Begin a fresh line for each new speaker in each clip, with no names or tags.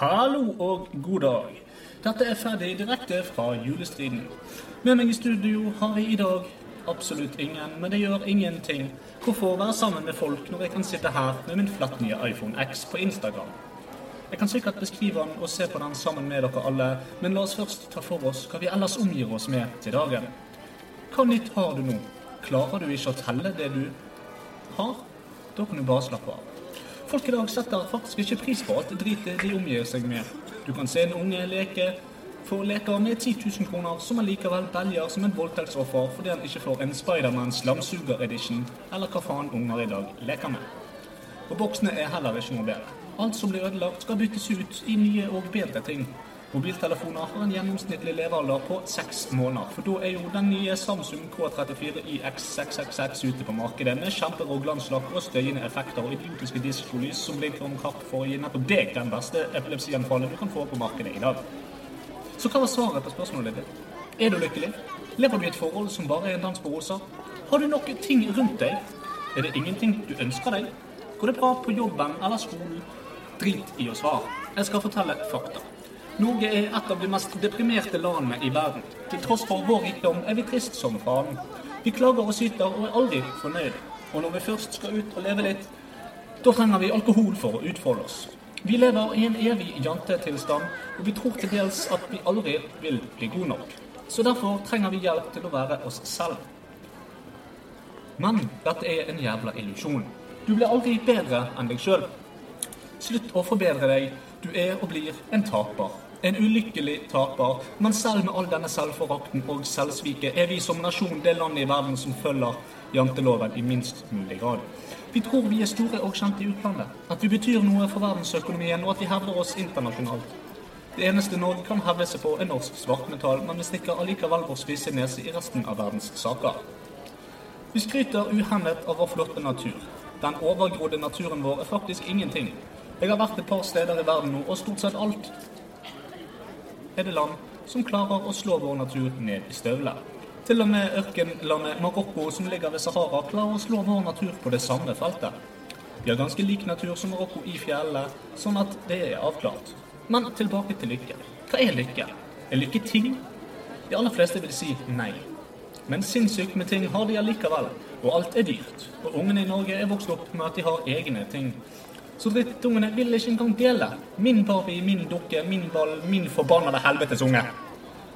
Hallo og god dag. Dette er ferdig direkte fra julestriden. Med meg i studio har jeg i dag absolutt ingen, men det gjør ingenting. Hvorfor være sammen med folk når jeg kan sitte her med min flatt nye iPhone X på Instagram? Jeg kan sikkert beskrive den og se på den sammen med dere alle, men la oss først ta for oss hva vi ellers omgir oss med til dagen. Hva nytt har du nå? Klarer du ikke å telle det du har? Da kan du bare slappe av. Folk i dag setter faktisk ikke pris på alt dritet de omgir seg med. Du kan se en unge leke for leker med 10 000 kroner, som allikevel belger som en voldtektsoffer fordi han ikke får en Spiderman slamsuger edition, eller hva faen unger i dag leker med. Og boksene er heller ikke noe bedre. Alt som blir ødelagt, skal byttes ut i nye og bedre ting. Mobiltelefoner har en gjennomsnittlig levealder på seks måneder, for da er jo den nye Samsung K34 IX666 ute på markedet med kjemperå glanslakk og støyende effekter og idiotiske diskolys som blinker om kapp for å gi nettopp deg den beste epilepsianfallet du kan få på markedet i dag. Så hva var svaret på spørsmålet ditt? Er du lykkelig? Lever du i et forhold som bare er en dans på roser? Har du nok ting rundt deg? Er det ingenting du ønsker deg? Går det bra på jobben eller skolen? Drit i å svare. Jeg skal fortelle fakta. Norge er et av de mest deprimerte landene i verden. Til tross for vår rikdom er vi trist som faen. Vi klager og syter og er aldri fornøyd. Og når vi først skal ut og leve litt, da trenger vi alkohol for å utfolde oss. Vi lever i en evig jantetilstand, og vi tror til dels at vi aldri vil bli gode nok. Så derfor trenger vi hjelp til å være oss selv. Men dette er en jævla illusjon. Du blir aldri bedre enn deg sjøl. Slutt å forbedre deg. Du er og blir en taper. En ulykkelig taper. Men selv med all denne selvforakten og selvsviket er vi som nasjon det landet i verden som følger janteloven i minst mulig grad. Vi tror vi er store og kjente i utlandet. At vi betyr noe for verdensøkonomien, og at vi hevder oss internasjonalt. Det eneste Norge kan hevde seg på, er norsk svartmetall, men vi stikker allikevel vår spisse nese i resten av verdens saker. Vi skryter uhemmet av vår flotte natur. Den overgrodde naturen vår er faktisk ingenting. Jeg har vært et par steder i verden nå, og stort sett alt er det land som klarer å slå vår natur ned i støvler. Til og med ørkenlandet Marokko, som ligger ved Sahara, klarer å slå vår natur på det samme feltet. Vi har ganske lik natur som Marokko i fjellene, sånn at det er avklart. Men tilbake til lykke. Hva er lykke? Er lykke ting? De aller fleste vil si nei. Men sinnssykt med ting har de allikevel, og alt er dyrt. Og ungene i Norge er vokst opp med at de har egne ting. Så drittungene vil ikke engang dele. Min Barbie, min dukke, min ball, min forbannede helvetes unge.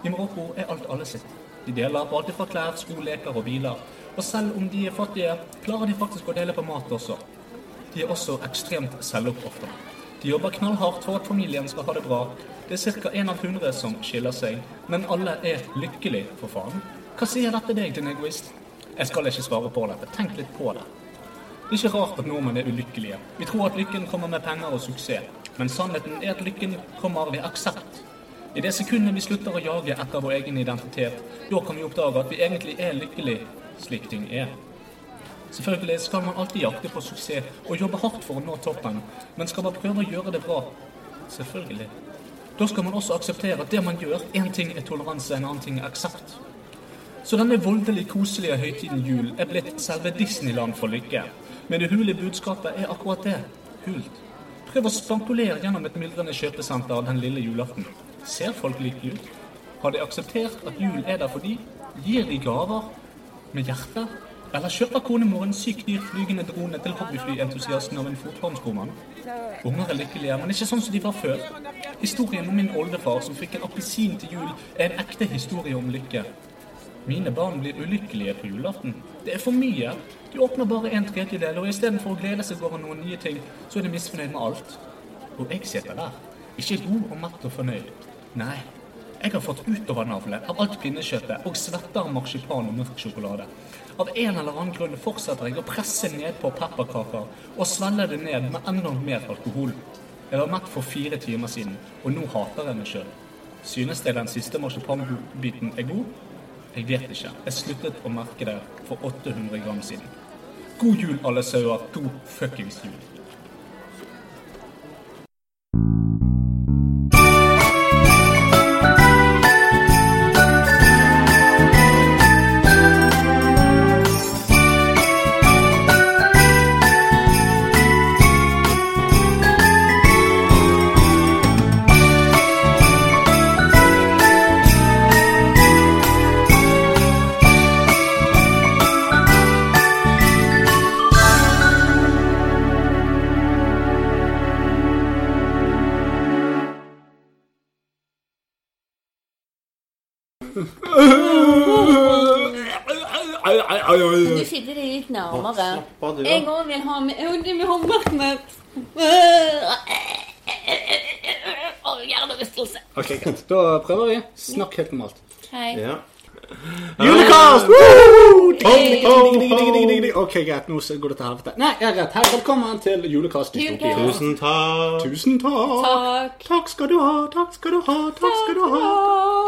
I Marokko er alt alle sitt. De deler på alt fra klær, sko, leker og biler. Og selv om de er fattige, klarer de faktisk å dele på mat også. De er også ekstremt selvoppofrende. De jobber knallhardt for at familien skal ha det bra. Det er ca. én av hundre som skiller seg, men alle er lykkelig, for faen. Hva sier dette deg, din egoist? Jeg skal ikke svare på dette. Tenk litt på det. Det er ikke rart at nordmenn er ulykkelige. Vi tror at lykken kommer med penger og suksess, men sannheten er at lykken kommer ved aksept. I det sekundet vi slutter å jage etter vår egen identitet, da kan vi oppdage at vi egentlig er lykkelig slik ting er. Selvfølgelig skal man alltid jakte på suksess og jobbe hardt for å nå toppen, men skal man prøve å gjøre det bra? Selvfølgelig. Da skal man også akseptere at det man gjør, én ting er toleranse, en annen ting er aksept. Så denne voldelig koselige høytiden jul er blitt selve Disneyland for lykke. Men det hule budskapet er akkurat det hult. Prøv å spankulere gjennom et myldrende kjøpesenter den lille julaften. Ser folk like ut? Har de akseptert at jul er der for de? Gir de gaver med hjertet? Eller kjøper konemor en sykt dyr flygende drone til hobbyflyentusiasten av en fotformskomann? Unger er lykkelige, men ikke sånn som de var før. Historien om min oldefar som fikk en appelsin til jul, er en ekte historie om lykke. Mine barn blir ulykkelige på julaften. Det er for mye. De åpner bare en tredjedel, og istedenfor å glede seg over noen nye ting, så er de misfornøyd med alt. Og jeg sitter der, ikke god og mett og fornøyd. Nei. Jeg har fått utovernavle av alt pinnekjøttet og svetter av marsipan og mørk sjokolade. Av en eller annen grunn fortsetter jeg å presse nedpå pepperkaker og svelge det ned med enda mer alkohol. Jeg var mett for fire timer siden, og nå hater jeg meg sjøl. Synes jeg den siste marsipanbiten er god? Jeg vet ikke. Jeg sluttet å merke det for 800 gram siden. God jul, alle sauer. God fuckings jul.
Du sitter deg litt nærmere.
Slapp av, du, da.
Jeg òg vil ha med Jeg vil med håndverket mitt. Å, Hjernerystelse.
Ok, greit. Da prøver vi. Snakk helt normalt.
Okay.
Ja.
Uh,
Julekast! Woo! Digg, digg,
Ho, ho,
digg, digg, digg, digg, digg, digg.
ho.
Ok, greit. Nå går det til helvete. Nei, jeg er rett. Her, velkommen til julekast dystopia.
Julekast.
Tusen takk.
Tusen takk.
Takk.
Takk skal du ha, takk skal du ha, takk skal du ha.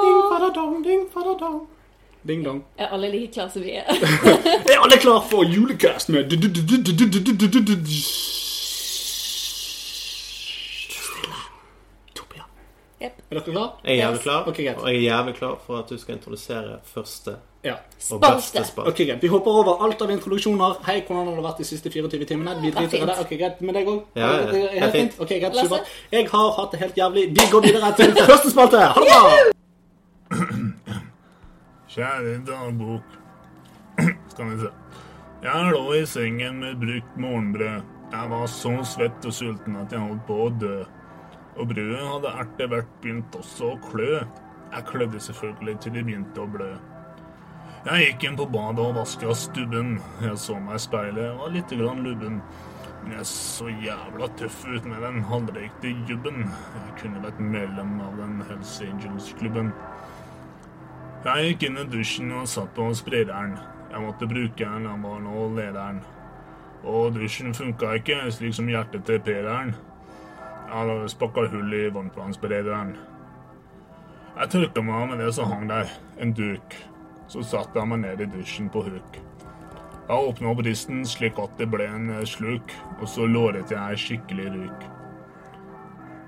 Ding fadadong, ding fadadong. Ding dong.
Er alle like klare som vi er?
Er alle klar for julekast med du- du- du- du- du- du- du- du- du- du- du- Stille. Dystopia.
Jep.
Er dere klar?
Jeg er jævlig klar,
Ok, greit.
og jeg er jævlig klar for at du skal introdusere første
Ja.
og beste
Spalte.
spalte.
Ok, greit. Vi hopper over alt av introduksjoner. Hei, hvordan har det vært de siste 24 timene? Vi driter i
fint.
det. Ok, greit. Med deg òg?
Ja, ja, ja. Det er
Helt fint.
fint.
Ok, greit.
Lasse?
Supert. Jeg har hatt det helt jævlig. Vi går videre til første spalte. Ha det bra!
Kjære dagbok. Skal vi se. Jeg lå i sengen med brukt morgenbrød. Jeg var så svett og sulten at jeg holdt på å dø. Og brødet hadde etter hvert begynt også å klø. Jeg klødde selvfølgelig til det begynte å blø. Jeg gikk inn på badet og vaska stubben. Jeg så meg i speilet og var lite grann lubben. Men jeg så jævla tøff ut med den halvrøykte jubben. Jeg kunne vært medlem av den Hells Angels-klubben. Jeg gikk inn i dusjen og satt på sprederen. Jeg måtte bruke den, han var nå lederen. Og dusjen funka ikke, slik som hjertet til Pereren. Jeg hadde spakka hull i varmtvannsberederen. Jeg tørka meg av med det som hang der, en duk. Så satte jeg meg ned i dusjen på huk. Jeg åpna opp risten slik at det ble en eh, sluk, og så låret jeg skikkelig ruk.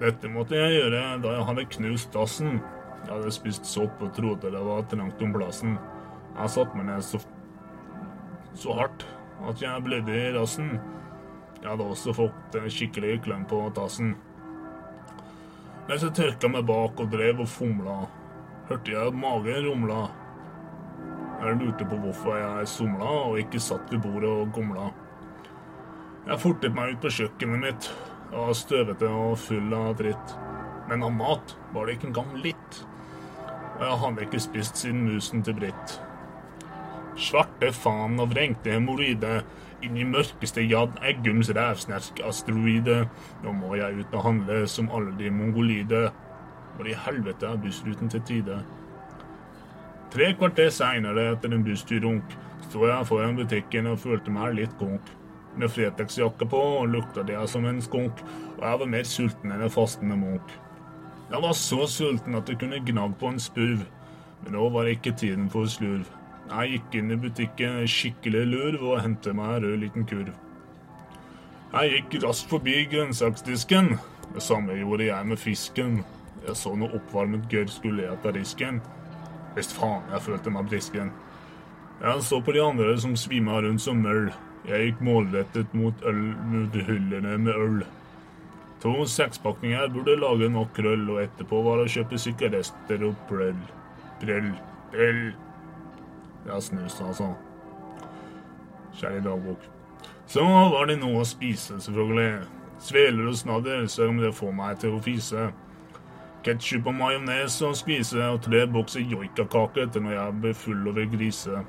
Dette måtte jeg gjøre da jeg hadde knust dassen. Jeg hadde spist sopp og trodde det var trangt om plassen. Jeg satte meg ned så, så hardt at jeg blødde i rassen. Jeg hadde også fått en skikkelig klem på tassen. Mens jeg tørka meg bak og drev og fomla, hørte jeg at magen rumla. Jeg lurte på hvorfor jeg somla og ikke satt ved bordet og gomla. Jeg fortet meg ut på kjøkkenet mitt. Jeg var støvete og full av dritt. Men av mat var det ikke engang litt. Og jeg hadde ikke spist siden musen til Britt. Svarte faen og vrengte hemoroide. Inn i mørkeste Jad Eggums rævsnerk-asteroide. Nå må jeg ut og handle som alle de mongolide. Hvor i helvete er bussruten til tide? Tre kvarter seinere, etter en bussturrunk, sto jeg foran butikken og følte meg litt konk. Med Fretex-jakke på og lukta det som en skunk, og jeg var mer sulten enn en fastende munk. Jeg var så sulten at jeg kunne gnag på en spurv, men nå var ikke tiden for slurv. Jeg gikk inn i butikken skikkelig lurv og hentet meg en rød liten kurv. Jeg gikk raskt forbi grønnsaksdisken. Det samme gjorde jeg med fisken. Jeg så noe oppvarmet gørr skulle jeg ta risken. Visst faen, jeg følte meg brisken. Jeg så på de andre som svima rundt som møll. Jeg gikk målrettet mot øl mot hyllene med øl. To sekspakninger burde lage nok krøll, og etterpå var det å kjøpe sigaretter og prøll. Prøll. Prøll. Jeg snuste, altså. Kjære dagbok. Så var det noe å spise, selvfølgelig. Sveler og snadder, selv om det får meg til å fise ketsjup og majones og skvise og tre bokser joikakake til når jeg blir full over grise.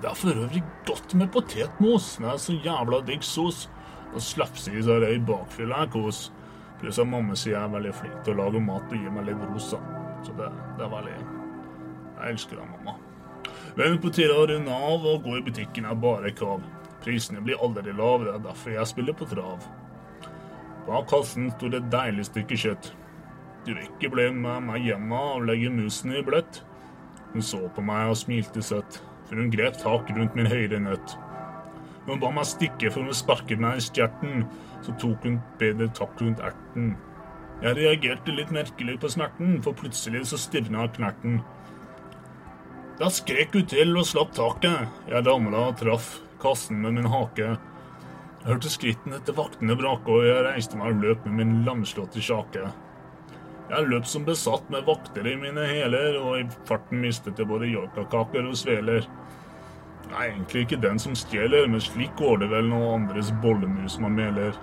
Det er for øvrig godt med potetmos. Det er så jævla digg sos. Og slafsis og røy bakfylla er kos. Pluss at mamma sier jeg er veldig flink til å lage mat og gi meg litt ros. da. Så det, det er veldig Jeg elsker deg, mamma. Men på tide å runde av og gå i butikken er bare krav. Prisene blir aldri lave, det er derfor jeg spiller på trav. Bak kassen sto det deilig stykke kjøtt. Drikke ble med meg hjemme og legge musen i bløtt. Hun så på meg og smilte søtt, for hun grep tak rundt min høyre nøtt. Hun ba meg stikke for hun sparket meg i stjerten, så tok hun bedre tak rundt erten. Jeg reagerte litt merkelig på smerten, for plutselig så stivna knerten. Da skrek hun til og slapp taket. Jeg ramla og traff kassen med min hake. Jeg hørte skrittene etter vaktene brake, og jeg reiste meg og løp med min lamslåtte sjake. Jeg løp som besatt med vakter i mine hæler, og i farten mistet jeg både joikakaker og sveler. Jeg er egentlig ikke den som stjeler, men slik går det vel når andres bollemus man meler.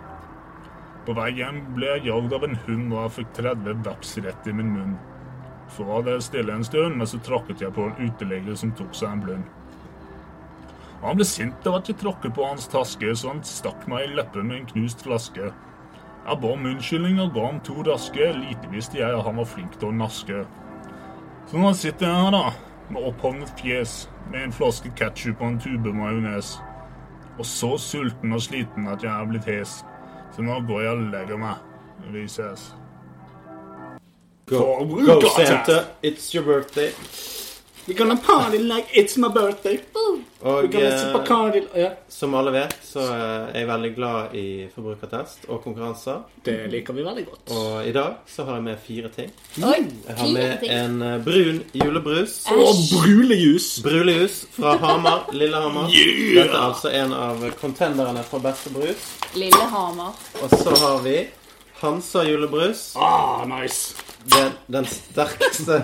På vei hjem ble jeg jagd av en hund, og jeg fikk 30 veps rett i min munn. Så var det stille en stund, men så tråkket jeg på en uteligger som tok seg en blund. Han ble sint av at jeg tråkket på hans taske, så han stakk meg i leppen med en knust flaske. Jeg ba om unnskyldning og ga ham to raske, lite visste jeg at han var flink til å naske. Så nå sitter jeg her, da, med opphovnet fjes, med en flaske ketsjup og en tube majones. Og så sulten og sliten at jeg er blitt hes. Så nå går jeg og legger meg. Vi ses.
Go,
For-
go
God,
Santa, it's your birthday.
We're gonna party like it's my birthday. Ooh. We're
Og
gonna
eh,
sip a Cardi- Ja,
som alle vet, så eh, er jeg veldig glad i forbrukertest og konkurranser.
det liker vi veldig godt.
Og i dag så har jeg med fire ting.
Oi,
Jeg har med en eh, brun julebrus.
Og brulejus.
Brulejus fra Hamar. Lillehammer. Dette er altså en av contenderne for beste brus.
Lillehammer.
Og så har vi Hansa julebrus.
Ah, nice.
Den, den sterkeste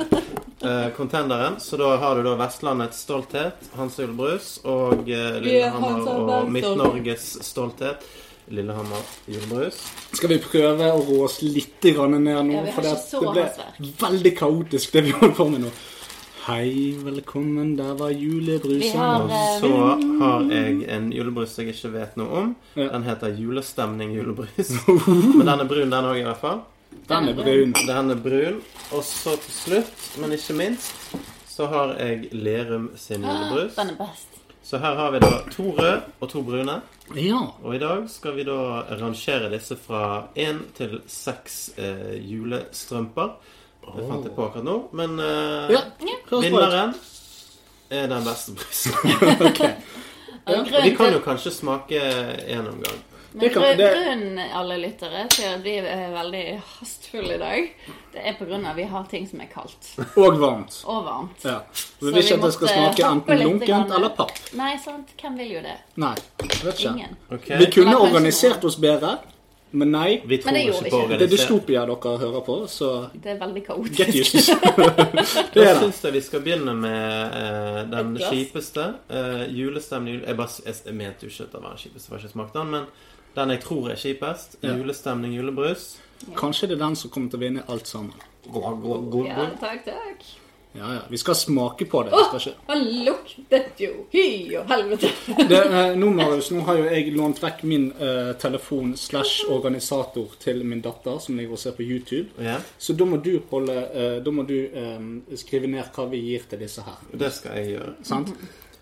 eh, contenderen. Så da har du da Vestlandets stolthet, Hansa julebrus, og eh, Lillehammer
Hansa
og
Bergstolthet.
Midt-Norges stolthet. Lillehammer julebrus.
Skal vi prøve å roe oss litt grann ned nå?
Ja, vi har
fordi
ikke
at
så
det ble
hastverk.
veldig kaotisk, det vi holder på med nå. Hei, velkommen. Der var
Vi
julebrusen.
har
Og
eh,
så har jeg en julebrus jeg ikke vet noe om.
Ja. Uh.
Den heter Julestemning julebrus. Men den er brun, den òg, i hvert fall.
Den er brun.
Den er brun. Og så til slutt, men ikke minst, så har jeg Lerum sin julebrus.
Ah, Den er best.
Så her har vi da to røde og to brune.
Ja.
Og i dag skal vi da rangere disse fra én til seks eh, julestrømper. Det fant jeg på akkurat nå. Men eh,
Ja, høres bra ut.
vinneren er den beste brusen.
Og
Vi
grunnen
kan
til
jo kanskje smake en om gang.
Men
Det kan-
grunn,
det-
grunnen, alle lyttere, til at vi er veldig hastfulle i dag, det er på grunn av at vi har ting som er kaldt
Og varmt.
og varmt.
Ja. Så
Så
vi vil ikke at
vi
det skal
måtte
smake
hoppe
enten
litt grann.
lunkent eller papp.
Nei, sant? Hvem vil jo det?
Nei, jeg vet ikke.
Ingen.
Vi
Ok?
kunne
Eller kanskje
organisert oss bedre, men nei.
Vi tror
Men det
ikke
gjorde
på
vi ikke.
Det er
organisering.
dystopia dere hører på, så
Det er veldig
get
kaotisk.
used. det
Da
er det.
syns jeg vi skal begynne med eh, den
Et glass.
kjipeste. Eh, julestemning jule- jeg, bare, jeg, jeg mente jo ikke at det var den kjipeste, for jeg har ikke smakt den. Men den jeg tror er kjipest.
Ja.
Julestemning julebrus.
Kanskje det er den som kommer til å vinne alt sammen.
Ja, takk, takk.
Ja, ja. Vi skal smake på det. Vi skal ikke...
Han luktet jo hy og helvete.
det eh, nå, Marius, nå har jo jeg lånt vekk min eh, telefon slash organisator til min datter, som ligger og ser på YouTube.
Ja,
Så da må du, holde, eh, da må du eh, skrive ned hva vi gir til disse her.
det skal jeg gjøre.
Sant?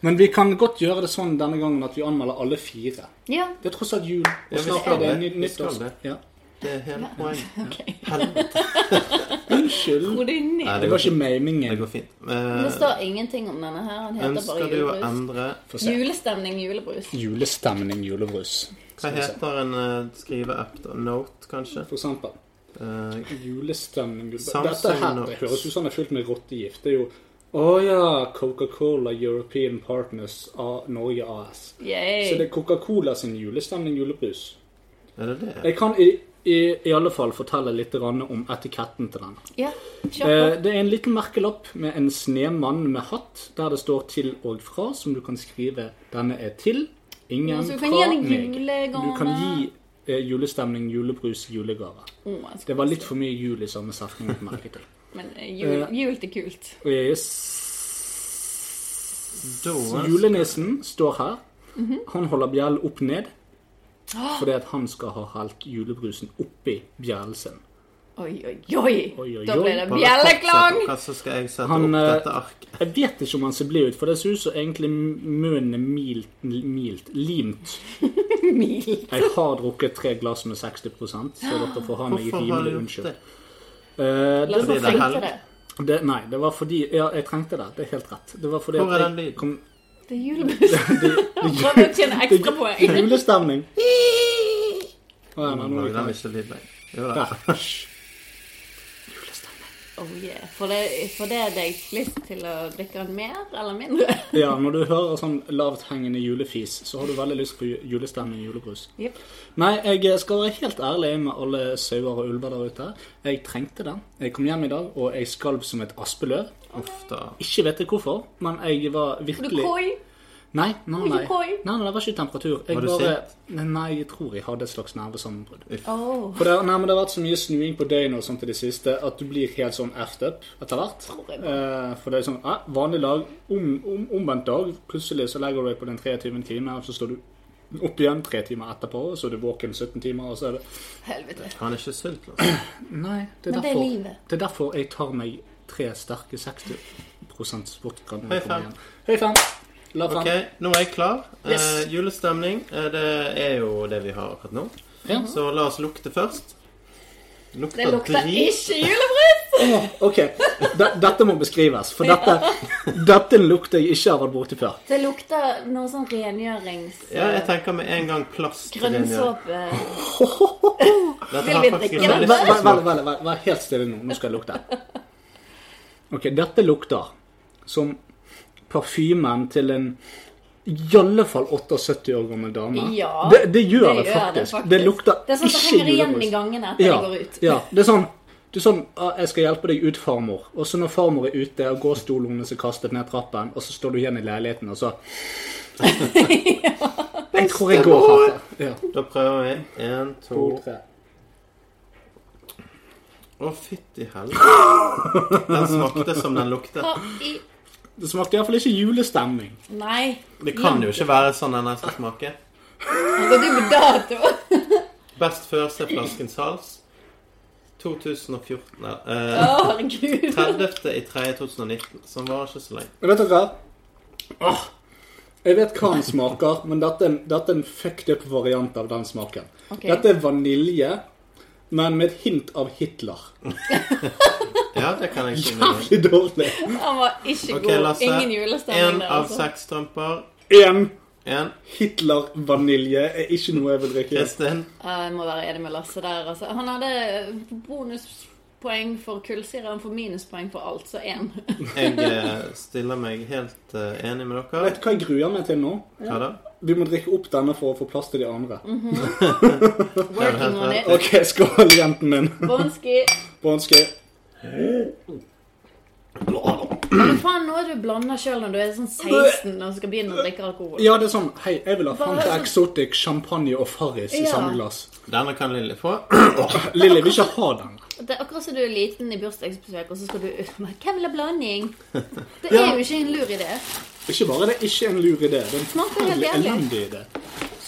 Men vi kan godt gjøre det sånn denne gangen at vi anmelder alle fire.
Ja,
Det er tross alt jul.
Ja,
Og
vi
snart
skal
er det
det.
ny-
Vi skal
nyttårs.
det.
Ja.
Det er hele poenget.
ok.
Helvete.
Unnskyld.
Hvor det er ned.
Nei,
Det
det
var
går
ikke
fint.
meningen.
Det går fint.
Det
Eh,
står ingenting om denne her. Han heter bare
ønsker du å
julebrus.
endre
Få se.
Julestemning julebrus.
Julestemning, julebrus.
Hva
Skal vi se.
heter en eh, skriveapp? da? Note, kanskje?
For eksempel.
Eh,
Julestemning, julebrus.
Samsung
Dette her
Notes.
det høres ut som det er fylt med rottegift. Det er jo å ja, Coca-Cola European Partners av Norge AS. Så det
Yay.
er Coca-Cola sin julestemning, julebrus.
er det det?
Jeg kan i, i, i alle fall fortelle litt grann om etiketten til den.
Ja, kjør på.
Eh, Det er en liten merkelapp med en snemann med hatt, der det står 'til og fra', som du kan skrive 'denne er til'. Ingen
Så du
fra
kan gi han en
meg.
julegave.
Du kan gi eh, julestemning, julebrus, julegave.
Å, Oh, jeg
Det
skulle
var litt
si.
for mye jul i samme setning. merket jeg.
Men eh, jul, jul til kult.
Og jeg er s-
Da
Julenissen står her. Han holder bjellen opp ned. Fordi at han skal ha helt julebrusen oppi bjellen sin.
Oi, oi, oi.
Oi, oi,
Da ble
oi.
det
Bare
bjelleklang.
fortsett, Lukas, Så skal jeg sette
Han,
opp
eh,
dette ark.
Jeg vet ikke om han ser blid ut, for det ser ut som egentlig munnen er milt, milt limt.
Mil.
Jeg har drukket tre glass med 60 så dere får ha meg
Hvorfor har du
rimelig
gjort
unnskyld.
det?
Eh,
La
det,
oss
Fordi det er
tenke
helg.
det.
det, nei, det var fordi Ja, jeg trengte det. Det er helt rett. Det var fordi
Hvor
at
er
jeg
den lyden?
kom-
Det er julebrus. Prøv å tjene ekstra
Det
poeng.
er julestemning. Å, ja, nei, nå er jeg
Lagde den
ferdig.
ikke lyd lenger. Jo da.
Der. Hysj.
Oh yeah. For det, for det er deg lyst til å drikke den mer eller mindre?
Ja, når du hører sånn lavthengende julefis, så har du veldig lyst på ju- julestemning og julebrus.
Jepp.
Nei, jeg eh, skal være helt ærlig med alle sauer og ulver der ute. Jeg trengte det. Jeg kom hjem i dag, og jeg skalv som et aspeløv.
Uff da.
Ikke vet jeg hvorfor, men jeg var
For du
virkelig
koi.
Nei, nei,
ikke
nei. nei,
koi.
nei, det var ikke temperatur.
Var
Jeg
du
bare, nei, jeg tror jeg hadde et slags nervesammenbrudd.
Åh,
For det, nei, men det har vært så mye snuing på døgnet og sånt i det siste at du blir helt sånn effed up etter hvert.
jeg
Eh, for det er sånn eh, vanlig dag, om, om, omvendt dag, plutselig så legger du deg på den 23 timen, og så står du opp igjen tre timer etterpå, og så er du våken 17 timer, og så er det
helvete.
Han er ikke sulten.
Nei, det er,
Men det er
derfor,
livet.
det er derfor jeg tar meg tre sterke 60 vodka når
Høy
jeg kommer
fem.
hjem. Høy fem! La fem.
Ok, nå er jeg klar. Eh,
Yes.
julestemning, eh, det er jo det vi har akkurat nå.
Ja.
Så la oss lukte først.
Det
Lukter
lukter
drit.
ikke julebrus!
Ok, de- dette må beskrives, for dette, dette lukter jeg ikke har vært borti før.
Det lukter noe sånn rengjørings...
Ja, jeg tenker med en gang plast.
Grønnsåpe.
Dette
Vil
har
vi
faktisk
drikke
en
det?
veldig
Vær, vær,
smak.
vær, vær, vær, vær helt stille nå. Nå skal jeg lukte. Ok, dette lukter som parfymen til en i alle fall 78 år gammel dame.
Ja,
det, det gjør det,
det gjør det
faktisk.
faktisk.
Det lukter
Det er sånn som
ikke
henger igjen
julebrus.
i gangene etter
ja,
jeg går ut.
Ja, det er sånn du er sånn, «Ah, 'Jeg skal hjelpe deg ut, farmor.' Og så når farmor er ute, og gåstolen hennes er kastet ned trappen, og så står du igjen i leiligheten, og så Jeg tror jeg går herfra. Ja.
Da prøver vi. En, to
To, tre.
Å, fytti helvete. Den smakte som den lukte.
Hva i...
Det smakte iallfall ikke julestemning.
Nei.
Det kan jo ikke være sånn den her skal smake.
Går du på dato?
Best før se flaskens hals. 2014 nei,
Å,
eh,
herregud.
30. i 3. 2019. Som var ikke så lenge.
Men Vet dere hva? Åh, jeg vet hva den smaker, men dette er, en, dette er en fucked up variant av den smaken.
Ok.
Dette er vanilje, men med et hint av Hitler.
Ja, det kan jeg si. med deg.
Jævlig dårlig.
Han var ikke
Ok,
god.
Lasse.
Ingen julestemning
Én
der,
av
altså.
seks strømper.
Én
Én.
Hitler-vanilje er ikke noe jeg vil drikke.
Kristin.
Ja, Eh, Jeg må være enig med Lasse der, altså. Han hadde bonuspoeng for kullsyre, han får minuspoeng for alt, så én.
Jeg eh, stiller meg helt eh, enig med dere.
Vet du hva jeg gruer meg til nå?
Hva da?
Vi må drikke opp denne for å få plass til de andre.
Working on it.
OK, skål, jenten min.
Bonski.
Bånske.
Men faen, nå er du blanda sjøl når du er sånn 16 og skal begynne å drikke alkohol.
Ja, det er sånn Hei, jeg vil ha Fanta Exotic, champagne og Farris i
Ja.
samme glass.
Denne kan Lilly få.
Lilly vil ikke ha den.
Det er akkurat som du er liten i bursdagsbesøk, og så skal du ut med Hvem vil ha blanding? Det er jo ikke en lur idé.
Ikke bare det er ikke en lur idé, det er en
Smaker helt
forferdelig
jævlig.
elendig idé.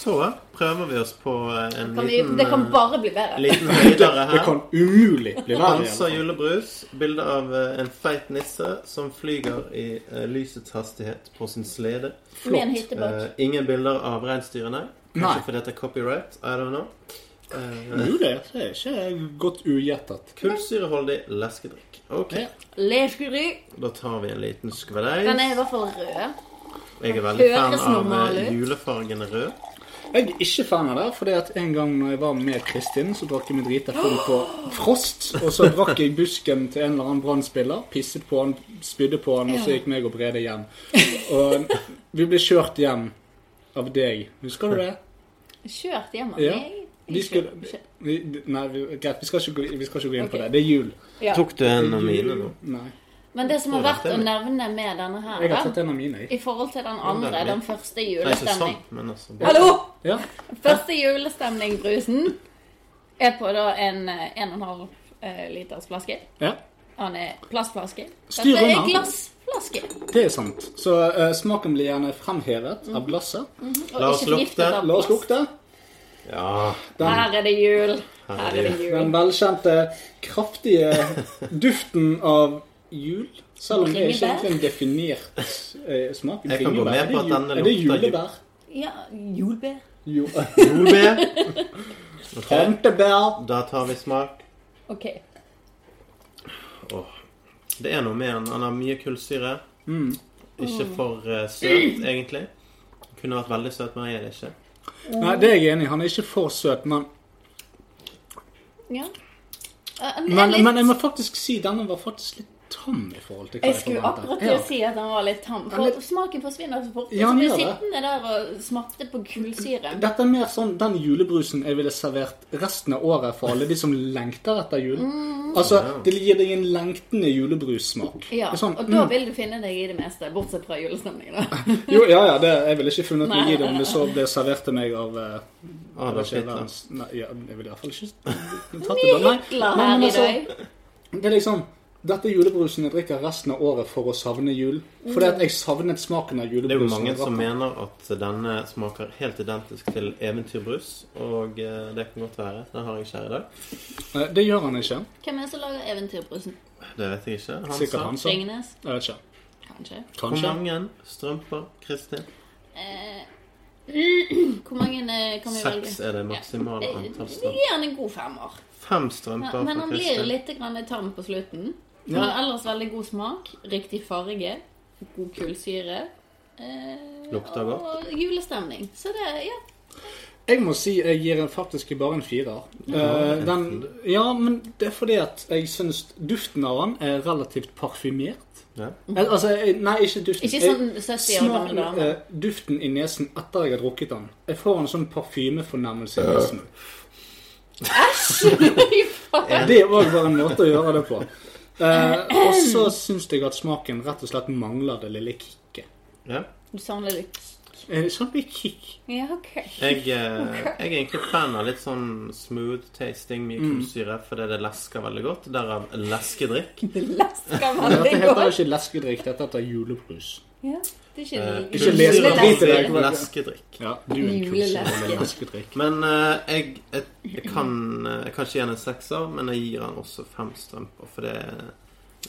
Så prøver vi oss på eh, en
Kan vi,
liten,
det kan
eh,
bare bli bedre.
liten høydere
Det
her.
kan umulig bli verre.
Hansa
igjen.
julebrus. Bilde av eh, en feit nisse som flyger i eh, lysets hastighet på sin slede.
Med en hyttebåt.
Eh, ingen bilder av reinsdyrene.
Nei.
Kanskje fordi det er copyright. I don't know. Eh,
Jo, det er det er ikke godt ugjettet.
Kullsyreholdig leskedrikk. OK.
Ja.
Lefgry.
Da tar vi en liten skvedeis.
Den er i hvert fall rød.
Jeg er veldig fan
høres
av
normal
eh,
ut.
julefargen rød.
Jeg er ikke fan av det, fordi at en gang når jeg var med Kristin, så drakk jeg meg drita full på Frost, og så drakk jeg busken til en eller annen brannspiller, pisset på han, spydde på han, og så gikk meg og Brede hjem. Og vi ble kjørt hjem av deg. Husker du det?
Kjørt hjem av
Ja.
meg.
Vi skal, vi, nei, vi, greit, vi skal ikke gå, vi skal ikke gå inn på
Ok.
det. Det er jul.
Ja.
Tok du en av mine nå?
Nei.
Men det som er verdt å nevne med denne
Jeg
her,
har tatt
da,
en av mine. jeg.
i forhold til den andre, den første
Nei, ikke sånn,
julestemning
men altså
Hallo!
Ja.
Første julestemning-brusen er på da en 1,5 liters flaske.
ja.
Han er plastflaske.
Styr
Dette er
unna.
glassflaske.
Det er sant. Så eh, smaken blir gjerne fremhevet av glasset.
Og
La oss
ikke forgiftet
lukte.
av
La oss
plast.
lukte.
Ja.
Her er det jul. Her er det
Den
jul.
velkjente, kraftige duften av jul. Selv om det er ikke
Bringebær.
egentlig en definert eh, smak.
Jeg kan gå med
Bringebær,
på at
er det jul-
denne
Er det
lukter jul.
julebær?
Ja, julbær.
Jo,
Solbær. Ok,
Plantebær.
Da tar vi smak.
OK.
Åh. Det er noe med han. Han har mye kullsyre.
Mm.
Ikke for eh, søt, egentlig. Kunne vært veldig søt, men han er det ikke.
Nei, det er jeg enig i. Han er ikke for søt, men
Ja. Eh,
men,
litt- Eh,
men jeg må faktisk si denne var faktisk litt tam i forhold til hva
Jeg skulle akkurat til å si at den var litt tam.
Ja,
For
men-
smaken forsvinner så fort.
Ja,
så
den
blir
gjør det.
sittende der og smatte på kullsyre.
Dette er mer sånn den julebrusen jeg ville servert resten av året for alle de som lengter etter jul. Altså, det gir deg en lengtende julebrussmak.
Mm. Ja,
Det er sånn,
og da vil du finne deg i det meste, bortsett fra julestemningen. da.
Jo, ja, ja, det, jeg ville ikke funnet meg
Nei.
i det om det så ble servert til meg av eh,
Adolf
jeg vet ikke,
Hitler.
verdens- Nei, ja, jeg ville iallfall ikke tatt det da. Nei, nei,
Hitler her
men
i
altså,
dag.
Det er liksom ddette er julebrusen jeg drikker resten av året for å savne jul. Fordi at jeg savnet smaken av
Det er jo
julebrusen.
mange
jeg drakk.
som mener at denne smaker helt identisk til eventyrbrus, og eh, det kan godt være. Den har jeg ikke her i dag.
Eh, Det gjør han ikke.
Hvem er det som lager eventyrbrusen?
Det vet jeg ikke. Han
Sikkert
sa
han som
Ringnes?
Altså, Jeg vet ikke.
Kanskje.
Hvor
Kanskje.
mange strømper, Kristin?
Eh, hvor mange eh, kan vi velge?
Seks er det maksimale
Eh,
antall
Vi
strømper.
gir han en god femmer.
Fem
Men,
strømper
men
for
han blir
Kristin.
litt grann tam på slutten. Men ellers veldig god smak, riktig farge, god kullsyre. Eh,
Lukter godt.
Og julestemning. Så det, ja.
Jeg må si jeg gir en faktisk bare en firer. Eh,
en
den, ja, men det er fordi at jeg syns duften av den er relativt parfymert.
Ja.
Eh, Altså, jeg- nei, ikke duften.
Ikke
Jeg-
sånn 70 år gammel
smaken,
dame.
eh, duften i nesen etter jeg har drukket den. Jeg får en sånn parfymefornemmelse i nesen.
Fy faen.
Det er òg bare en måte å gjøre det på. Eh, og så syns jeg at smaken rett og slett mangler det lille kicket.
Ja.
Du samler litt.
Eh, Sånn blir kick.
Ja, ok.
Jeg, eh, jeg er egentlig fan av litt sånn smooth tasting mye kullsyre, fordi det lesker veldig godt. Derav leskedrikk.
Det lesker
Dette
veldig
heter jo
godt.
ikke leskedrikk, dette heter julebrus.
Ja, det er ikke,
Eh,
Ikke
det er
lesk- drit i
lesk-
det.
leskedrikk. leskedrikk.
Ja, du er en
Juleleske.
kulsere med leskedrikk.
Men eh, jeg, jeg, jeg, kan, jeg kan ikke gi den en sekser, men jeg gir den også fem strømper. For det,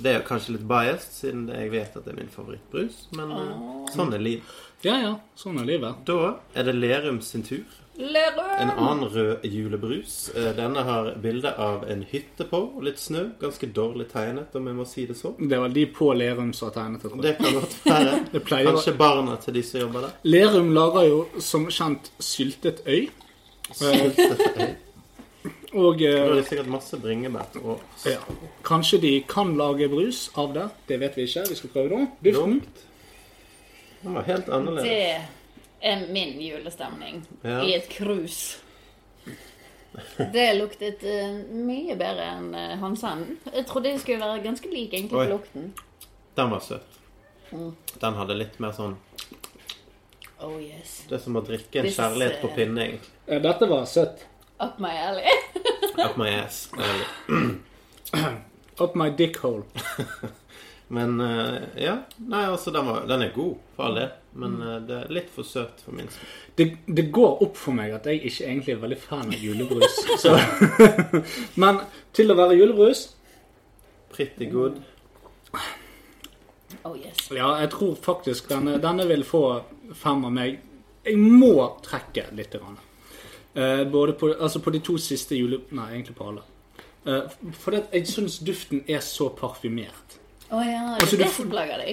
det er kanskje litt biased, siden det, jeg vet at det er min favorittbrus. Men eh, sånn er livet.
Ja ja, sånn er livet.
Da er det Lerum sin tur. En
Lerum!
annen rød julebrus. Eh, Denne har bilde av en hytte på, og litt snø. Ganske dårlig tegnet, om jeg må si det sånn. så.
Det var de på Lerum som har tegnet det. tror jeg.
Det kan godt være.
Det pleier å-
Kanskje barna til de som jobber der.
Lerum lager jo som kjent syltet øy. Og
Da er
eh,
det sikkert masse bringebær og
ja, kanskje de kan lage brus av det. Det vet vi ikke. Vi skal prøve det. Duften.
lukt. Den var helt annerledes.
Det er min julestemning
Ja.
i et krus. Det luktet eh, mye bedre enn uh, Hansen. Jeg trodde det skulle være ganske lik egentlig
Oi.
på lukten.
Den var søt. Den hadde litt mer sånn
Oh yes.
Det er som å drikke en
This,
kjærlighet på
eh,
pinne, egentlig.
Eh, Dette var søtt.
Up my alley.
Up my ass. egentlig.
Up my dick hole.
Men eh, ja. Nei, altså, den, var, den er god, for all del. Men eh, det er litt for søt for min smak.
Det, det går opp for meg at jeg ikke egentlig er veldig fan av julebrus. Så. Men til å være julebrus
Pretty good.
Oh yes.
Ja, jeg tror faktisk denne, denne vil få fem av meg. Jeg må trekke litt. Grann. Eh, både på, altså på de to siste jule... Nei, egentlig på alle. Eh, for det, jeg syns duften er så parfymert.
Å ja, det
Altså, du
er det
får-
som plager deg.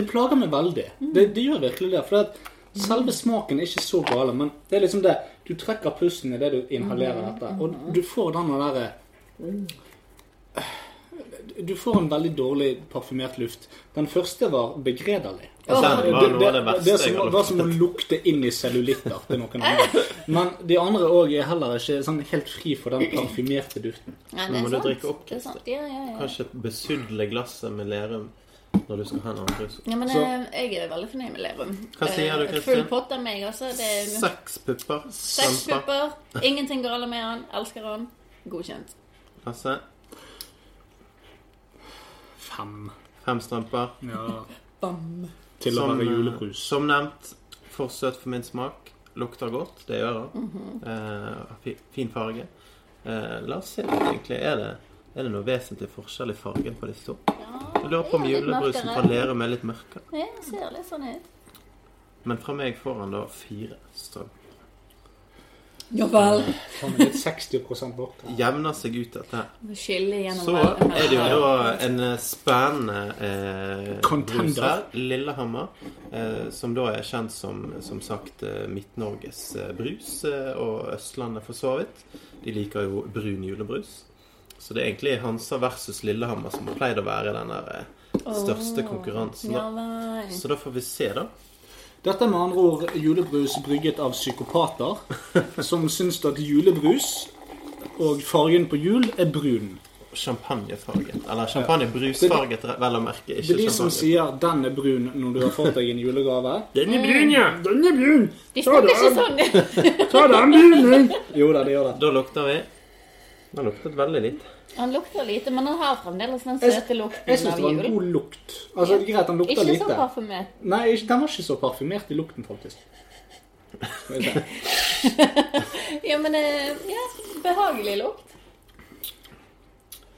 Det plager meg veldig. Det, det gjør virkelig det. For at selve smaken er ikke så gal, men det er liksom det Du trekker pusten i det du inhalerer dette, og du får den derre Du får en veldig dårlig parfymert luft. Den første var begredelig.
Og
Åh.
den var noe av det
det
verste
som,
jeg har
var som å
luktet.
lukte inn i cellulitter til noen andre. Men de andre òg er heller ikke sånn helt fri for den parfymerte duften.
Nei, det
Nå må
er
du
sant.
drikke opp,
Det er sant. Ja, ja, ja.
Kanskje besudle glasset med Lerum når du skal ha en annen brus.
Ja, men
Så-
eh, jeg er veldig fornøyd med Lerum.
Hva sier
Eh,
du,
Full
Kristin?
pott av meg, altså. Det er
Seks pupper.
seks
Strømper.
pupper. Ingenting galt med han. Elsker han. Godkjent.
Lasse.
Fem.
Fem strømper.
Ja.
Bam.
Til å
Som,
være
eh,
julebrus.
Som nevnt, for søt for min smak. Lukter godt, det gjør det. Eh, fi- fin farge. Eh, la oss se litt, egentlig. Er det, er det noe vesentlig forskjell i fargen på disse to? Jeg lurer på om
det er litt
julebrusen
mørkere.
fra Lerum er litt mørkere.
Ja, det ser litt sånn ut.
Men fra meg får han da fire strøm.
Ja vel.
Han er litt 60 bort.
Jevner seg ut, dette her.
Skille gjennom
Så
mellom-
er det jo da en eh, spennende eh,
Contender.
brus her, Lillehammer, eh, som da er kjent som, som sagt, eh, Midt-Norges eh, brus, eh, og Østlandet for så vidt. De liker jo brun julebrus. Så det er egentlig Hansa versus Lillehammer som har pleid å være den der eh, største konkurransen.
Ja
Da.
vel.
Så da får vi se, da.
Dette er med andre ord julebrus brygget av psykopater som syns at julebrus og fargen på jul er brun.
Champagnefarget. Eller champagnebrusfarget, vel å merke.
Det
Ikke
er de som
champagne.
sier 'den er brun' når du har fått deg en julegave.
Den er brun, ja! Den er brun!
De snakker ikke sånn.
Ta den brunen!
Jo da, det gjør det.
Da lukter vi. Den luktet veldig litt.
Han lukter lite, men han har fremdeles den
Jeg-
søte
Jeg
lukten
syns
av
det var en
jul.
god lukt. Altså, det er greit, den lukter
Ikke så
lite.
parfymert.
Nei, ikke- den var ikke så parfymert i lukten, faktisk. Skal vi se.
Ja, men eh, ja, behagelig lukt.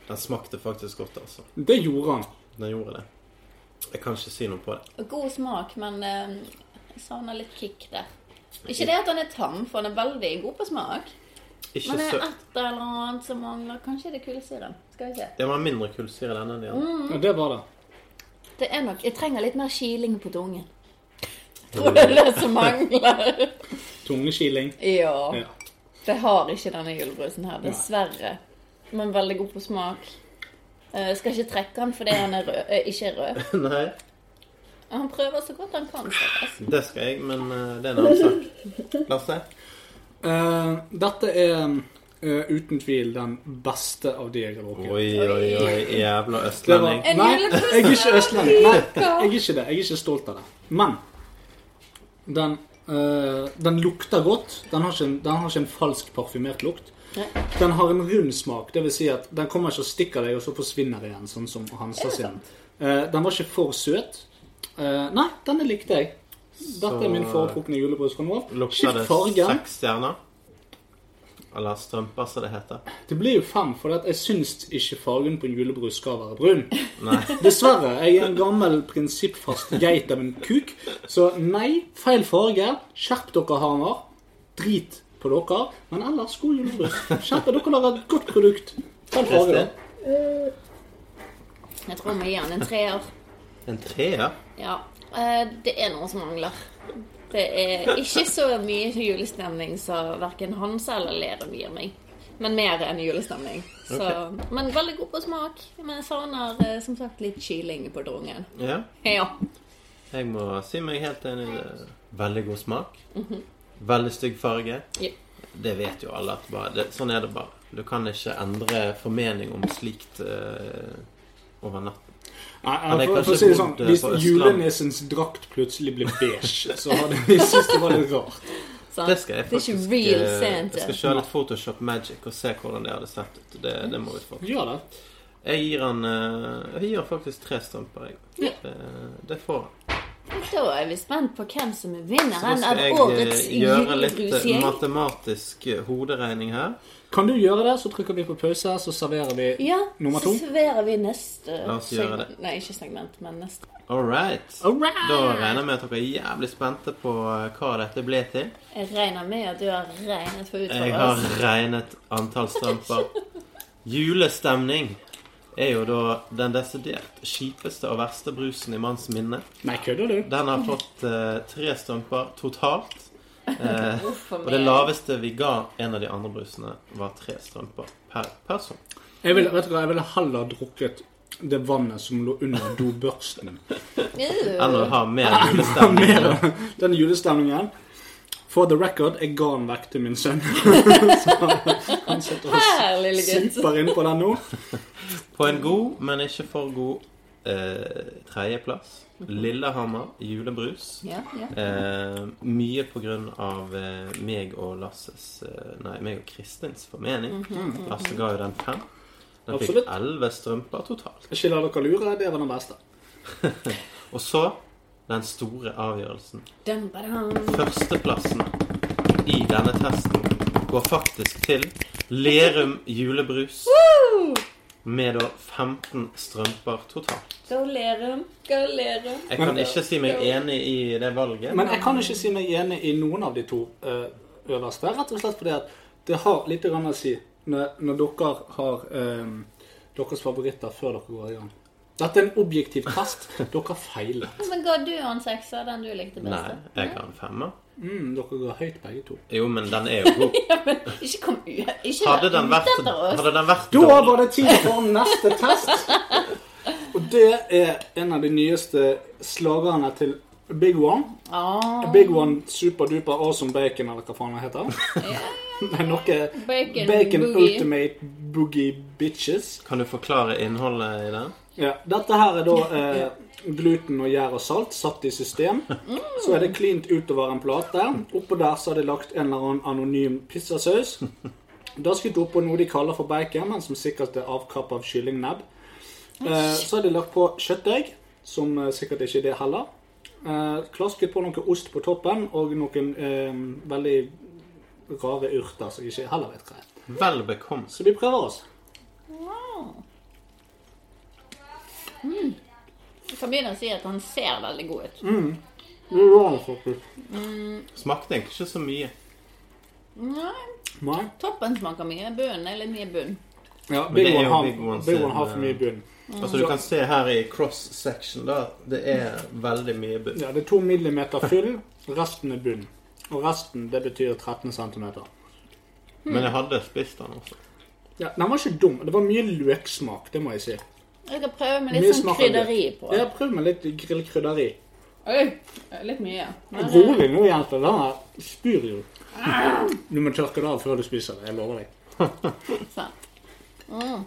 Den smakte faktisk godt, altså.
Det gjorde han.
Den gjorde det. Jeg kan ikke si noe på det.
God smak, men eh, jeg savner litt kick der. Ikke det at han er tam, for han er veldig god på smak.
Ikke
Men det
sø...
er et eller annet som mangler. Kanskje det er kullsyre. Skal vi se.
Det var mindre kullsyre i denne enn de
Mm.
andre.
Ja, det var det.
Det er nok Jeg trenger litt mer kiling på tungen. Tror det er det som mangler.
Tungekiling.
Ja.
Ja.
Det har ikke denne julebrusen her, dessverre. Men veldig god på smak. Eh, skal ikke trekke han fordi han er rød, eh, ikke er rød.
Nei,
Han prøver så godt han kan. stakkars.
det skal jeg, men eh, det er en annen sak. Lasse?
Eh, dette er eh, uten tvil den beste av de jeg har drukket.
Oi, oi, oi, jævla
Det var-
østlending.
En
Nei,
julebrus
jeg er ikke østlending. Nei,
Ja.
jeg er ikke det. Jeg er ikke stolt av det. Men den, eh, den lukter godt. Den har, ikke en, den har ikke en falsk parfymert lukt.
Nei.
Den har en rund smak, dvs. Si at den kommer ikke og stikker deg, og så forsvinner det igjen, sånn som Hansa sin. Eh, den var ikke for søt. Eh, nei, denne likte jeg. Dette er min
Så- eh,
foretrukne julebrus fra nå av.
Lukter
Skift
det
fargen.
seks stjerner? Eller strømper, som det heter.
Det blir jo fem, for jeg syns ikke fargen på en julebrus skal være brun.
Nei.
Dessverre. Jeg er en gammel, prinsippfast geit av en kuk. Så nei, feil farge. Skjerp dere, Hamar. Drit på dere. Men ellers god julebrus. Skjerp dere, dere har et godt produkt. Feil farge, da.
Jeg tror vi gir han en treer.
En treer?
Ja. eh, Det er noe som mangler. Det er ikke så mye julestemning som verken Hans eller Lerum gir meg. Men mer enn julestemning. Så, Men veldig god på smak. Men jeg savner eh, som sagt litt kyling på drungen.
Ja.
Ja.
Jeg må si meg helt enig i det. Veldig god smak. Veldig stygg farge.
Mhm. Ja.
Det vet jo alle. at bare, det, Sånn er det bare. Du kan ikke endre formening om slikt eh, over natten.
Nei,
det
for, for
er
å
kanskje
si det sånn,
vondt, eh,
Hvis
på Østland.
julenissens drakt plutselig ble beige, så hadde vi syntes det var litt rart.
Så,
Det skal jeg
det er ikke
faktisk
real
eh,
Santa.
Jeg skal kjøre litt Photoshop Magic og se hvordan det hadde sett ut. Det, det må vi få.
Ja da.
Jeg gir han eh, Jeg gir faktisk tre strømper, jeg. Eh, det får han.
Da er vi spent på hvem som er vinneren
Så
av
nå skal jeg
årets
eh, gjøre litt eh,
julebrusgjeng.
matematisk eh, hoderegning her.
Kan du gjøre det, så trykker vi på pause, så serverer vi
Ja,
Nummer to.
så serverer vi neste
La oss gjøre det.
segment. Nei, ikke segment, men neste.
All right.
All right.
Da regner jeg med at dere er jævlig spente på eh, hva dette ble til.
Jeg regner med at du har regnet for ut
Jeg
for
har
oss.
regnet antall strømper. Julestemning er jo da den desidert kjipeste og verste brusen i manns minne.
Nei, kødder du?
Den har fått eh, tre strømper totalt. Eh,
Hvorfor
og det
meg?
laveste vi ga en av de andre brusene, var tre strømper per person.
Jeg ville, vet du hva, jeg ville heller drukket det vannet som lå under dobørsten.
Ew.
Enn å ha mer julestemning.
Den julestemningen For the record, jeg ga den vekk til min sønn. Så han sitter og
Her, lille gutt.
super inn på den nå.
På en god, men ikke for god eh, tredjeplass. Lillehammer julebrus.
Ja, ja.
Eh, mye på grunn av eh, meg og Lasses eh, Nei, meg og Kristins formening. Lasse ga jo den fem. Den fikk
Absolutt.
elleve strømper totalt.
Ikke la dere lure, det var den beste.
Og så den store avgjørelsen.
Dum, badum.
Førsteplassen i denne testen går faktisk til Lerum julebrus. Med da 15 strømper totalt.
Gaulerum, gaulerum.
Jeg kan ikke si meg enig i det valget.
Men jeg kan ikke si meg enig i noen av de to eh, øverste. Rett og slett fordi at det har litt grann å si når, når dere har eh, deres favoritter før dere går i gang. Dette er en objektiv test. Dere feiler.
Men ga du han sekser, den du likte best?
Nei, jeg har en femmer.
Mm, dere går høyt begge to.
Jo, men den er jo god.
Ikke kom u- ikke
Hadde den vært,
ut etter oss.
hadde den vært
Da
dårlig-
var det tid for neste test. Og det er en av de nyeste slagerne til Big One.
Ah,
Big One Superduper Awesome Bacon, eller hva faen det heter. Det er noe
bacon,
Bacon
boogie.
Ultimate Boogie Bitches.
Kan du forklare innholdet i den?
Ja, Dette her er da eh, gluten og gjær og salt satt i system.
Mm.
Så er det klint utover en plate. Oppå der så er det lagt en eller annen anonym pizzasaus. Dasket oppå noe de kaller for bacon, men som sikkert er avkapp av kyllingnebb. Eh, så er det lagt på kjøttdeig, som eh, sikkert ikke er det heller. Eh, klasket på noe ost på toppen og noen eh, veldig rare urter som jeg ikke heller vet hva er.
Vel bekomt.
Så vi prøver oss.
Ah. Jeg kan Hmm. begynne å si at han ser veldig god ut.
Mm. Det var det faktisk.
Smakte egentlig ikke så mye.
Nei,
Nei.
toppen smaker mye. Bunnen er litt mye bunn.
Ja,
Men det
Big
er
One
jo
har,
Big One
Big
sin,
One har for mye
eh,
bunn.
Altså Du kan se her i cross-section, da. Det er veldig mye bunn.
Ja, det er to millimeter fyll, resten er bunn. Og resten, det betyr 13 centimeter.
Men jeg hadde spist den også.
Ja, den var ikke dum. Det var mye løksmak, det må jeg si.
Jeg skal prøve med
Mye
litt sånn
smak av det.
krydderi på.
Jeg har prøvd med litt grillkrydderi.
Oi, litt mye. Men, eh,
Rolig nå, jente. Den her spyr jo. Du må tørke det av før du spiser det. Jeg lover deg.
sånn. Ah,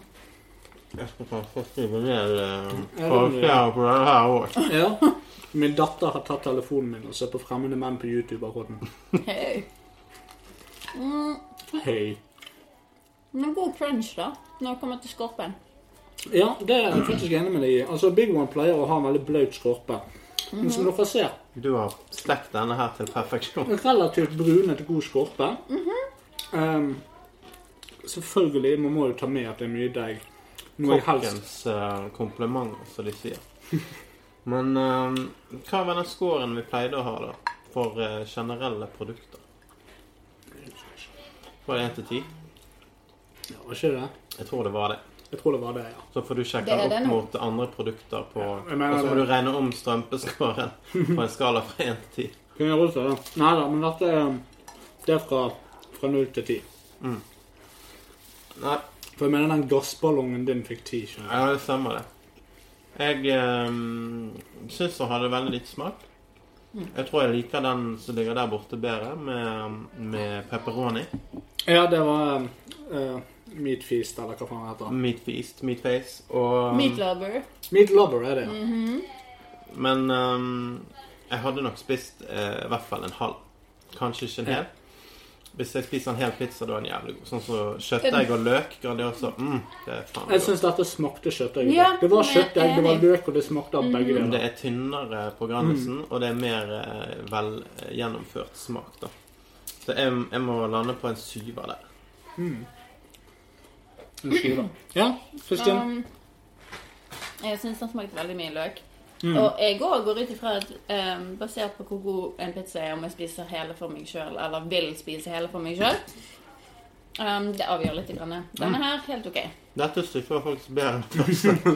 Jeg skal kanskje skrive ned eh,
det må du
forskjellen på den her også.
Ja. Min datter har tatt telefonen min og ser på fremmede menn på YouTube akkurat nå.
Hei.
Hei.
Men god crunch, da. Når det kommer til skorpen.
Ja, det er jeg faktisk enig med deg i. Altså, Big One pleier å ha en veldig blaut skorpe. Men som dere ser,
Du har stekt denne her til perfeksjon.
relativt brunet god skorpe. Ehm, selvfølgelig, man må jo ta med at det er mye deig. Noe jeg helst
Kokkens eh, kompliment, som de sier. Men eh, hva var den scoren vi pleide å ha, da? For eh, generelle produkter? Var det 1 til 10?
ja, var ikke det?
Jeg tror det var det.
Jeg tror det var det, ja.
Så får du sjekke
Det er
opp
den.
mot andre produkter på
jeg mener
Og så må
det.
du regne om strømpeskåren på en skala fra 1 til 10.
Kunne jeg holdt det? Nei da, men dette er, det er fra, fra 0 til 10.
Nei,
For jeg mener den gassballongen din fikk 10. skjønner
ja, det stemmer det. Jeg eh, syns den hadde veldig lite smak. Jeg tror jeg liker den som ligger der borte bedre, med, med pepperoni.
du. Ja, det var uh, Meat Feast, eller hva faen det heter.
Meat feast, meat face og
Meat lover.
Meat Lover er det, ja.
Men ehm, jeg hadde nok spist eh, i hvert fall en halv. Kanskje ikke en hel. Hvis jeg spiser en hel pizza, da er den jævlig god. Sånn som kjøttdeig og løk. Og det er også mm, det er faen
Jeg
godt.
syns dette smakte kjøttdeig.
Ja,
det var
jeg er
kjøttdeig, det Mhm. var
enig.
løk, og det smakte av begge
Men Det
deler.
er tynnere på granisen,
Mm.
og det er mer eh, vel eh, gjennomført smak, da. Så jeg, jeg må lande på en syver der.
En skive. Ja, Kristin?
Um, jeg syns den smakte veldig mye løk. Og jeg òg går ut ifra at em, basert på hvor god en pizza er, om jeg spiser hele for meg sjøl, eller vil spise hele for meg sjøl, det avgjør litt. Grann. Denne her, helt OK.
Dette stykket var faktisk bedre enn den første.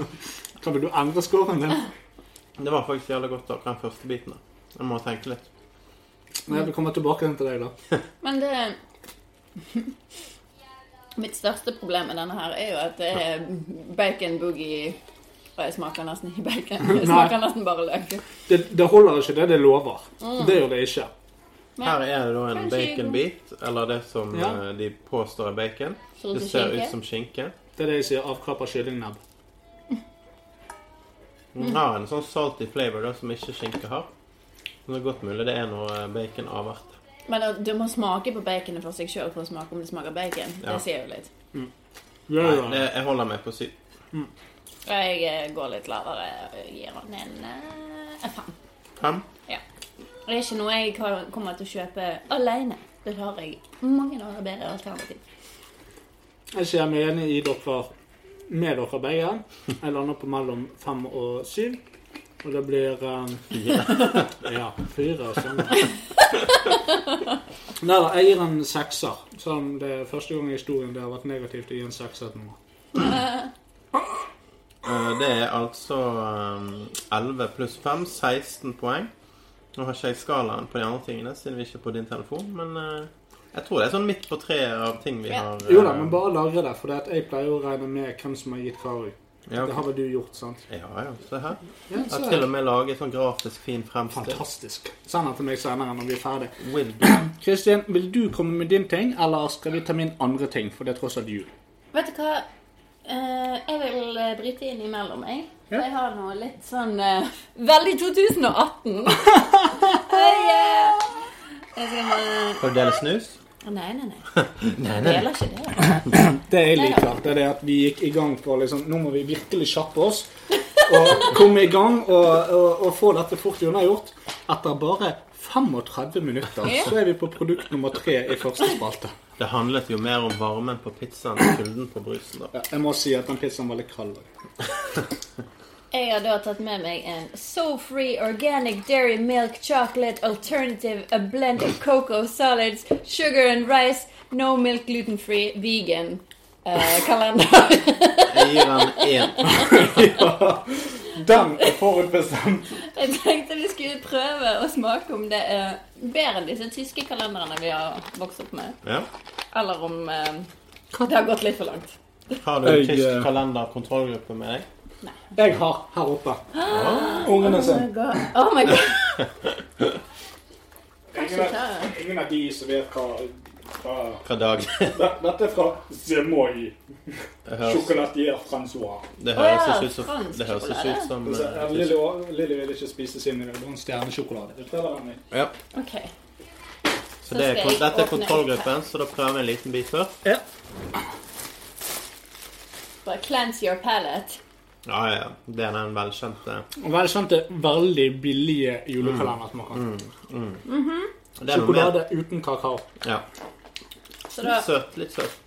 Kan vil du endre scoren din?
Det var faktisk jævlig godt akkurat den første biten. da. Jeg må tenke litt.
Nei, vi kommer tilbake til deg, da.
Men det Mitt største problem med denne her er jo at det er bacon boogie Og jeg smaker nesten ikke bacon. Jeg smaker nesten bare løk.
Det, det holder ikke det det lover.
Mm.
Det gjør det ikke.
Her er det da en
Kanskje
baconbit, eller det som
Ja.
eh, de påstår er bacon.
Ser ut Sånn
Det
som
ser
skinke.
ut som skinke.
Det er det jeg sier avkrappa kyllingnebb. Mm.
Den har en sånn salty flavor da, som ikke skinke har. Men det er godt mulig det er noe eh, bacon avert.
Men da- du må smake på baconet for seg sjøl for å smake om det smaker bacon.
Ja.
Det sier jo litt.
Ja,
Nei,
ja.
det, jeg holder meg på syv.
Jeg eh, går litt lavere og gir han en eh, en fem.
Fem.
Ja. Det er ikke noe jeg kan- kommer til å kjøpe alene. Det har jeg mange andre bedre alternativ.
Jeg sier meg enig i dere med dere begge. Jeg lander på mellom fem og syv. Og det blir um, Ja, fire. Sånn. Nei da, jeg gir en sekser. Sånn, det er første gang i historien det har vært negativt å gi en sekser til noe.
Eh, Det er altså eh, 11 pluss 5, 16 poeng. Nå har ikke jeg skalaen på de andre tingene, siden vi ikke er på din telefon, men eh, jeg tror det er sånn midt på treet av ting vi
Ja.
har eh,
Jo da, men bare lagre det, for det at jeg pleier å regne med hvem som har gitt Karu.
ja, ok.
Det har vel du gjort, sant?
ja, ja. Se her.
Ja,
Jeg
så
har
er
til og
det
med laget sånn grafisk fin fremstilling.
fantastisk. Send den til meg senere når vi er ferdig.
With
Kristin, vil du komme med din ting, eller skal vi ta min andre ting? For det er tross alt jul.
Vet du hva? Eh, jeg vil eh, bryte inn imellom, jeg.
Ja.
Jeg har noe litt sånn eh, Veldig 2018! Hei, eh, Jeg skal bare
Skal du dele snus?
Nei, nei, nei. Jeg deler ikke det.
Det jeg liker, det er det at vi gikk i gang for liksom, Nå må vi virkelig kjappe oss. Og komme i gang og, og, og få dette fort unnagjort. Etter bare 35 minutter
Ja.
så er vi på produkt nummer tre i første spalte.
Det handlet jo mer om varmen på pizzaen og kulden på brusen, da.
Ja, jeg må si at den pizzaen var litt kald.
Jeg har da tatt med meg en So Free Organic Dairy Milk Chocolate Alternative A Blend of Cocoa Solids Sugar and Rice No Milk Gluten Free Vegan eh, kalender.
Jeg gir den én.
Den er forutbestemt.
Jeg tenkte vi skulle prøve å smake om det er bedre enn disse tyske kalenderne vi har vokst opp med.
Ja.
Eller om eh, det har gått litt for langt.
Har du en
Jeg,
tysk
eh,
kalenderkontrollgruppe med deg?
Jeg har her oppe. Ungene sine.
Oh my god. Kanskje ta
Ingen av de som vet hva, hva-
Hva dag?
Det- Dette er fra Zemoy.
Det høres,
Chocolatier Francois.
det høres
Å ja,
ikke ut som
fransk
Det høres ikke ut som
Altså,
eh,
Lilly og- Lilly vil ikke spise sin noen stjernesjokolade. Jeg prøver den, jeg.
Ja.
OK.
Så det er,
skal jeg
dette er
åpne
kontrollgruppen, så da prøver vi en liten bit før.
Bare cleanse your palate.
Ja, ja. ja. Det er den velkjente.
Og Velkjente, veldig billige julekalendersmaker.
Det er noe mer.
Sjokolade uten kakao.
Ja.
Så da
Litt søt. Litt søt.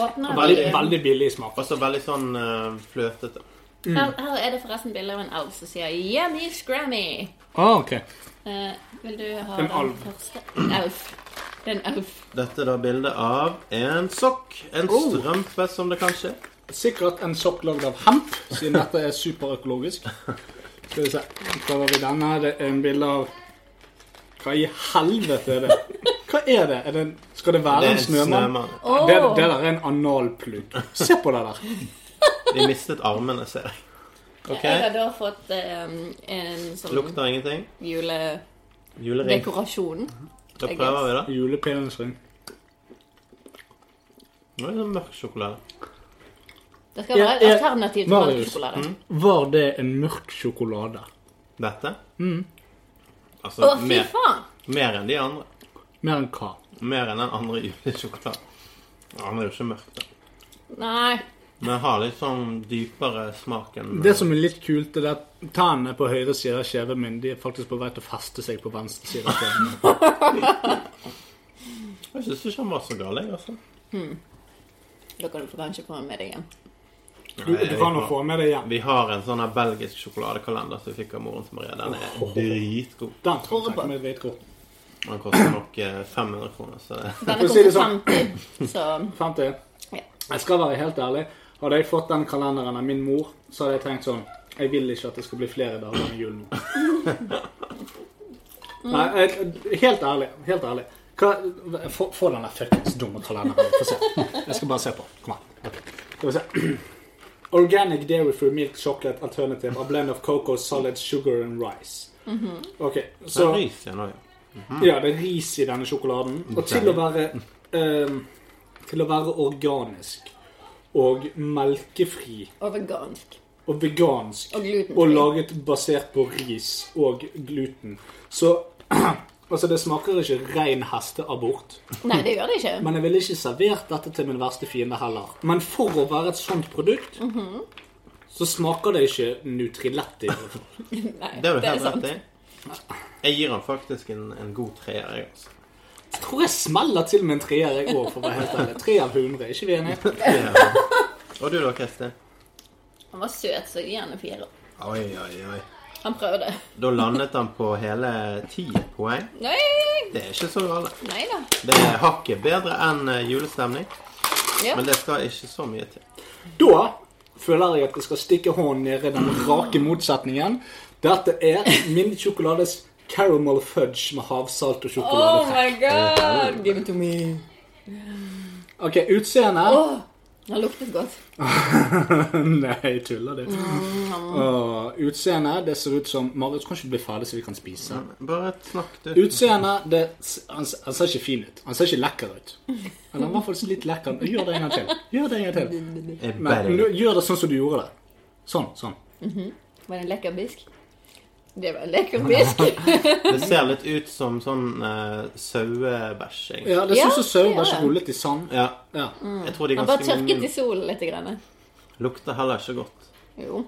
åpner vi
Veldig, veldig billig smak.
Og så veldig sånn eh, fløtete.
her, her er det forresten bilde av en alv som sier 'Yummy Scrammy'.
Ah, ok.
Eh, vil du ha
En
den
alv.
første? En alv. Det er en alv.
Dette er da bildet av en sokk. En
Oh.
strømpe, som det kanskje er.
Sikkert en sokk lagd av hemp, siden dette er superøkologisk. Skal vi se. Så prøver vi denne. Det er en bilde av Hva i helvete er det? Hva er det? Er det en... Skal det være
Det er
en
en
snømann?
snømann.
Åh!
Det, det der er en analplugg. Se på det der.
Vi mistet armene, ser jeg. OK.
Jeg har da fått eh, en sånn
Lukter ingenting.
juledekorasjon.
Julering. Da prøver vi, da.
Julepillens ring.
Nå er det sånn mørk sjokolade.
Det skal være
Ja, ja.
et alternativ til
Marius. Mm.
melkesjokolade.
Var det en mørk sjokolade?
Dette.
Mm.
Altså
Å, fy
mer,
faen!
mer enn de andre.
Mer enn hva?
Mer enn den andre julesjokoladen. Ja, Den er jo ikke mørk, da.
Nei.
Men har litt sånn dypere smak enn
Det som er litt kult, er at tennene på høyre side av kjeven min de er faktisk på vei til å feste seg på venstre side. av kjeven min.
Jeg syns ikke han var så gal, jeg, altså.
Da kan du få kanskje få med deg en.
Du, du kan jo få med det igjen.
Vi har en sånn her belgisk sjokoladekalender som vi fikk av moren til Maria. Den er dritgod.
Den tror jeg med dritkort.
Den koster nok eh, 500 kroner, så det
Denne
For å
kom
si det sånn.
på 50, så
Fant jeg.
Ja.
Jeg skal være helt ærlig. Hadde jeg fått den kalenderen av min mor, så hadde jeg tenkt sånn Jeg vil ikke at det skal bli flere dager enn jul nå. Nei, jeg, helt ærlig. Helt ærlig. Hva, få, få den der fuckings dumme kalenderen. Få se. Jeg skal bare se på. Kom her. Skal vi se. Organic dairy free milk chocolate alternative. A blend of cocoa, solid sugar and rice. Ok,
Det
så
er ris igjen òg, ja.
ja, det er ris i denne sjokoladen. Og til å være ehm, Til å være organisk og melkefri
Og vegansk.
og vegansk
Og glutenfri.
og laget basert på ris og gluten. Så Altså, det smaker ikke rein hesteabort.
Nei, det gjør det ikke.
Men jeg ville ikke servert dette til min verste fiende heller. Men for å være et sånt produkt, så smaker det ikke Nutrilett. i hvert fall.
Nei,
Det har du helt
sant.
rett i. Jeg gir han faktisk en, en god treer, jeg, altså.
Jeg tror jeg smeller til med en treer, jeg òg, for å være helt ærlig. Tre av hundre, ikke vi enige?
Ja. Og du da, Kristin?
Han var søt, så gi han en fire.
Oi, oi, oi.
Han prøvde.
Da landet han på hele ti poeng.
Nei,
Det er ikke så galt.
nei da.
Det er hakket bedre enn eh, julestemning,
Ja.
men det skal ikke så mye til.
Da føler jeg at jeg skal stikke hånden ned i den rake motsetningen. Dette er min sjokolades caramel fudge med havsalt
Oh
og sjokolade.
my god! Give it to me.
Ok, utseende.
Åh, den luktet godt.
Nei, tuller du?
Mm.
Åh, utseende, det ser ut som Marius, kan ikke du bli ferdig så vi kan spise?
Bare snakk, du.
Utseende, det, han, han ser ikke fin ut. Han ser ikke lekker ut. Eller i hvert fall litt lekker. Gjør det en gang til. Gjør det en gang til.
Jeg
Men,
bare-
nå- gjør det sånn som du gjorde det. Sånn, sånn.
Var det en lekker bisk? Det var en lekker bisk.
Det ser litt ut som sånn uh, sauebæsj, egentlig.
Ja, det
Ja,
ser ut som sauebæsj
det gjør det.
rullet i sand.
Ja.
Ja.
Jeg tror de
Mm. Han bare
ganske
tørket i solen litt. Grann.
Lukter heller ikke godt.
Jo.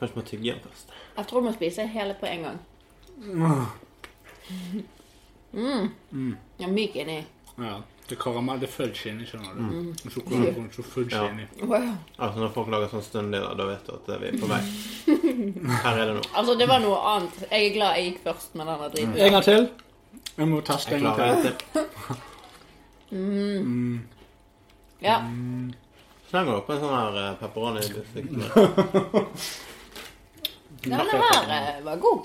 Kanskje må tygge den først.
Jeg tror du må spise hele på en gang. Mm.
Mm.
Jeg er myk inni.
ja. Det er karamell, det er fudge inni, skjønner du. Og Sjokolade og så fudge
Ja.
inni.
Wow.
Altså Når folk lager sånn stønnlyder, da vet du at vi er på vei. Her er det noe.
Altså, det var noe annet. Jeg er glad jeg gikk først med denne driten.
Mm.
En gang til. Jeg må teste
Jeg
en gang
klarer
til.
det til.
Ja.
Slenger dere på en sånn her eh, pepperoni i buffeten?
Denne her eh, var god.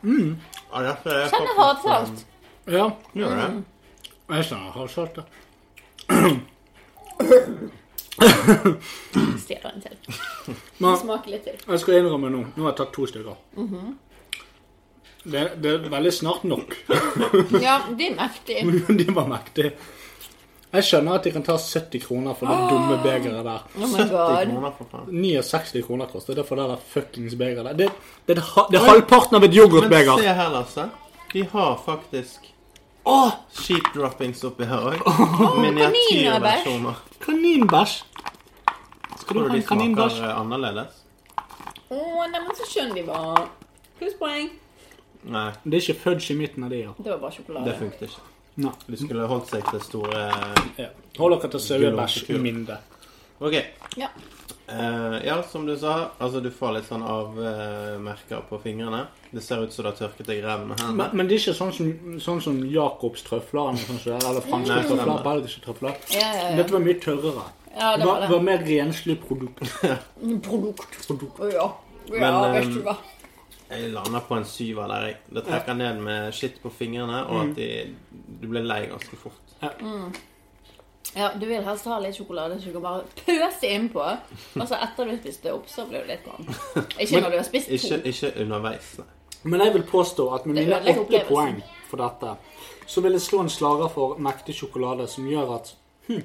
Ja, derfor Ah, er jeg
Kjenner
faktisk-
havsalt.
Ja,
Gjør det?
jeg skjønner. Havsalt, ja.
Stjeler en til.
Men-
Smak litt til.
Jeg skal innrømme nå. Nå har jeg tatt to stykker. det, det er veldig snart nok.
Ja, de er mektige.
De var mektige. Jeg skjønner at de kan ta 70 kroner for det dumme begeret der.
Oh my
70
god.
kroner, for faen.
69 kroner koster det for det der fuckings begeret der. Det, det, er det, ha- det er halvparten av et yoghurtbeger.
Men se her, Lasse. De har faktisk
Åh,
sheep droppings oppi her òg.
kaninarbeid.
Miniatyrversjoner.
kaninbæsj! Skal
Tror
du ha
du de
en kaninbæsj?
smaker eh, annerledes?
Å, neimen, så skjønne de var. Plusspoeng.
Nei,
Det er ikke fudge i midten av de, ja.
Det var bare
det
sjokolade.
funket ikke.
Nei.
De skulle holdt seg til store
Ja. Hold dere til sauebæsj i mindre.
OK.
Ja.
Eh, ja, som du sa, altså du får litt sånn avmerker på fingrene. Det ser ut som du har tørket deg i ræven med hendene.
Men, men det er ikke sånn som, sånn som Jacobs trøfler eller, sånn som det er, eller franske
Nei,
trøfler,
stemmer.
belgiske trøfler.
Ja, ja, ja.
Dette var mye tørrere.
ja, det var
var, var
det.
mer renslig produkt.
Produkt.
produkt.
Å ja. Ja,
Men,
vet du
ehm,
hva.
Jeg lander på en syver der. jeg. Det trekker ned med skitt på fingrene, og
Mm.
at de, du blir lei ganske fort.
Ja, du vil helst ha litt sjokolade som du kan bare pøse innpå. Og så etter du har spist det opp, så blir du litt varm. Ikke når du har spist
Ikke,
to.
ikke underveis, nei.
Men jeg vil påstå at med
Det
mine
ødelegger
åtte
opplevelsen.
poeng for dette, så vil jeg slå en slager for mektig sjokolade som gjør at hm,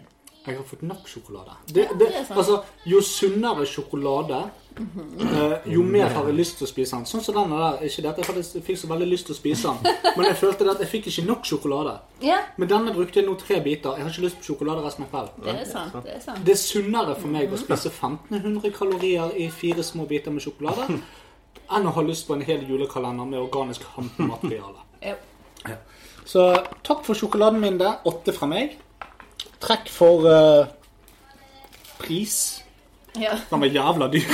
jeg har fått nok sjokolade. Det, det,
det er sant.
altså, jo sunnere sjokolade, eh, jo mer har jeg lyst til å spise den. Sånn som denne der. Ikke det at jeg faktisk fikk så veldig lyst til å spise den, men jeg følte det at jeg fikk ikke nok sjokolade.
Ja,
Men denne brukte jeg nå tre biter. Jeg har ikke lyst på sjokolade resten av kvelden.
det er sant. Det er sant.
Det er sunnere for meg å spise 1500 kalorier i fire små biter med sjokolade enn å ha lyst på en hel julekalender med organisk hampemateriale.
Ja.
Så takk for sjokoladen min der. Åtte fra meg. Trekk for eh, pris.
Ja.
Den var jævla dyr.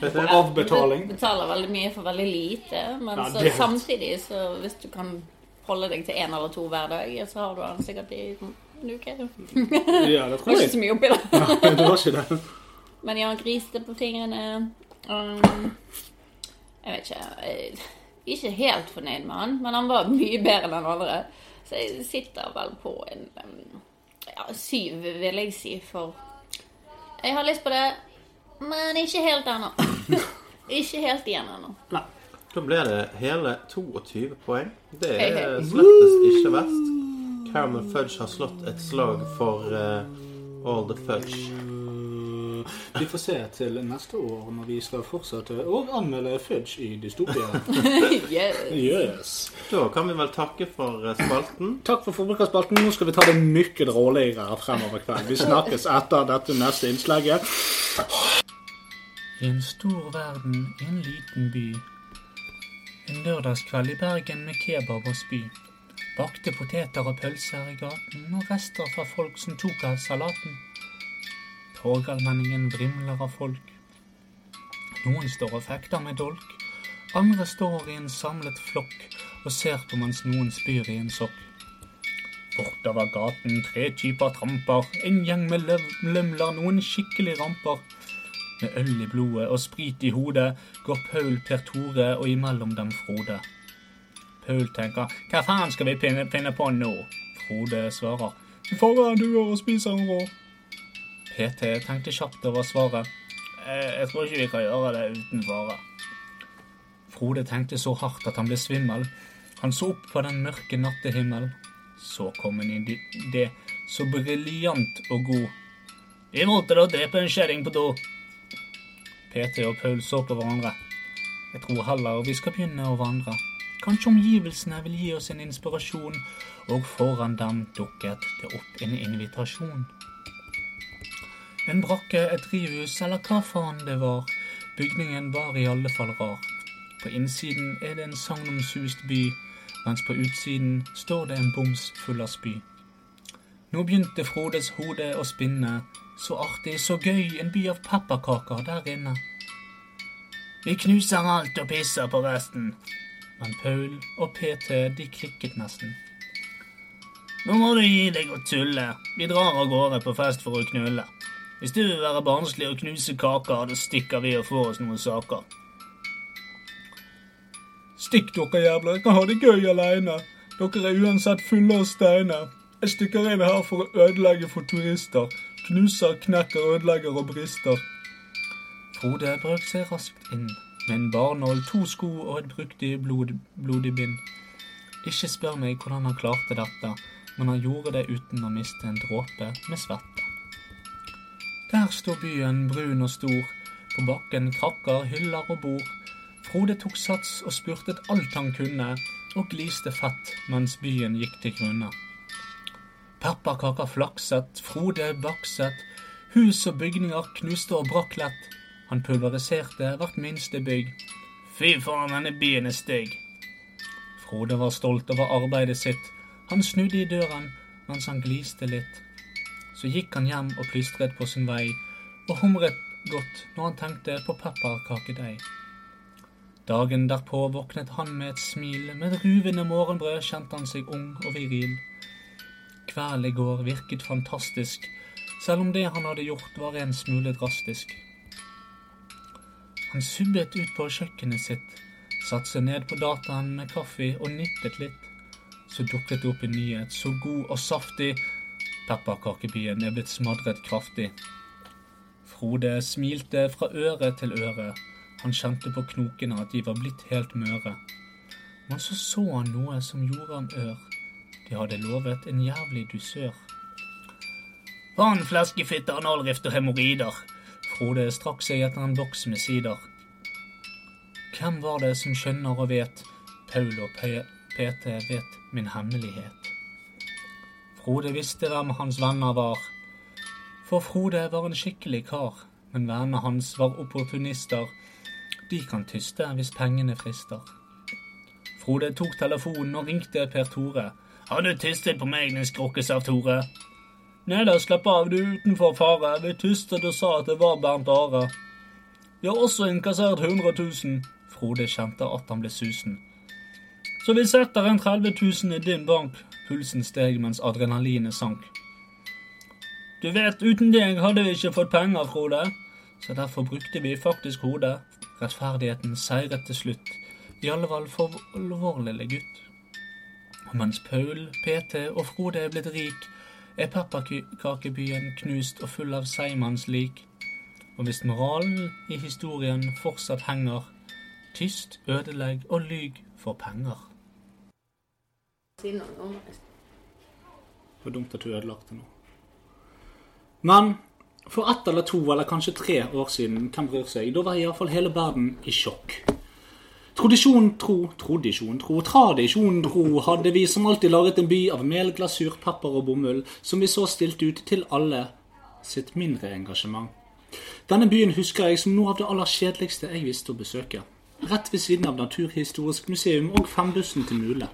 Vet
Og
du,
avbetaling.
Du betaler veldig mye for veldig lite, men
Ja,
så
det er sant.
samtidig så hvis du kan holde deg til én eller to hver dag, så har du den sikkert i en uke. Det
Ja,
var
det
ikke
tror jeg.
så mye oppi det.
Nei, det var ikke det.
Men ja, griste på fingrene. Um, jeg vet ikke. Jeg er ikke helt fornøyd med han, men han var mye bedre enn den andre. Så jeg sitter vel på en um, ja, syv, vil jeg si, for Jeg har lyst på det, men ikke helt ennå. ikke helt igjen ennå.
da ble det hele 22 poeng. Det
Hei,
er
hei.
slettes ikke verst. Caramel Fudge har slått et slag for eh, All the Fudge.
Mm. Vi får se til neste år når vi skal fortsette å anmelde Fudge i Dystopia.
Yeah.
Yes.
Da kan vi vel takke for eh, spalten.
Takk for forbrukerspalten. Nå skal vi ta det mye dråligere fremover kvelden. Vi snakkes etter dette neste innslaget.
I en stor verden, i en liten by. En lørdagskveld i Bergen med kebab og spy. Bakte poteter og pølser i gaten, og rester fra folk som tok av salaten. Torgallmenningen vrimler av folk. Noen står og fekter med dolk. Andre står i en samlet flokk og ser på mens noen spyr i en sokk. Bortover gaten tre typer tramper, en gjeng med løv- lømler, noen skikkelig ramper. Med øl i blodet og sprit i hodet går Paul, Per Tore og imellom dem Frode. Paul tenker 'Hva faen skal vi pinne- finne på nå?' Frode svarer 'Du får en duer og spiser en rå'. PT tenkte kjapt over svaret. «Eh, 'Jeg tror ikke vi kan gjøre det uten fare'. Frode tenkte så hardt at han ble svimmel. Han så opp på den mørke nattehimmelen. Så kom en idé så briljant og god. 'Vi måtte da drepe en kjerring på do'. PT og Paul så på hverandre. Jeg tror heller vi skal begynne å vandre. Kanskje omgivelsene vil gi oss en inspirasjon, og foran dem dukket det opp en invitasjon. En brakke, et drivhus eller hva faen det var, bygningen var i alle fall rar. På innsiden er det en sagnomsust by, mens på utsiden står det en boms full av spy. Nå begynte Frodes hode å spinne. Så artig, så gøy, en by av pepperkaker der inne. Vi knuser alt og pisser på resten. Men Paul og PT, de klikket nesten. Nå må du gi deg og tulle. Vi drar av gårde på fest for å knulle. Hvis du vil være barnslig og knuse kaker, da stikker vi og får oss noen saker. Stikk dere jævler, jeg kan ha det gøy aleine. Dere er uansett fulle av steiner. Jeg stikker inn her for å ødelegge for turister. Knuser, knekker, ødelegger og brister. Frode brøk seg raskt inn med en barnål, to sko og et bruktig blod, blodig bind. Ikke spør meg hvordan han klarte dette, men han gjorde det uten å miste en dråpe med svette. Der står byen brun og stor. På bakken krakker, hyller og bord. Frode tok sats og spurtet alt han kunne, og gliste fett mens byen gikk til grunne. Pepperkaker flakset, Frode bakset, hus og bygninger knuste og brakk lett. Han pulveriserte hvert minste bygg. Fy faen, denne byen er stygg. Frode var stolt over arbeidet sitt. Han snudde i døren mens han gliste litt. Så gikk han hjem og plystret på sin vei, og humret godt når han tenkte på pepperkakedeig. Dagen derpå våknet han med et smil, med ruvende morgenbrød kjente han seg ung og viril. Kvelden i går virket fantastisk, selv om det han hadde gjort var en smule drastisk. Han subbet ut på kjøkkenet sitt, satte seg ned på dataen med kaffe og nittet litt. Så dukket det opp en nyhet så god og saftig. Pepperkakebyen er blitt smadret kraftig. Frode smilte fra øre til øre. Han kjente på knokene at de var blitt helt møre. Men så så han noe som gjorde ham ør. De hadde lovet en jævlig dusør. Faen, fleskefitte, analrift og hemoroider. Frode strakk seg etter en boks med sider. Hvem var det som skjønner og vet? Paul og P PT vet min hemmelighet. Frode visste hvem hans venner var. For Frode var en skikkelig kar, men vennene hans var opportunister. De kan tyste hvis pengene frister. Frode tok telefonen og ringte Per Tore. Har du tystet på meg, din skrukkesaft Tore? Nei da, slapp av, du er utenfor fare. Vi tystet og sa at det var Bernt Are. Vi har også innkassert 100 000. Frode kjente at han ble susen. Så vi setter en 30 000 i din bank. Pulsen steg mens adrenalinet sank. Du vet, uten deg hadde vi ikke fått penger, Frode. Så derfor brukte vi faktisk hodet. Rettferdigheten seiret til slutt. I alle fall for vår lille gutt. Og mens Paul, PT og Frode er blitt rik, er pepperkakebyen knust og full av seigmannslik. Og hvis moralen i historien fortsatt henger, tyst, ødelegg og lyg for penger.
Si noe om det.
Det var dumt at du ødelagte nå. Men for ett eller to, eller kanskje tre år siden, hvem bryr seg, da var iallfall hele verden i sjokk. Tradisjon tro, tradisjon tro, tradisjon tro hadde vi som alltid laget en by av mel, glasur, pepper og bomull, som vi så stilte ut til alle sitt mindre engasjement. Denne byen husker jeg som noe av det aller kjedeligste jeg visste å besøke. Rett ved siden av Naturhistorisk museum og Fembussen til Mule.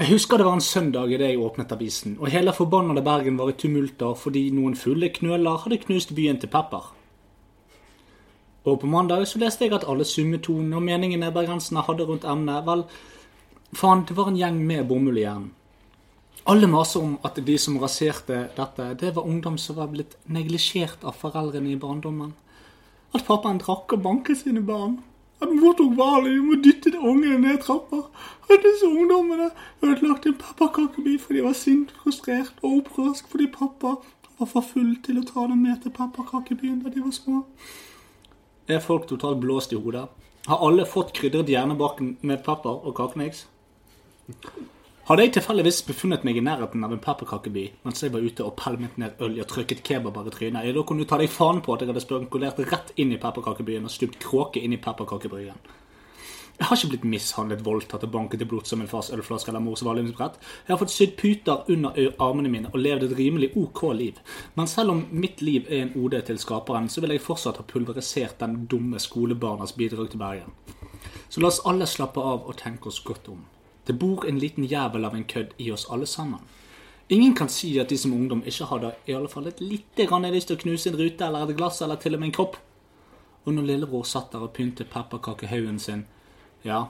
Jeg husker det var en søndag idet jeg åpnet avisen, og hele forbannede Bergen var i tumulter fordi noen fulle knøler hadde knust byen til pepper. Og på mandag så leste jeg at alle summetonene og meningene bergenserne hadde rundt emnet, vel, faen, det var en gjeng med bomull i hjernen. Alle maser om at de som raserte dette, det var ungdom som var blitt neglisjert av foreldrene i barndommen. At pappaen drakk og banket sine barn. At mor tok valium og dyttet ungene ned trappa. At disse ungdommene ødelagte en pepperkakeby fordi de var sint, frustrert og opprørsk fordi pappa var for full til å ta dem med til pepperkakebyen da de var små. Er folk totalt blåst i hodet? Har alle fått krydret hjernebarken med pepper og kakeneggs? Hadde jeg tilfeldigvis befunnet meg i nærheten av en pepperkakeby mens jeg var ute og pælmet ned øl og trykket kebaber i trynet, ja, da kunne du ta deg faen på at jeg hadde spankulert rett inn i pepperkakebyen og stupt kråke inn i pepperkakebryggen. Jeg har ikke blitt mishandlet, voldtatt og banket til blods som min fars ølflaske eller mors valiumsbrett. Jeg har fått sydd puter under ø- armene mine og levd et rimelig OK liv. Men selv om mitt liv er en OD til skaperen, så vil jeg fortsatt ha pulverisert den dumme skolebarnas bidrag til Bergen. Så la oss alle slappe av og tenke oss godt om. Det bor en liten jævel av en kødd i oss alle sammen. Ingen kan si at de som ungdom ikke hadde i alle fall et lite grann lyst til å knuse en rute eller et glass eller til og med en kropp. Og når lillebror satt der og pyntet pepperkakehaugen sin, ja,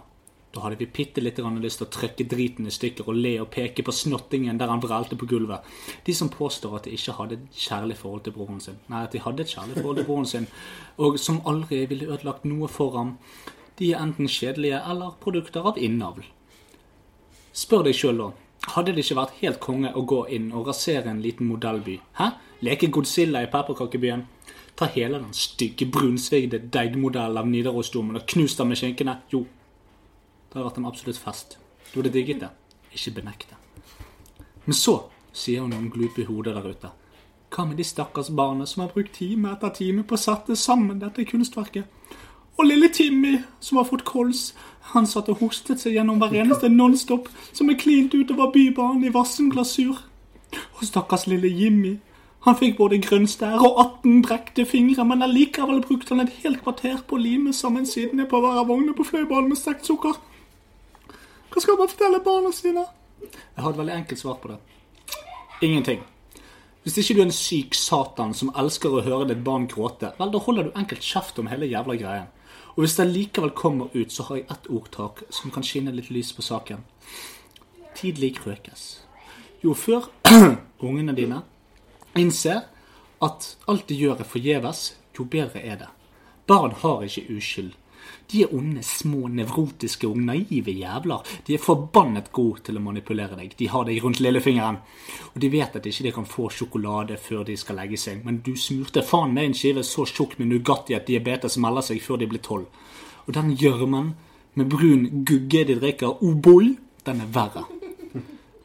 da hadde vi bitte lite grann lyst til å trykke driten i stykker og le og peke på snottingen der han vrelte på gulvet. De som påstår at de ikke hadde et kjærlig forhold til broren sin, nei, at de hadde et kjærlig forhold til broren sin, og som aldri ville ødelagt noe for ham, de er enten kjedelige eller produkter av innavl. Spør deg sjøl, da. Hadde det ikke vært helt konge å gå inn og rasere en liten modellby? Hæ? Leke Godzilla i pepperkakebyen? Ta hele den stygge, brunsvigde deigmodellen av Nidarosdomen og knus den med skinkene? Jo. Det hadde vært en absolutt fest. Du hadde digget det. Ikke benekt det. Men så sier hun noen glupe hoder der ute. Hva med de stakkars barna som har brukt time etter time på å sette sammen dette kunstverket? Og lille Timmy, som har fått kols. Han satt og hostet seg gjennom hver eneste nonstop som er klint utover bybanen i vassen glasur. Og stakkars lille Jimmy. Han fikk både grønnstær og 18 brekte fingre, men allikevel brukte han et helt kvarter på å lime sammen sidene på hver av vognene på fløiballen med stekt sukker. Hva skal man fortelle barna sine? Jeg har et veldig enkelt svar på det. Ingenting. Hvis ikke du er en syk satan som elsker å høre ditt barn gråte, vel, da holder du enkelt kjeft om hele jævla greien. Og hvis det likevel kommer ut, så har jeg ett ordtak som kan skinne litt lys på saken. Tidlig krøkes. Jo før ungene dine innser at alt de gjør er forgjeves, jo bedre er det. Barn har ikke uskyld. De er onde, små, nevrotiske og naive jævler. De er forbannet gode til å manipulere deg. De har deg rundt lillefingeren. Og de vet at ikke de kan få sjokolade før de skal legge seg, men du smurte faen meg en skive så tjukk med Nugatti at diabetes melder seg før de blir tolv. Og den gjørmen med brun gugge de drikker, oh boy, den er verre.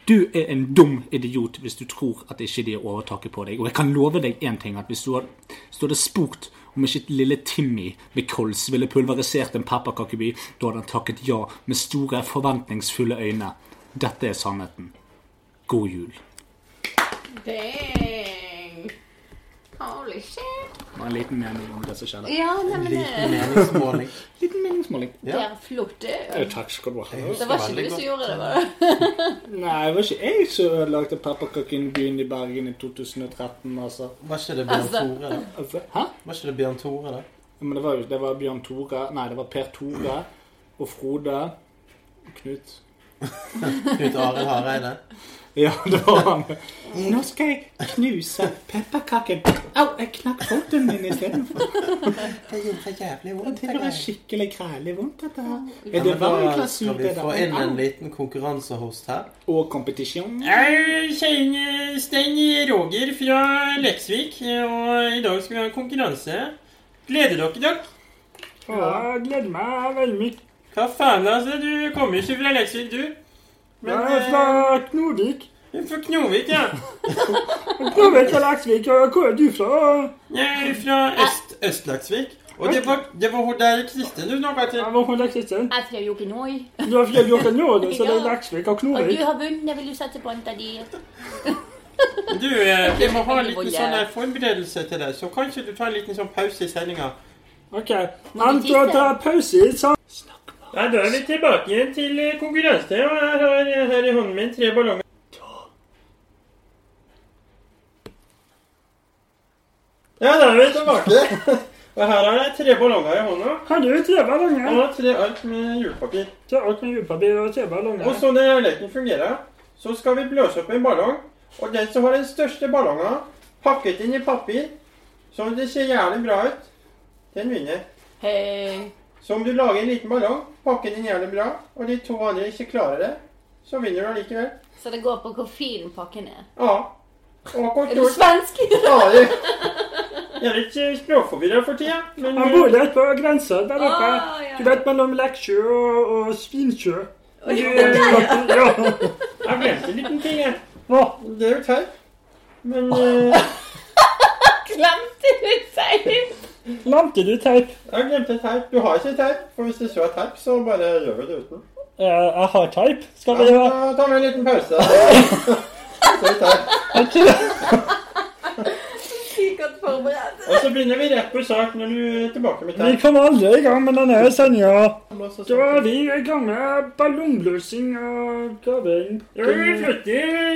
Du er en dum idiot hvis du tror at ikke de har overtaket på deg. Og jeg kan love deg én ting, at hvis du hadde, hvis du hadde spurt om ikke lille Timmy med kols ville pulverisert en pepperkakeby, da hadde han takket ja med store, forventningsfulle øyne. Dette er sannheten. God jul.
Dang. Holy shit.
Det var en liten mening om det som skjedde.
Ja, neimen
Liten
det
meningsmåling.
Liten meningsmåling.
det er flott, det.
Takk skal du ha.
Det var ikke du som gjorde det, var det?
Nei, det var ikke jeg som ødelagte pepperkakebyen i Bergen i 2013, altså.
Var ikke det Bjørn
Altså.
Tore, da?
altså hæ?
Var ikke det Bjørn Tore, da?
Men det var, jo- det var Bjørn Tore Nei, det var Per Tore og Frode og Knut.
Knut Arild Hareide?
Ja, det var han. Nå skal jeg knuse pepperkaken. Au, jeg knakk foten min istedenfor.
Det gjorde jævlig vondt.
Det var skikkelig krælig vondt, dette her.
Ja,
Er det
men
var en
da
klasse
skal
ut,
vi
det
få inn en
der?
liten konkurransehost her.
Au. Og competition.
Jeg kjenner Stein Roger fra Leksvik, og i dag skal vi ha en konkurranse. Gleder dere dere?
Ja, gleder meg veldig mye.
Hva faen, altså? Du kommer jo ikke fra Leksvik, du. Men eh,
Knodvik.
du er fra Knovik, ja.
Knodvik og Laksvik. eh, Hvor er du fra?
Jeg er fra Øst Østleksvik. Og det var, det var hun der Kristin du snakka til.
var fra Laksvik.
Jeg er fra Jokinoi.
Du har ikke gjort det nå,
så det er
Laksvik og
Og du har vunnet, vil du sette på en av de?
Du, eh, jeg må ha en liten sånn der forberedelse til deg, så kanskje du tar en liten sånn pause i sendinga.
OK.
Men du fikk det.
pause i salen.
Da er vi tilbake til eh, konkurranse, og jeg har her i hånden min tre ballonger. Ja, da er vi tilbake. Og her har jeg tre ballonger i hånda.
Har du treballonger?
Og tre ark med julepapir.
Alt med julepapir og
Og sånn er leken fungerer. så skal vi blåse opp en ballong. Og den som har den største ballongen pakket inn i papir, så det ser jævlig bra ut, den vinner.
Hei.
Så om du lager en liten ballong, pakker den jævlig bra, og de to andre ikke klarer det, så vinner du allikevel.
Så det går på hvor fin pakken er.
Ja. Og hvor
Er du
stort
svensk?
tar du? Jeg er litt eh, språkforvirra for tida, men
Han bor rett på grensa der oppe.
Ah, ja.
Du vet, mellom Leksjø og, og Svinsjø.
Oi,
Du-
det der, ja.
ja.
jeg glemte en liten ting, jeg.
Hva?
Det er jo teit. Men eh,
Glemte du seg?
Lamte du teip?
jeg glemte teip. Du har ikke teip, for hvis det så er teip, så bare gjør vi det uten.
Eh, jeg har teip. Skal vi ha
Ja, da tar vi en liten pause. Så er vi der.
Sikkert forberedt.
Og så begynner vi rett på sak når du er tilbake med
Vi
tegn.
kommer aldri i gang med denne sendinga. Da er vi i gang med ballongblåsing og graving.
Ja, vi er flotte.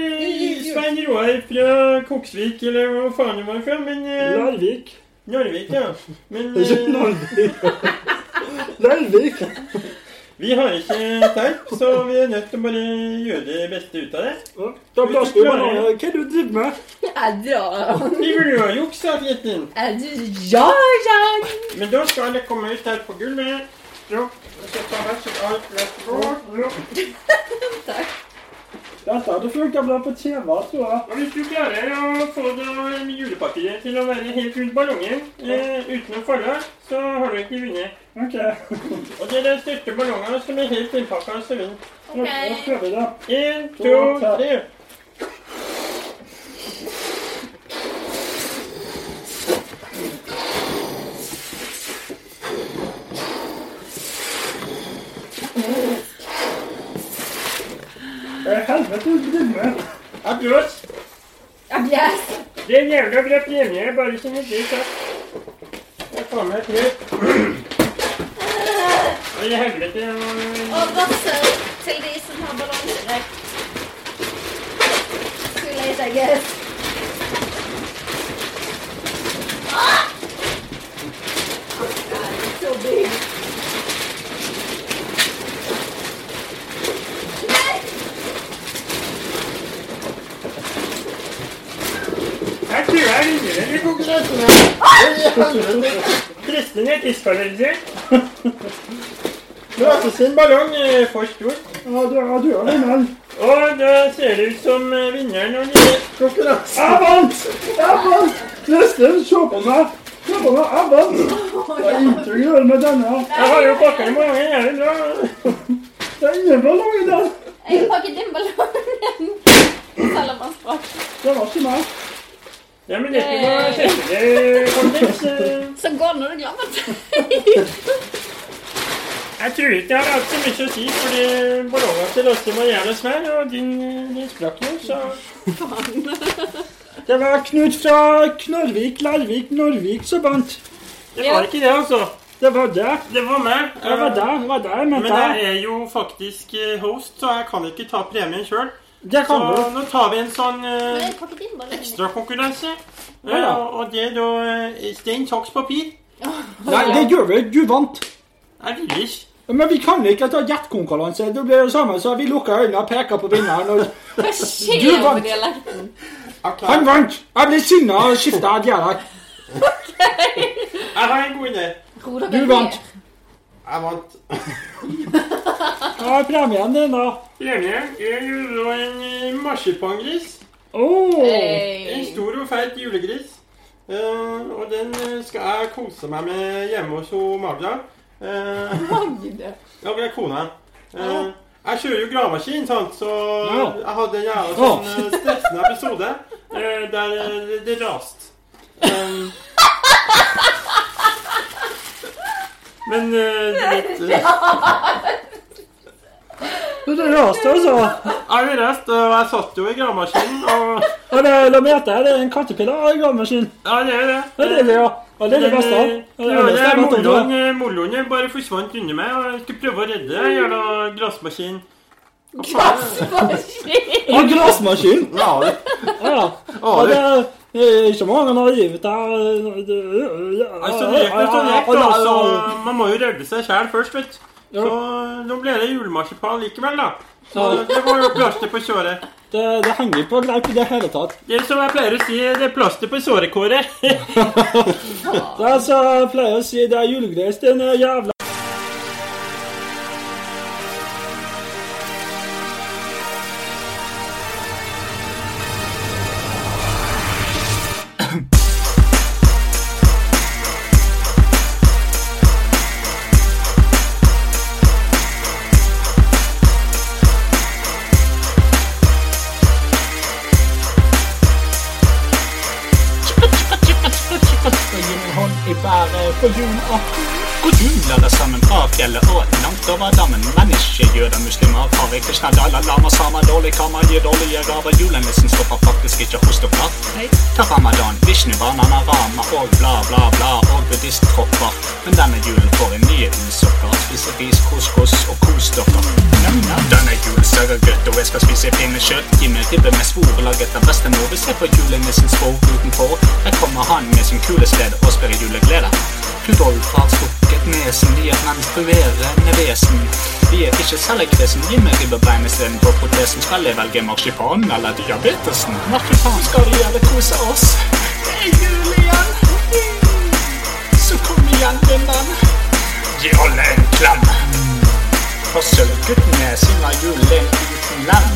Svein Roar fra Koksvik, eller hvor faen du var fra. Men eh,
Larvik.
Narvik, ja. Men
Ikke
eh,
Larvik. Larvik.
vi har ikke teip, så vi er nødt til å bare gjøre det beste ut av det.
Da blåser du bananer. Hva er det du driver med?
Ja, da.
Vi blødjuks, sa Fjetten.
Er du Ja, ja.
Men da skal alle komme ut her på gulvet. Ja. Og så tar hvert sitt alt glass blå.
Dette hadde funka bra på TV, tror jeg.
Og hvis du klarer å få det julepapiret til å være helt rundt ballongen eh, uten å falle, så har du ikke vunnet.
Ok,
Og det er den største ballongen som er helt innpakka som vinner.
da prøver vi det.
Én, to, tre.
Hva i Eh, helvete er det du driver med?
Applaus.
Yes.
Det er en jævla bra premie, bare som et lys takk. Jeg tar med et nytt. Og i helvete og-
Og varsel til de som har ballongstrekk. Too late, I guess. Ah! Oh, God, it's so big. Nei!
Jeg tror jeg vinner den i konkurransen. her. Presten er tidsparalysert. Låse sin ballong er for stor.
Ja, du, ja, du er vinneren.
Og da ser det ut som eh, vinneren av nye konkurransen.
Jeg vant! Jeg vant! Kristin, se på meg. Se på meg, jeg vant. Det er ingenting å gjøre med denne.
Jeg har jo pakka den ballongen jævlig bra.
Det er ingen ballong i den.
Jeg pakket inn ballongen. Selv om han sprakk.
Det var ikke meg.
Ja, men dette må sette det kontekst. eh.
Så gå når du glemmer det.
Jeg tror ikke jeg har hatt så mye å si, fordi ballongen til Lasse var jævlig svær, og din, eh, din sprakk jo, så
Det var Knut fra Knarvik, Larvik, Norvik som vant.
Det var ikke det, altså.
Det var det.
Det var meg. Eh,
Det var det, det var det jeg
Men
mente.
jeg er jo faktisk eh, host, så jeg kan ikke ta premien sjøl.
Det
Så
kan du.
nå tar vi en sånn eh,
Jeg pakket inn ballongen.
ekstra konkurranse. Eh,
Ja, ja.
og- Og det er da eh, stein, saks, papir.
Nei, det gjør vi. Du vant.
Jeg vil ikke.
Men vi kan ikke ta gjettkonkurranse. Det blir jo sammen, så vi lukker øynene og peker på vinneren. og...
Hva
Du
skjer
vant.
med dialekten?
Han vant! Jeg ble sinna og skifta dialekt.
Jeg har en god idé.
Tror dere
Du
det?
vant.
Jeg vant.
Hva er premien din, da?
Premien er jo da en eh, marsipangris.
Oh,
En
Hey.
stor og feit julegris. Eh, og den eh, skal jeg kose meg med hjemme hos ho Magda. Eh,
Magda.
ja, det er kona. Eh, jeg kjører jo gravemaskin, sant, så
Ja.
jeg hadde en jævla
Ja.
sånn eh, stressende episode eh, der eh, det, det rast. Eh, men eh, du vet eh,
det raste, altså.
Jeg ble rest, og jeg satt jo i gravemaskinen, og
Ja, det er meter, det er en kattepille og en gravemaskin.
Ja, det er det.
Ja, det er det, ja. Ja, det er det beste. Ja, det er det beste jeg vet om det.
Moloen bare forsvant under meg, og jeg skulle prøve å redde den jævla glassmaskinen.
Gassmaskin.
Og en gressmaskin.
Ja, det.
Ja.
Ja,
Og
det.
det er eh, ikke mange han har gitt deg
Altså, det gikk noe sånn gikk, da, så man må jo redde seg sjæl først, vet du.
Ja.
Så nå ble det julemarsipan likevel, da. Så det var jo plaster på såret.
Det, det henger ikke på greip i det hele tatt.
Det som jeg pleier å si, det er plaster på såret, Kåre.
Det er så jeg pleier å si, det er julegreisten, jævla Gi meg hånd i bæret på julaften.
God jul, alle sammen fra fjellet og langt over dammen. Men ikke jøder, muslimer, farer, kristne, dalai lama, samer, dårlig karma, gir dårlige gaver. Julenissen stopper faktisk ikke hos dere. Ta ramadan, vishnu, banana, rama og bla, bla, bla og buddhistkropper. Men denne julen får en nye ullsokker. Spiser ris, couscous og kos dere. Nam, nam. Denne julen serverer godt, og jeg skal spise pinnekjøtt. Gi meg ribbe med svor laget av bestemor. Vi ser på julenissens vogn utenfor. Her kommer han med sin kulested og sprer juleglede. Rudolf har strukket nesen, de er menstruerende vesen. Vi er ikke selgkresen, gi meg ribbebein istedenfor protesen. Skal jeg velge marsipan eller diabetesen? Marsipan skal vi gjøre kose oss. Det er jul igjen. Så kom igjen, min venn. Gi alle en klem. For Sølvguttene synger julen uten lem.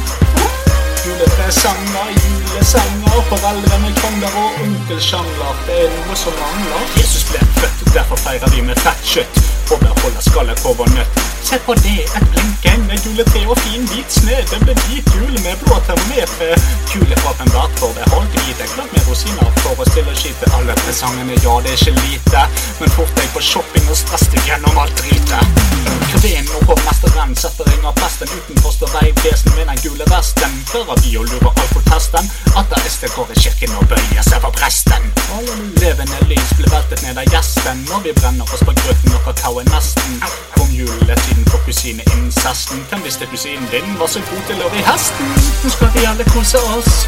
Juletresanger, julesanger, foreldre med krangler og onkel sjangler. Det er noe som mangler. Jesus ble født, derfor feirer vi med fett kjøtt. Og der holder skallet over nøtt. Se på det, et blinken med juletre og fin hvit snø. Det ble hvit jul med blå termometer. Julefrappen vært for det halvhvite. Klart med rosiner for å stille skyte alle presangene. Ja, det er ikke lite, men fort deg på shopping og stress deg gjennom alt dritet. Kveen og hovmesteren setter ring av festen utenfor står veivesen med den gule vesten. Fører vi og lurer alt for testen. Ateister går i kirken og bøyer seg for presten. Levende lys blir veltet ned av gjesten når vi brenner oss på grøten og kakaoen nesten. Kom juletiden for kusineincesten. Hvem visste kusinen din var så god til å ri hesten? Nå skal vi alle kose oss.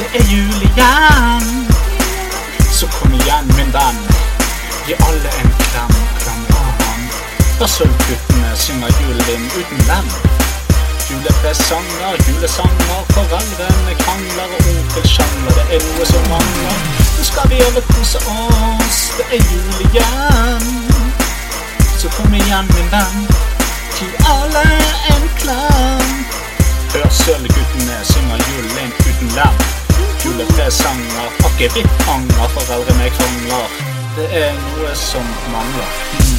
Det er jul igjen. Så kom igjen, min venn. Gi alle en klem, klem av ham. Da sølvguttene synger julen uten lem. Julepresanger, julesanger, foreldrene krangler og onkel sjangler. Det er noe som mangler. Nå skal vi alle kose oss, det er jul igjen. Så kom igjen, min venn. Gi alle en klem. Hør sølvguttene synger julen uten lem. Julepresanger, akevittanger, foreldrene krangler. Det er noe som mangler. Hmm.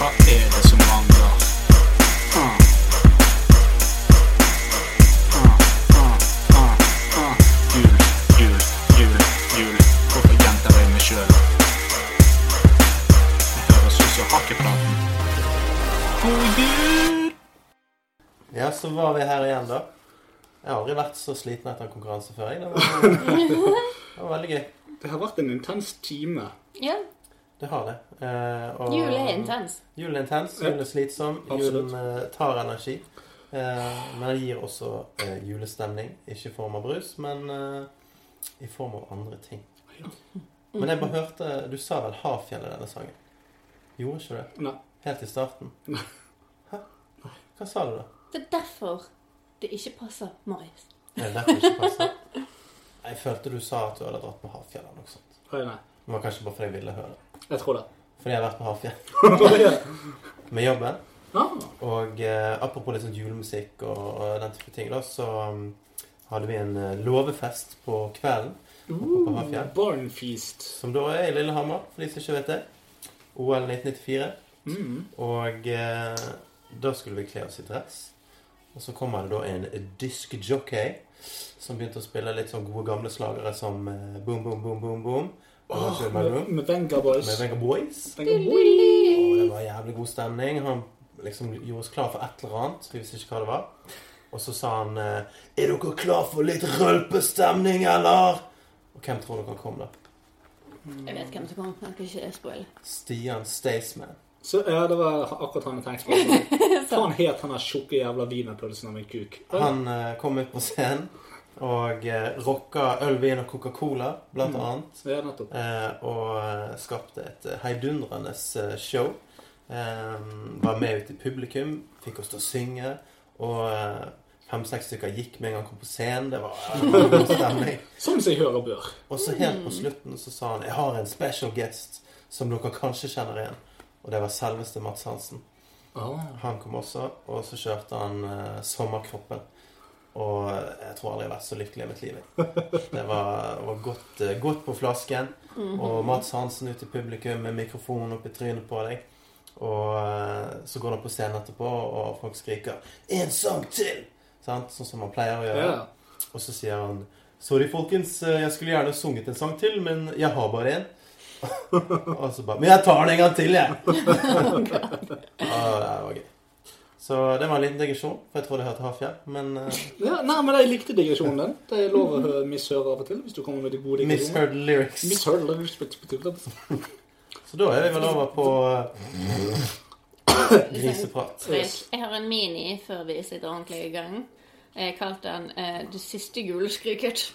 Hva er det som mangler? Ah. Ah, ah, ah, ah. Jul, jul, jul, jul. Hvorfor gjentar jeg meg sjøl? Det høres ut som Hakkeplaten. God jul!
Ja, så var vi her igjen, da. Jeg har aldri vært så sliten etter en konkurranse før. jeg. Det var, det var veldig gøy.
Det har vært en intens time.
Ja,
Det har det. Eh, og-
jul er intens.
Julen er intens, julen er slitsom,
Absolutt.
julen eh, tar energi. Eh, men den gir også eh, julestemning. Ikke i form av brus, men eh, i form av andre ting. Men jeg bare hørte Du sa vel Hafjell i denne sangen? Gjorde ikke du det?
Nei.
Helt i starten? Hæ? Hva sa du da?
Det er derfor det ikke passer Marius.
Er det derfor det ikke passer? Jeg følte du sa at du hadde dratt på Hafjell eller noe sånt.
Nei, nei.
Det var kanskje bare fordi jeg ville høre det.
Jeg tror det.
Fordi jeg har vært på Hafjell med jobben.
Ah,
Og eh, apropos litt sånn julemusikk og, og den type ting, da, så um, hadde vi en eh, låvefest på kvelden oppe på Hafjell.
Barnfeast.
Som da er i Lillehammer, for de som ikke vet det. OL 1994. Og eh, da skulle vi kle oss i dress. Og så kommer det da en diskjockey som begynte å spille litt sånn gode gamle slagere som eh, Boom Boom Boom Boom Boom. Og
Åh,
Roger
med,
Maroon
med Venga Boys.
med Venga Boys.
Venga Boys.
Og det var jævlig god stemning. Han liksom gjorde oss klar for et eller annet. Vi visste ikke hva det var. Og så sa han eh, Er dere klar for litt rølpestemning, eller? Og hvem tror dere kom, da?
Jeg vet hvem som kommer. Jeg kan ikke spoile.
Stian Staysman.
Så, ja, det var akkurat han jeg tenkte på. Faen het han der tjukke jævla wienerpølsen av en kuk.
Han eh, kom ut på scenen og eh, rocka øl, vin og Coca-Cola, blant annet.
Ja, nettopp.
Eh, og eh, skapte et eh, heidundrende eh, show. Eh, var med ut i publikum, fikk oss til å synge. Og eh, fem-seks stykker gikk med en gang kom på scenen. Det var eh, god stemning.
Som seg hør og bør.
Og så helt på slutten så sa han Jeg har en special guest som dere kanskje kjenner igjen. Og det var selveste Mats Hansen. Han kom også, og så kjørte han eh, Sommerkroppen. Og jeg tror aldri jeg har vært så lykkelig i mitt liv. jeg. Det var, var godt, eh, godt på flasken. Og Mats Hansen ute i publikum med mikrofonen opp i trynet på deg. Og eh, så går han på scenen etterpå, og folk skriker 'En sang til!' Sant? Sånn som man pleier å gjøre.
Ja.
Og så sier han Sorry, folkens. eh, Jeg skulle gjerne sunget en sang til, men jeg har bare én. og så bare Men jeg tar den en gang til, jeg! ah, det var gøy. Så det var en liten digresjon, for jeg tror det hørte Hafjell. Men eh,
Ja, nei, men jeg likte digresjonen din. Det er lov å høre mishøre av og til hvis du kommer med de gode digresjonene.
misheard lyrics.
Misheard. eller misheard.
Så da er vi vel over på eh, griseprat.
Jeg, jeg har en mini før vi sitter ordentlig i gang. Jeg har kalt den eh, 'Det siste juleskriket'.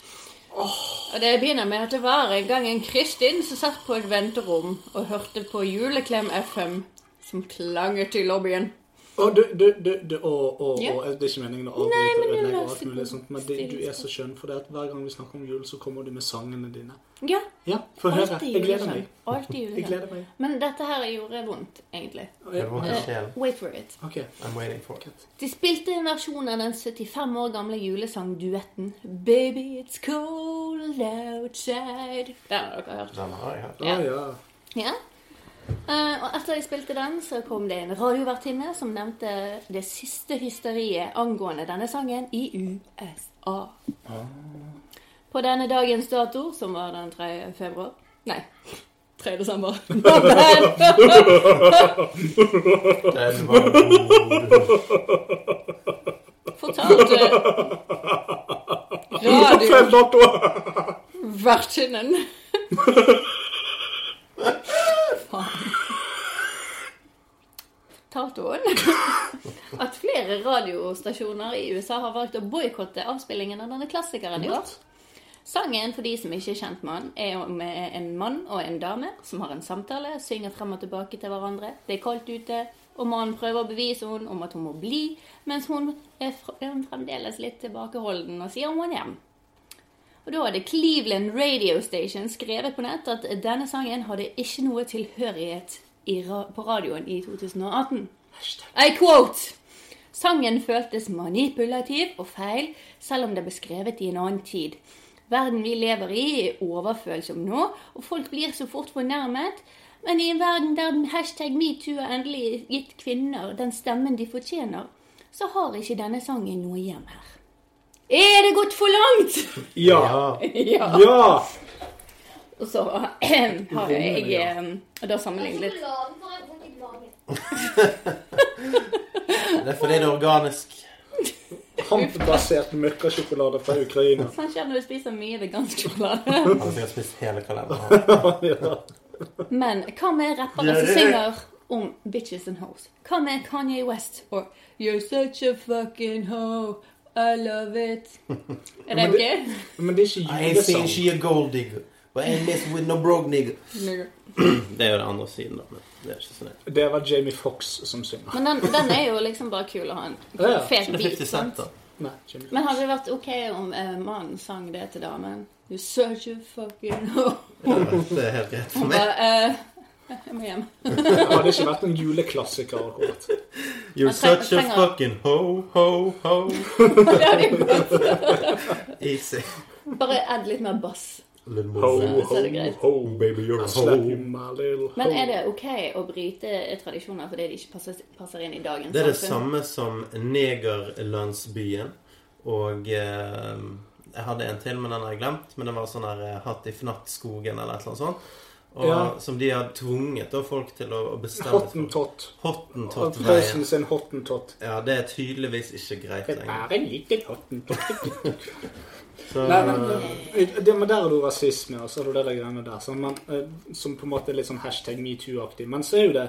Og Det begynner med at det var en gang en Kristin som satt på et venterom og hørte på Juleklem FM, som klanget i lobbyen.
Å, du, du, du, du å, å, å,
Ja.
Det er ikke meningen å
Nei, men
avbryte og
det
ødelegge og
løser
alt mulig
på
sånt, men det, du er så skjønn, for det at hver gang vi snakker om jul, så kommer du med sangene dine.
Ja,
Ja, få høre.
alltid
Jeg gleder
juleklem.
meg.
Alltid
Jeg
juleklem.
gleder meg.
Men dette her gjorde vondt, egentlig.
Det var
Eh,
en sjel.
Wait for it.
OK.
I'm waiting for it.
De spilte en versjon av den 75 år gamle julesangduetten Baby It's Cold Outside. Den har dere hørt.
Den har jeg hørt.
Å ja.
Ja. Eh, og etter jeg spilte den, så kom det en radiovertinne som nevnte det siste hysteriet angående denne sangen i USA. På denne dagens dato, som var den 3. februar Nei, 3. desember.
Den var god.
Fortalte eh, radio...
Feil dato!
Vertinnen. Faen. Fortalte hun at flere radiostasjoner i USA har valgt å boikotte avspillingen av denne klassikeren i år. Sangen, for de som ikke er kjent med den, er om en mann og en dame som har en samtale, synger frem og tilbake til hverandre. Det er kaldt ute, og mannen prøver å bevise henne om at hun må bli, mens hun er fr- fremdeles litt tilbakeholden og sier hun må hjem. Og da hadde Cleveland Radio Station skrevet på nett at denne sangen hadde ikke noe tilhørighet i ra på radioen i 2018. I quote! Sangen føltes manipulativ og feil, selv om det ble skrevet i en annen tid. Verden vi lever i er overfølsom nå, og folk blir så fort fornærmet. Men i en verden der den hashtag metoo har endelig gitt kvinner den stemmen de fortjener, så har ikke denne sangen noe hjem her. Er det gått for langt?
Ja.
Ja.
Ja!
Og så har jeg eh, da sammenlignet litt.
Det er fordi det er organisk.
Hampbasert møkkasjokolade fra Ukraina.
Sånn skjer når du spiser mye vegansk sjokolade.
Han har sikkert spist hele kalenderen.
Ja.
Men hva med rappere som synger om bitches and hoes? Hva med Kanye West og You're such a fucking hoe, I love it. Er det ok?
Men det er ikke
I ain't seen
julesang.
she a gold digger, but I ain't messing with no broke nigger.
Men
Det er jo den andre siden, da. Men det er ikke så nøye.
Det var Jamie Fox som synger.
den, den er jo liksom bare kul å ha en
Ja.
fet beat.
50
sant?
Cent, da.
Nei, Jamie Foxx.
Men hadde det vært ok om eh, mannen sang det til damen? You're such a fucking hoe.
Det er helt greit for meg.
Bare, eh, jeg må hjem.
Det hadde ikke vært en juleklassiker akkurat.
You're
Jeg trenger-
such a
trenger-
fucking ho, ho, ho.
Det hadde jo gått.
Easy.
Bare add litt mer bass.
Ho,
Så
ho,
er det greit.
ho.
Baby, you're a
Slap you,
ho.
my little ho.
Men er det ok å bryte tradisjoner fordi de ikke passer, passer inn i dagens
Det er det
samfunn?
samme som negerlandsbyen. Og eh, jeg hadde en til, men den har jeg glemt. Men det var sånn her eh, Hatt i fnattskogen eller et eller annet sånt. Og,
Ja.
Som de har tvunget da, folk til å, å bestemme seg for.
Hottentott.
Hottentott-veien.
Prøysen sin hottentott.
Ja, det er tydeligvis ikke greit
Jeg
lenger.
er en liten hottentott.
Så,
Nei, men, eh, det, men der er det jo rasisme, og så er det jo det der greiene der. Sånn, men, eh, som på en måte er litt sånn hashtag metoo-aktig. Men så er jo det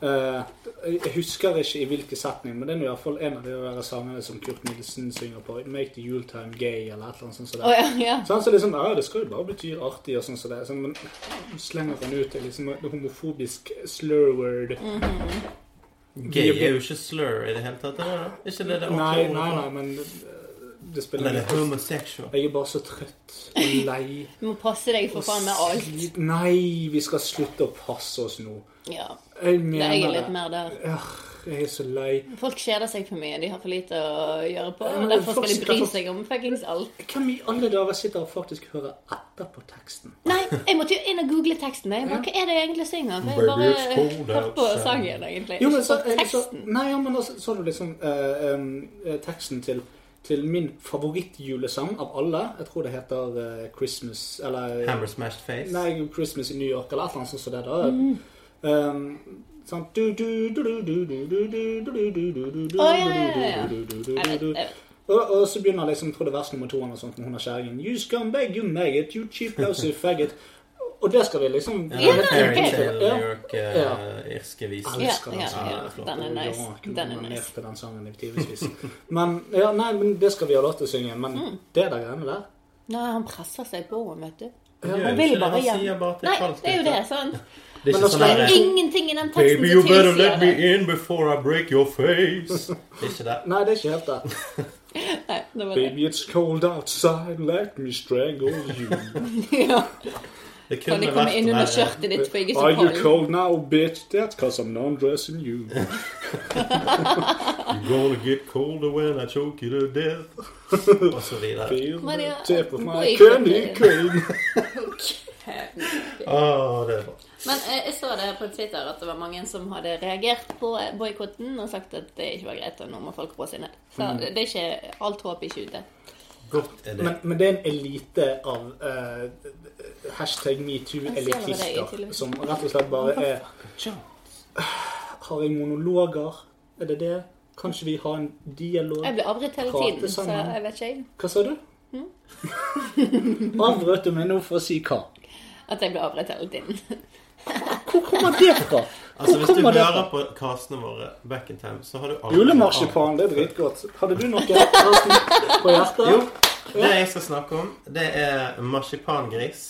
Eh, jeg husker ikke i hvilken setning, men det er nå i hvert fall en av de der sangene som Kurt Nilsen synger på. 'Make the Yuletime Gay' eller et eller annet sånt. som det.
Å ja, ja.
Sånn, så liksom, ja, det skal jo bare bety artig og sånn som det. er, Sånn, men du slenger han ut i liksom et homofobisk slur word.
Mm.
Gay er jo ikke slur i det hele tatt. Er det det? Er ikke det det
Nei,
ordentlige
nei,
ordet
nei, men det, det
for?
spiller
Eller
ingen rolle.
homosexual.
Jeg er bare så trøtt og lei.
Du må passe deg for faen med alt.
slit- Nei, vi skal slutte å passe oss nå.
Ja.
Jeg
Det er jeg
mener
litt
det.
mer der.
Ør, Jeg er så lei.
Folk kjeder seg for mye. De har for lite å gjøre på.
Ja, men
Og derfor skal de
folk-
bry
derfor-
seg om fuckings alt.
Hvem i alle dager sitter og faktisk hører etter på teksten?
Nei, jeg måtte jo inn og google teksten. Jeg bare, Hva er det jeg egentlig synger? For jeg
Baby, it's
bare
cold
hørte på
outside.
sangen, egentlig.
eh. Jo, men så,
Ikke på
så,
teksten.
nei, ja, men altså, så du liksom eh, em, eh, teksten til, til min favorittjulesang av alle. Jeg tror det heter eh, 'Christmas' eller
Hammer smashed face.
Nei, 'Christmas in New York' eller et eller annet sånt som det da.
Mm.
Um, sånn du, du, du, du, du, du, du, du, du, du, du, du, du,
Å, ja, ja, ja, ja.
du, du, du, du,
Jeg vet-
du, du.
jeg vet.
Og, og så begynner liksom, jeg tror det er vers nummer to eller noe sånt, når hun har kjerringen. You scumbag, you maggot, you cheap lousy faggot. Og det skal vi liksom
Ja,
det er
ok.
helt
Fairytale,
Ja.
New York, eh, irske viser.
Jeg elsker
Ja,
den
ja,
sangen.
ja.
Det er flott.
Den er nice.
Ja, jeg kunne
Den er
nominert
nice.
til den sangen i timevis. Men, ja, nei, men det skal vi ha lov til å synge. Men
Mm.
det der greiene der
Nei, han presser seg på henne, vet du.
Han gjør
Han
jo
vil
ikke det,
bare
han
hjem.
sier bare at det
Nei,
er falskt.
det er jo
vet
det,
du.
sant?
Det er
Men da
ikke sånn
skal
Det er
der, eh,
ingenting i den teksten
Baby, you
som
better
tilsier
let me
det.
in before I break your face. Det er ikke det.
Nei, det er ikke helt det.
Nei, det var det.
Baby, it's cold outside, let me strangle you.
Ja.
Det
Kan de
kunne
komme
vært
inn under
verre.
skjørtet ditt, for jeg
Are
er
you
så kald?
cold now, bitch? That's cause I'm non-dressing you.
You're gonna get colder when I choke you to death. Og så videre.
Feel
Maria,
the tip of my
wait,
candy
wait.
cane.
Åh, Ah, det er bra.
Men eh, jeg så det på Twitter at det var mange som hadde reagert på boikotten og sagt at det ikke var greit, og nå må folk roe seg ned. Så
Mm.
det det er ikke alt håp er ikke ute.
Godt er
Men,
det.
men det er en elite av eh, hashtag
Jeg ser allerede i
metoo-elitister
televisjonen.
som rett og slett bare er Har jeg monologer? Er det det? Kanskje vi har en dialog?
Jeg Hm? blir avbrutt hele
Prate
tiden, så
sammen.
jeg vet ikke jeg.
Hva sa du? Avbrøt du meg nå for å si hva?
At jeg blir avbrutt hele tiden.
Hvor kommer det fra?
Altså,
Hvor
hvis du
kommer det
hører
fra?
på castene våre back in time, så har du aldri
Julemarsipan, det er dritgodt. Hadde du noe Karsten, på hjertet?
Jo. Det jeg skal snakke om, det er marsipangris.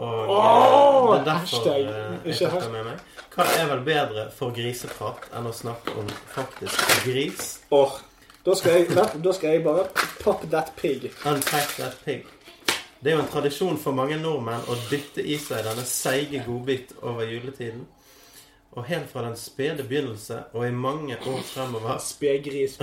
Og
Åh,
eh, det er derfor
hashtag.
eh, jeg
Ikke
tok det med meg. Hva er vel bedre for griseprat enn å snakke om faktisk gris?
Åh, da skal jeg, da- da skal jeg bare pop that pig.
Unpack that pig. Det er jo en tradisjon for mange nordmenn å dytte i seg denne seige godbit over juletiden. Og helt fra den spede begynnelse og i mange år fremover
Spegris.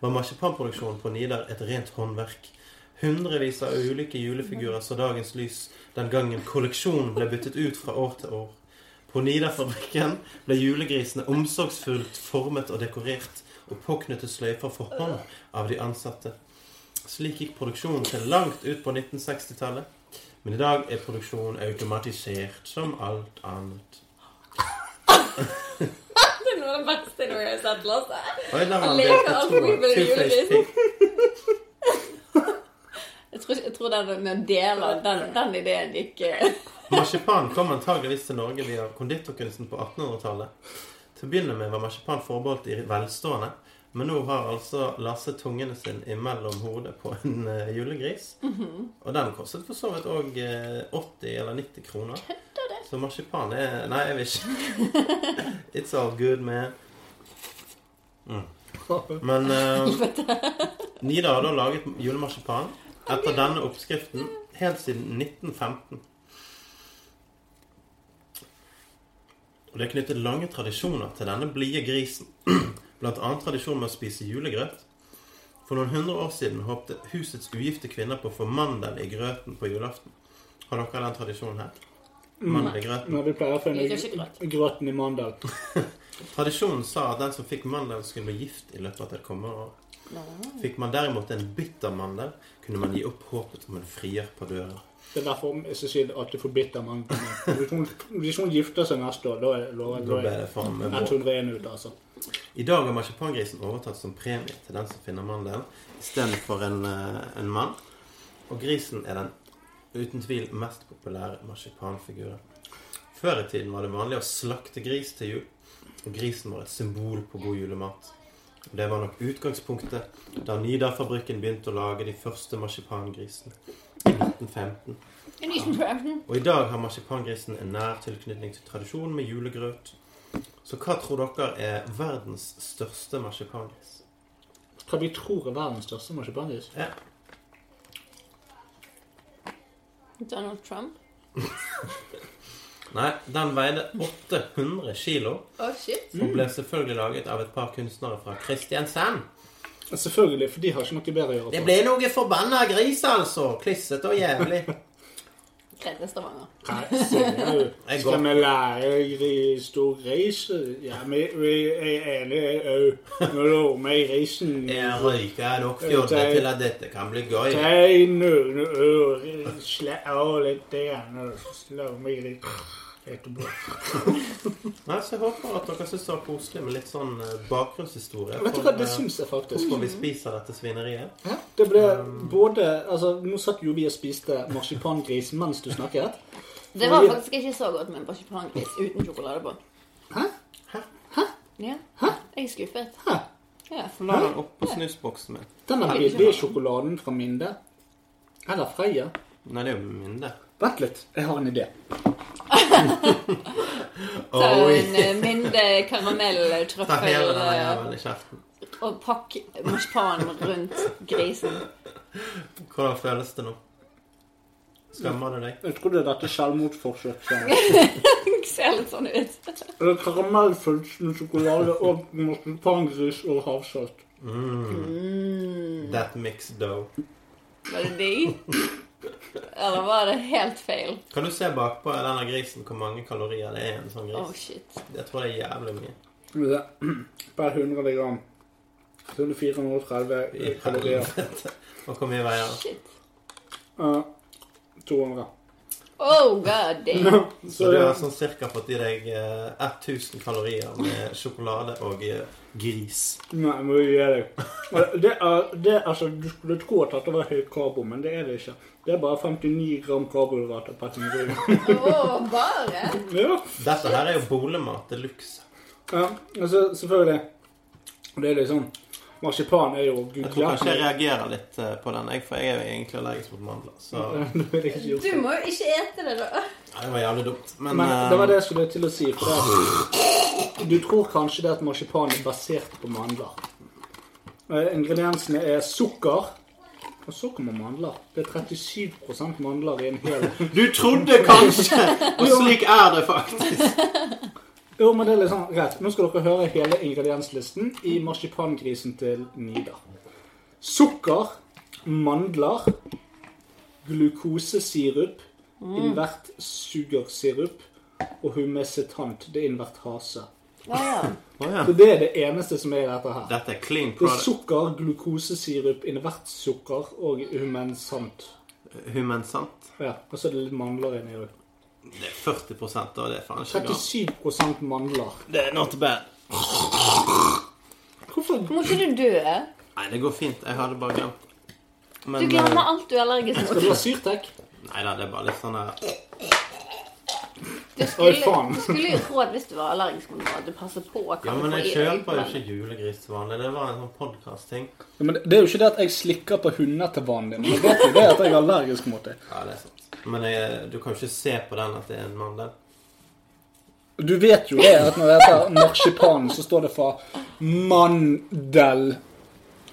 var marsipanproduksjonen på Nidar et rent håndverk. Hundrevis av ulike julefigurer så dagens lys den gangen kolleksjonen ble byttet ut fra år til år. På Nidar-fabrikken ble julegrisene omsorgsfullt formet og dekorert og påknyttet sløyfer for hånd av de ansatte. Slik gikk produksjonen til langt ut på 1960-tallet. Men i dag er produksjonen automatisert som alt annet.
Det er noe av det beste jeg har sett, altså. Lasse.
Oi, la meg
Han leker
leke
alt
to-
mulig med
two-faced
julegrisen.
pig.
Jeg tror, jeg tror den, den deler den, den ideen gikk eh,
Marsipan kom antageligvis til Norge via konditorkunsten på 1800-tallet. Til å begynne med var marsipan forbeholdt de velstående, men nå har altså Lasse tungene sin imellom hodet på en eh, julegris. Og den kostet for så vidt òg 80 eller 90 kroner. Så marsipan er Nei, jeg vil ikke. It's all good, man. Mm. Men eh, Nida har da laget julemarsipan etter denne oppskriften helt siden 1915. Og det er knyttet lange tradisjoner til denne blide grisen. Blant annet tradisjonen med å spise julegrøt. For noen hundre år siden håpte husets ugifte kvinner på å få mandel i grøten på julaften. Har dere den tradisjonen her? Mandel i grøten.
Når vi pleier å finne
Vi gjør ikke grøt.
grøten i mandel.
Tradisjonen sa at den som fikk mandel, skulle bli gift i løpet av det kommende året. Fikk man derimot en bitter mandel, kunne man gi opp håpet om en frier på døra.
Det er derfor jeg skal si at det forbitter mandelen. Hvis hun, hvis hun gifter seg neste år, da er lover
Da ble
jeg
det faen meg
at
bra.
hun ren ut, altså.
I dag har marsipangrisen overtatt som premie til den som finner mandelen, istedenfor en, eh, en mann. Og grisen er den uten tvil mest populære marsipanfiguren. Før i tiden var det vanlig å slakte gris til jul. og grisen var et symbol på god julemat. Og Det var nok utgangspunktet da Nidar-fabrikken begynte å lage de første marsipangrisene i 1915.
En liten prøve.
Og i dag har marsipangrisen en nær tilknytning til tradisjonen med julegrøt. Så hva tror dere er verdens største marsipangris?
Hva vi tror er verdens største marsipangris?
Ja.
Donald Trump.
Nei, den veide 800 kilo
Å, shit.
og ble selvfølgelig laget av et par kunstnere fra Kristiansand.
Selvfølgelig, for de har ikke noe bedre å gjøre. altså.
Det
på.
ble noe forbanna gris, altså! Klissete og jævlig.
Tredje Stavanger.
Nei, sier du.
Jeg
Skal
går.
vi lære gris å reise? Ja, vi, vi er enige òg. Nå lover vi grisen
Jeg røyker nok fjolle til at dette kan bli gøy.
Tegn noen ør Slapp av litt igjen, og slå meg litt etterpå.
Nei, så Jeg håper at dere syns det var koselig med litt sånn eh, bakgrunnshistorie.
Vet du hva, det syns jeg faktisk.
Hvorfor vi spiser dette svineriet.
Det ble både Altså, nå satt jo vi og spiste marsipangris mens du snakket.
Det var faktisk ikke så godt med en marsipangris uten sjokolade på.
Hæ?
Ja. Jeg er skuffet. Ja.
La den oppå snusboksen min.
Den er billige sjokoladen fra Minde. Eller Freia.
Nei, det er jo mindre.
Vent litt, jeg har en idé.
Ta
Oi.
en eh, mindre
Ta hele
karamelltrøffel
denne
eh,
jævelen i kjeften.
og pakk marsipan rundt grisen.
Hvordan føles det nå? Skammer det deg?
Jeg trodde dette selvmordsforsøk. sa jeg.
Det ser litt sånn ut.
Det er karamellfullt med sjokolade og marsipangris og havsalt.
That mix dough.
Var det de? Eller var det helt feil?
Kan du se bakpå denne grisen hvor mange kalorier det er i en sånn
Oh,
gris?
shit.
Jeg tror det er jævlig mye.
Ja. Per 100 gram. Så er det 430
I
kalorier. Eh,
helvete. Og hvor mye veier den?
Shit.
Ja, 200.
Oh, god damn.
Så du har
det-
sånn cirka fått i deg eh, 1000 kalorier med sjokolade og eh, gris.
Nei, men vi gir deg. Men Det er, det er, altså, du skulle tro at dette var høyt karbo, men det er det ikke. Det er bare 59 gram karbohydrater per 100 gram.
Oh, bare?
Ja.
Dette her er jo boligmat de luxe.
ja, altså, selvfølgelig. Det er liksom Marsipan er jo
Jeg tror kanskje jeg
gudhjertelig.
reagerer litt eh, på den, jeg, for jeg er jo egentlig allergisk mot mandler. Så
Du må jo ikke ete det, da.
Ja, det var jævlig dumt. Men,
Men det var
eh,
det jeg skulle til å si. For at du tror kanskje det at marsipan er basert på mandler. Eh, Ingrediensene er sukker. Og så kommer mandler. Det er 37 mandler i en hel
Du trodde kanskje, og slik er det faktisk.
Jo, men det er litt sånn greit. Nå skal dere høre hele ingredienslisten i marsipangrisen til Nidar. Sukker, mandler, glukosesirup,
Mm.
invert sugersirup og humesetant. Det er invert hase.
Ja, ja.
Så det er det eneste som er i dette her.
Dette er clean
Det er
product.
sukker, glukosesirup, invert sukker og humensant.
Human sant.
Ja, og så er det litt mandler inni òg.
Det er 40 og det er faen ikke bra.
37 mandler.
Det er not bad.
Hvorfor
Må ikke du dø?
Nei, det går fint. Jeg hadde bare glemt det.
Du
Men eh,
glemmer alt du er allergisk
skal du ha
mot.
syrtek?
Nei da, det er bare litt sånn her
Du skulle,
faen.
du skulle jo tro at hvis du var allergisk mot noe, at du passer på hva
Ja,
du
men
får i
jeg
deg,
kjøper jo
men-
ikke julegris til vanlig. Det var en sånn podkast-ting.
Ja, men det er jo ikke det at jeg slikker på hunder til vanlig, men jeg vet jo det at jeg er allergisk mot det.
Ja, det er sant. Men jeg, eh, du kan jo ikke se på den at det er en mandel.
Du vet jo det at når det heter marsipan, så står det fra mandel.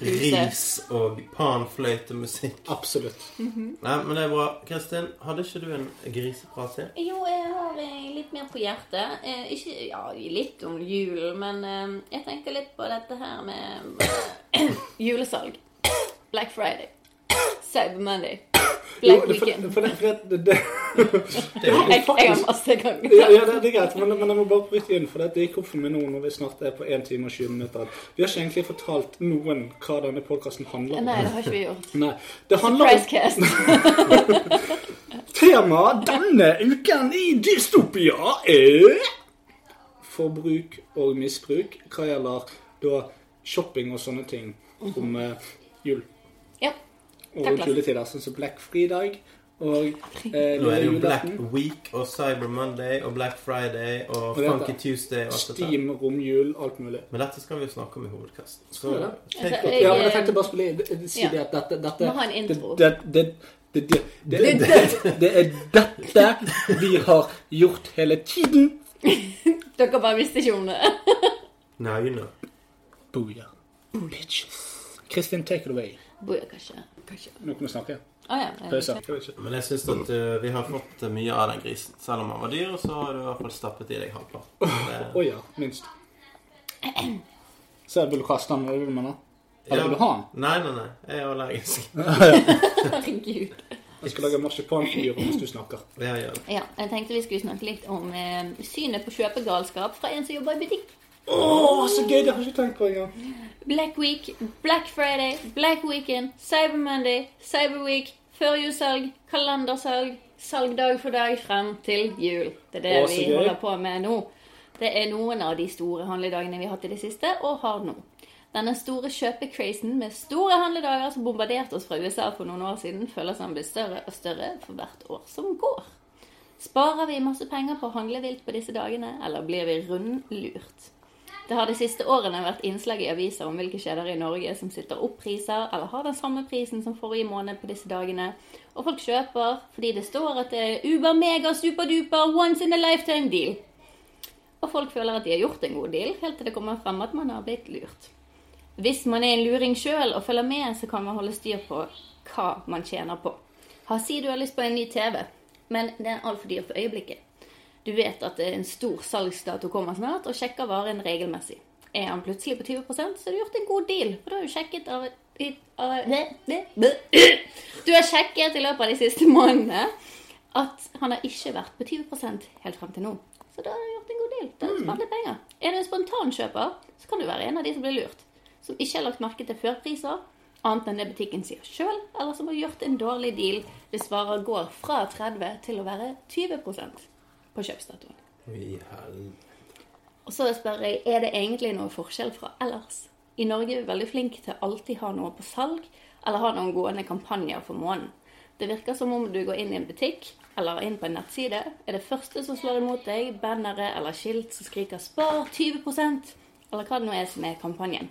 Ris og panfløytemusikk.
Absolutt.
Nei, men det er bra. Kristin, hadde ikke du en griseprat til?
Jo, jeg har eh, litt mer på hjertet. Eh, ikke ja, litt om julen, men eh, jeg tenkte litt på dette her med eh, julesalg. Black Friday. Cyber Monday.
Jo,
Black
det, for,
Weekend.
for det, for det, det,
Det er jo
Jeg, jeg har masse ganger.
ja, ja, det, det er greit, men, men jeg må bare bryte inn, for det, det gikk opp for meg nå når vi snart er på 1 time og 20 minutter. Vi har ikke egentlig fortalt noen hva denne podkasten handler om.
Nei, det har ikke vi gjort.
Nei. Det handler om
Pricecast.
Temaet denne uken i Dystopia er Forbruk og misbruk hva gjelder da shopping og sånne ting om eh, jul
Mhm. Ja.
og
Takk, Lars.
juletider. Sånn som Black Friday Og eh,
Nå er det jo Black
julaften.
Week og Cyber Monday og Black Friday og
Og dette-
Funky Tuesday og alt dette. her.
Steam, romjul, alt mulig.
Men dette skal vi jo snakke om i hovedkasten. Så
Skal vi det?
shake
Altså,
up.
Jeg,
Ja, men
eh,
jeg tenkte bare spille, si
ja.
det at dette, dette
Må ha en intro.
Det, det, det, det, det, det, det, det er dette vi har gjort hele tiden.
Dere bare visste ikke om det.
Now you know.
Booyah. Bitches. Kristin, take it away.
Bor jeg kanskje? Kanskje.
Nå kan du snakke.
Å ja. jeg
Pause.
vet ikke.
Men jeg syns at eh, vi har fått eh, mye av den grisen. Selv om han var dyr, så har du i hvert fall stappet i deg halvparten.
Å ja, minst. Så vil du kaste den, eller vil du med den?
Ja.
Eller vil du ha den?
Nei, nei, nei. Jeg er allergisk.
Herregud.
Jeg skal lage marsipanfyr hvis du snakker.
Jeg gjør det.
Ja, jeg tenkte vi skulle snakke litt om eh, synet på kjøpegalskap fra en som jobber i butikk.
Å, så gøy! Det har jeg ikke tenkt på engang.
Black Week, Black Friday, Black Weekend, Cyber Monday, Cyber Week, førjulssalg, kalendersalg, salg dag for dag frem til jul. Det er det
Å, så
vi
gøy.
holder på med nå. Det er noen av de store handledagene vi har hatt i det siste, og har nå. Denne store kjøpecrazen med store handledager som bombarderte oss fra USA for noen år siden, føles som blir større og større for hvert år som går. Sparer vi masse penger på å handle vilt på disse dagene, eller blir vi rundlurt? Det har de siste årene vært innslag i aviser om hvilke kjeder i Norge som sitter opp priser, eller har den samme prisen som forrige måned på disse dagene. Og folk kjøper fordi det står at det er uber, mega, superduper, once in a lifetime deal. Og folk føler at de har gjort en god deal, helt til det kommer frem at man har blitt lurt. Hvis man er en luring sjøl og følger med, så kan man holde styr på hva man tjener på. Ha si du har lyst på en ny TV, men den er altfor dyr for øyeblikket. Du vet at en stor salgsdato kommer snart, og sjekker varen regelmessig. Er han plutselig på 20 så har du gjort en god deal. For da har du sjekket av, i- av det- det- det. Du har sjekket i løpet av de siste månedene at han har ikke vært på 20 helt frem til nå. Så da har du gjort en god deal. Da har du spart litt penger. Er du en spontankjøper, så kan du være en av de som blir lurt. Som ikke har lagt merke til førpriser, annet enn det butikken sier sjøl, eller som har gjort en dårlig deal hvis varer går fra 30 til å være 20 på kjøpsdatoen.
Vi hel-
Og så spør jeg, er det egentlig noe forskjell fra ellers? I Norge er vi veldig flinke til å alltid ha noe på salg, eller ha noen gående kampanjer for måneden. Det virker som om du går inn i en butikk, eller inn på en nettside, er det første som slår imot deg, bannere eller skilt som skriker 'spar 20 eller hva det nå er som er kampanjen.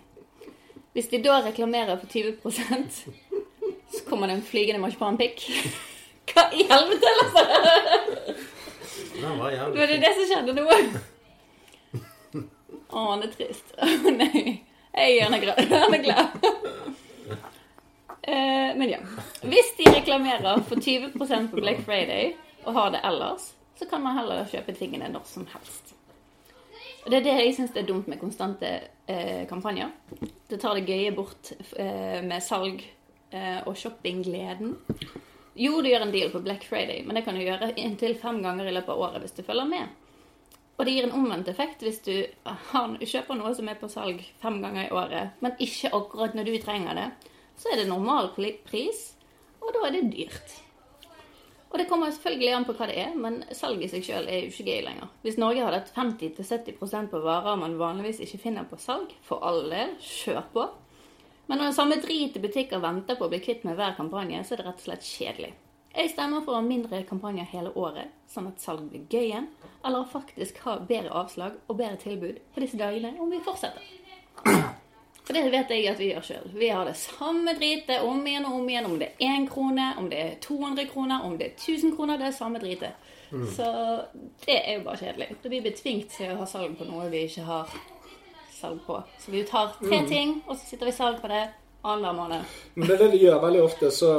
Hvis de da reklamerer for 20 så kommer det en flygende marsipanpikk. Hva i helvete, Lasse?
Den var
Det var
jævlig
det
fin.
det som skjedde nå. Å, han er trist. Å nei. Jeg han er glad. Han er glad. Eh, men ja. Hvis de reklamerer for 20 på Black Friday og har det ellers, så kan man heller kjøpe tingene når som helst. Og Det er det jeg syns er dumt med konstante eh, kampanjer. Det tar det gøye bort eh, med salg eh, og shoppinggleden. Jo, du gjør en deal på Black Friday, men det kan du gjøre inntil fem ganger i løpet av året hvis du følger med. Og det gir en omvendt effekt hvis du ah, har, kjøper noe som er på salg fem ganger i året, men ikke akkurat når du trenger det. Så er det normal pli- pris, og da er det dyrt. Og det kommer selvfølgelig an på hva det er, men salget i seg sjøl er jo ikke gøy lenger. Hvis Norge hadde hatt 50-70 på varer man vanligvis ikke finner på salg, for all del, kjør på. Men når den samme drit i butikker venter på å bli kvitt med hver kampanje, så er det rett og slett kjedelig. Jeg stemmer for å ha mindre kampanjer hele året, sånn at salg blir gøy igjen, eller faktisk ha bedre avslag og bedre tilbud på disse dagene om vi fortsetter. For det vet jeg at vi gjør sjøl. Vi har det samme dritet om igjen og om igjen. Om det er én krone, om det er 200 kroner, om det er 1000 kroner, det er samme dritet. Så det er jo bare kjedelig. Da blir vi betvingt til å ha salg på noe vi ikke har salg på. Så vi tar tre
Mm.
ting, og så sitter vi salg på det annenhver måned.
Men det er det de gjør veldig ofte, så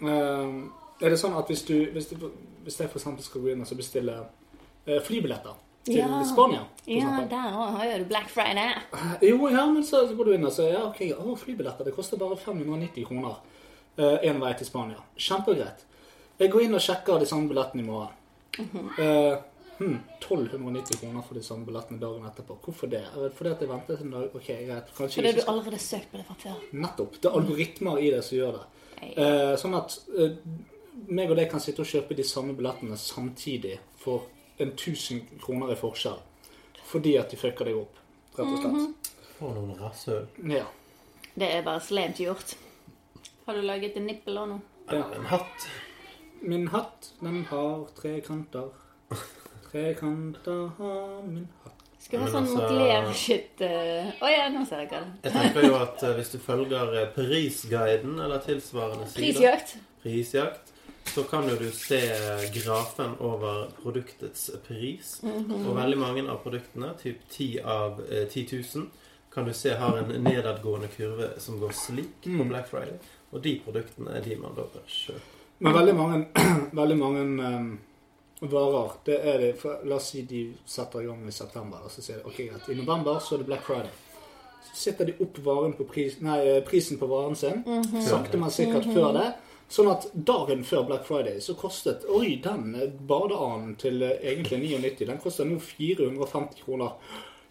eh, er det sånn at hvis du Hvis, du, hvis jeg for eksempel skal gå inn og så bestille eh, flybilletter til
Ja.
Spania for
Ja,
eksempel.
der òg har jo du Black Friday.
Eh, Jo, ja, men så, så går du inn og sier ja, ok, å, flybilletter det koster bare 590 kroner én vei til Spania. Kjempegreit. Jeg går inn og sjekker de samme billettene i morgen.
Mhm.
Eh, hm, 1290 kroner for de samme billettene dagen etterpå. Hvorfor det? Eh, Fordi at jeg ventet en dag. Ok, greit. Kanskje
Fordi
jeg
du
ikke skal-
allerede søkt på det fra før.
Nettopp. Det er algoritmer i det som gjør det. Eh, sånn at eh, meg og deg kan sitte og kjøpe de samme billettene samtidig for en 1000 kroner i forskjell. Fordi at de fucker deg opp, rett og slett.
For noen rasshøl.
Mhm.
Ja.
Det er bare slemt gjort. Har du laget en nippel òg nå?
En hatt.
Min hatt, den har tre kanter. Tre kanter har min hatt.
Skal vi ha
Men
sånn
altså-
modeller-shit eh, Å ja, nå ser jeg hva det er.
Jeg tenker jo at eh, hvis du følger eh, Parisguiden eller tilsvarende sider,
Prisjakt.
prisjakt, så kan jo du se grafen over produktets pris.
Mhm.
Og veldig mange av produktene, typ 10 av eh, 10 000, kan du se har en nedadgående kurve som går slik på
Mm.
Black Friday. Og de produktene er de man da bør kjøpe.
Men veldig mange, veldig mange em, varer det er det, for, La oss si de setter i gang i september. Og så sier de ok, greit, i november så er det Black Friday. Så setter de opp varen på pris, nei, eh, prisen på varen sin, sakte, men sikkert før det. Sånn at dagen før Black Friday så kostet Oi, den eh, badeanen til eh, egentlig 99, den koster nå 450 kroner.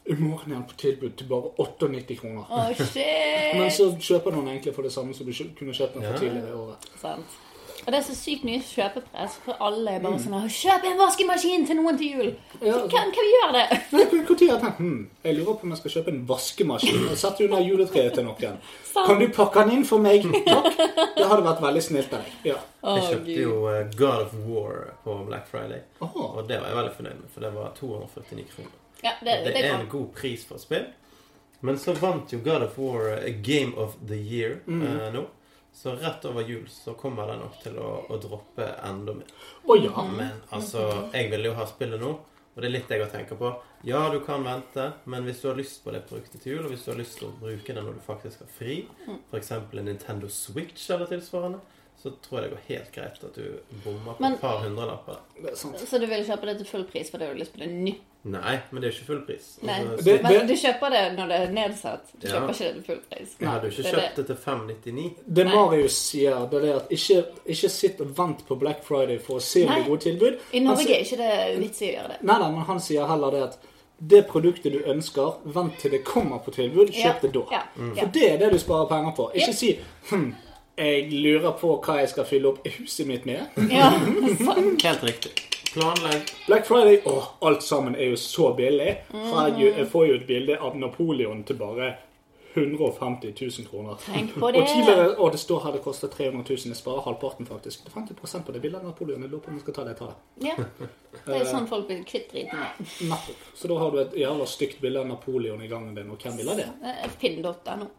I morgen er den på tilbud til bare 98 kroner.
Å,
Men
shit!
så kjøper noen egentlig for det samme som du kjø- kunne kjøpt den for
Ja.
tidligere i året.
Sant. Og det er så sykt mye kjøpepress, for alle
Mm.
er bare sånn «Å, 'Kjøp en vaskemaskin til noen til jul!'
Ja,
altså-
Kan, kan vi gjøre det?
Når har jeg tenkt hm, jeg lurer på om jeg skal kjøpe en vaskemaskin og sette under juletreet til noen. Kan du pakke den inn for meg? Takk. Det hadde vært veldig snilt av deg. Ja.
Å,
Jeg kjøpte
Gud.
jo eh, God of War på Black Friday,
Åh.
og det var jeg veldig fornøyd med, for det var 249 kroner.
Ja, det,
Det
det
er
kan.
en god pris for et spill. Men så vant jo God of War eh, Game of the Year eh,
Mm.
nå. Så rett over jul så kommer den nok til å, å droppe enda mer.
Å ja.
Men altså, jeg vil jo ha spillet nå, og det er litt jeg har tenker på. Ja, du kan vente, men hvis du har lyst på det produktet til jul, og hvis du har lyst til å bruke det når du faktisk har fri,
Mm.
f.eks. en Nintendo Switch eller tilsvarende, så tror jeg det går helt greit at du bommer på
Men-
et par hundrelapper.
Det er sant.
Så du vil kjøpe det til full pris fordi du har lyst på det nytt?
Nei, men det er jo ikke full pris.
Nei.
Altså,
Det-
Men du kjøper det når det er nedsatt. Du
Ja.
kjøper ikke det til full pris.
jeg hadde jo
Det
ikke
er det.
kjøpt det til 599.
Det
Nei.
Marius sier, det er det at ikke, ikke sitt og vent på Black Friday for å se om det
Nei.
er gode tilbud.
I
Han
Norge
sier-
er ikke det vits i å gjøre det.
Nei, nei, men han sier heller det at det produktet du ønsker, vent til det kommer på tilbud,
Ja,
kjøp det da.
Ja. Ja.
For det er det du sparer penger på. Ikke si hm, jeg lurer på hva jeg skal fylle opp huset mitt med.
Ja, sant.
Helt riktig. Planlegg.
Black Friday åh, alt sammen er jo så billig.
Mm.
Herregud, jeg får jo et bilde av Napoleon til bare 150 000 kroner.
Tenk på
Og
det.
tidligere, og det står her det koster 300 000. Jeg sparer halvparten, faktisk. Det er 50 på det bildet av Napoleon. Jeg lurer på om jeg skal ta det. Jeg tar det.
Ja. Det er jo sånn folk blir kvitt driten med.
Nettopp. Så da har du et jævla stygt bilde av Napoleon i gangen din, og hvem vil ha det?
Eh, Finn.no.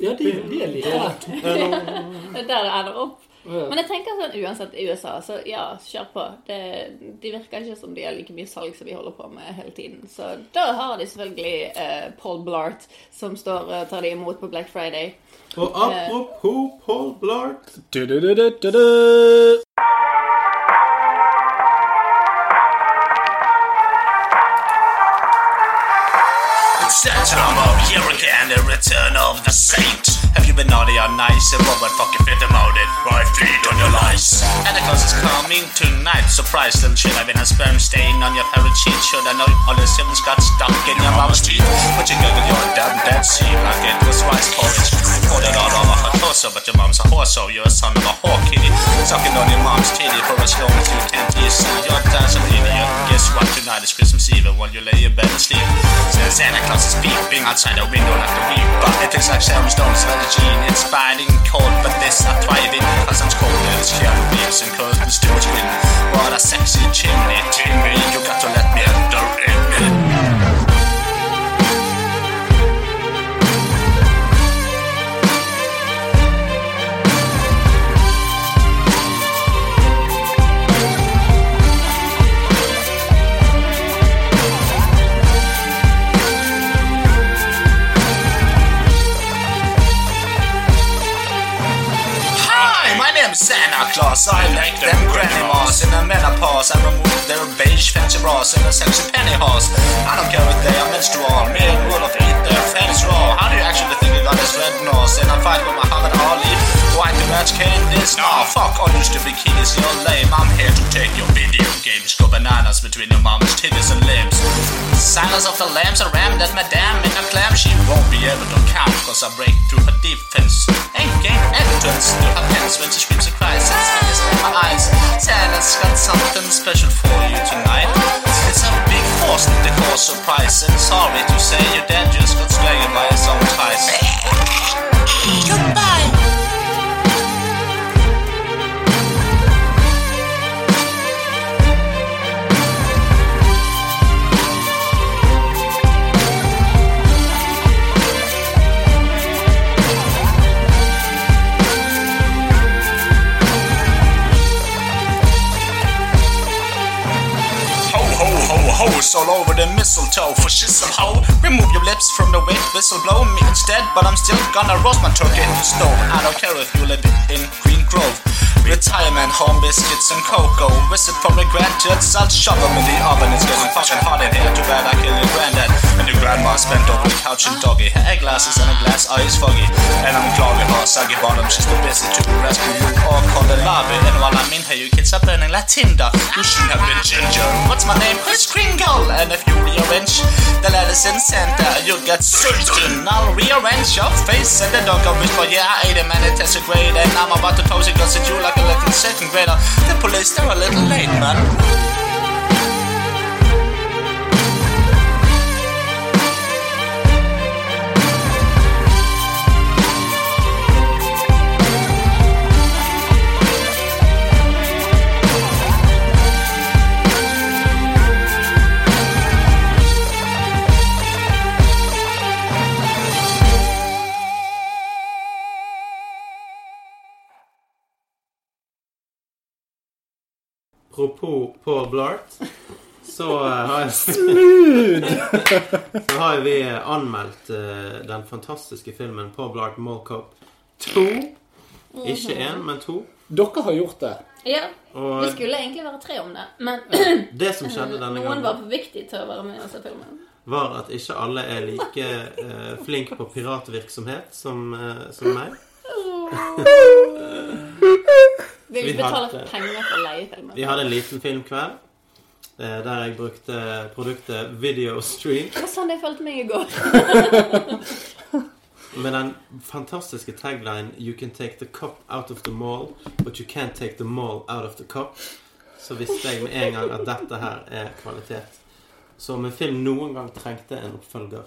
Ja, det, det er like greit.
Det er der det ender opp. Men jeg tenker sånn uansett i USA, så ja, kjør på. Det, de virker ikke som de har like mye salg som vi holder på med hele tiden. Så da har de selvfølgelig eh, Paul Blart som står og tar de imot på Black Friday.
Og apropos Paul Blart
Du-du-du-du-du-du.
It's the time of year again, the return of the saint. Have you been naughty or nice? And what would fucking fit them out in? My feet on your lice. And the class is coming tonight. Surprise them, shit. I've been a sperm stain on your parrot sheet. Should I know all the siblings got stuck in your mama's teeth? But you giggle your dumb dead seat like it was rice porridge. I poured it all over her torso, but your mom's a whore, so you're a son of a whore, kitty. Sucking on your mom's titty for as long as you can. You see, you're dancing idiot. Guess what? Tonight is Christmas Eve, and while you lay in bed and sleep, Santa Santa Claus is peeping outside the window like a weep. But it takes like seven stones for the gene. It's biting cold, but this are thriving. Cause I'm cold and it's here with beers and curls and steward wind. What a sexy chimney, chimney. You got to let me enter in. Hi, my name's Santa Claus. I like them granny moss in a menopause. I remove their beige fancy bras in a sexy pantyhose. I don't care if they are menstrual. Me and Rudolph eat their fancy raw. How do you actually think you got this red nose? And I fight with Muhammad Ali. Why do match candies? Nah, fuck all you stupid kiddies. You're lame. I'm here to take your video games. Go bananas between your mom's titties and limbs. Silence of the lambs I ram that madame in a clam. She won't be able to count cause I break through her defense. Ain't gain entrance to her pants when she screams and cries. It's fingers in my eyes. Santa's got something special for you tonight. It's a big force that they call surprise. And sorry to say your dad just got strangled by his own ties. Goodbye.
all over the mistletoe for shizzle ho. Remove your lips from the wind, whistle blow me instead, but I'm still gonna roast my turkey in the stove. I don't care if you live in Green Grove. Retirement, home biscuits and cocoa. Visit from the grandkids, I'll shove 'em in the oven. It's getting fucking hot in here. Too bad I killed your granddad. And your grandma spent over the couch and doggy. Hair glasses and a glass eye is foggy. And I'm clogging her soggy bottom. She's too busy to rescue you or call the lobby. And while I'm in here, you kids are burning like tinder. You shouldn't have been ginger. What's my name? Chris Kringle. And if you rearrange the letters in center, you'll get Satan. I'll rearrange your face and the dog will whisper, yeah, I ate him and it tasted great. And I'm about to toast it 'cause it's you like a little second grader. The police, they're a little late, man.
Apropos Paul Blart, så eh, har jeg Så har vi eh, anmeldt eh, den fantastiske filmen Paul Blart Mall Cop 2. Ikke én, men to.
Dere har gjort det.
Ja,
Og
det skulle egentlig være tre om det, men
det som skjedde denne
noen var
gangen,
for viktig til å være med og se filmen.
var at ikke alle er like eh, flink på piratvirksomhet som, eh, som meg.
Vi vil
Vi har
betale
ikke-
penger for å leie filmen.
Vi hadde en liten filmkveld eh, der jeg brukte produktet Videostream
Det var sånn jeg følte meg i går.
med den fantastiske taglinen You can take the cop out of the mall, but you can't take the mall out of the cop. Så visste jeg med en gang at dette her er kvalitet. Så om en film noen gang trengte en oppfølger,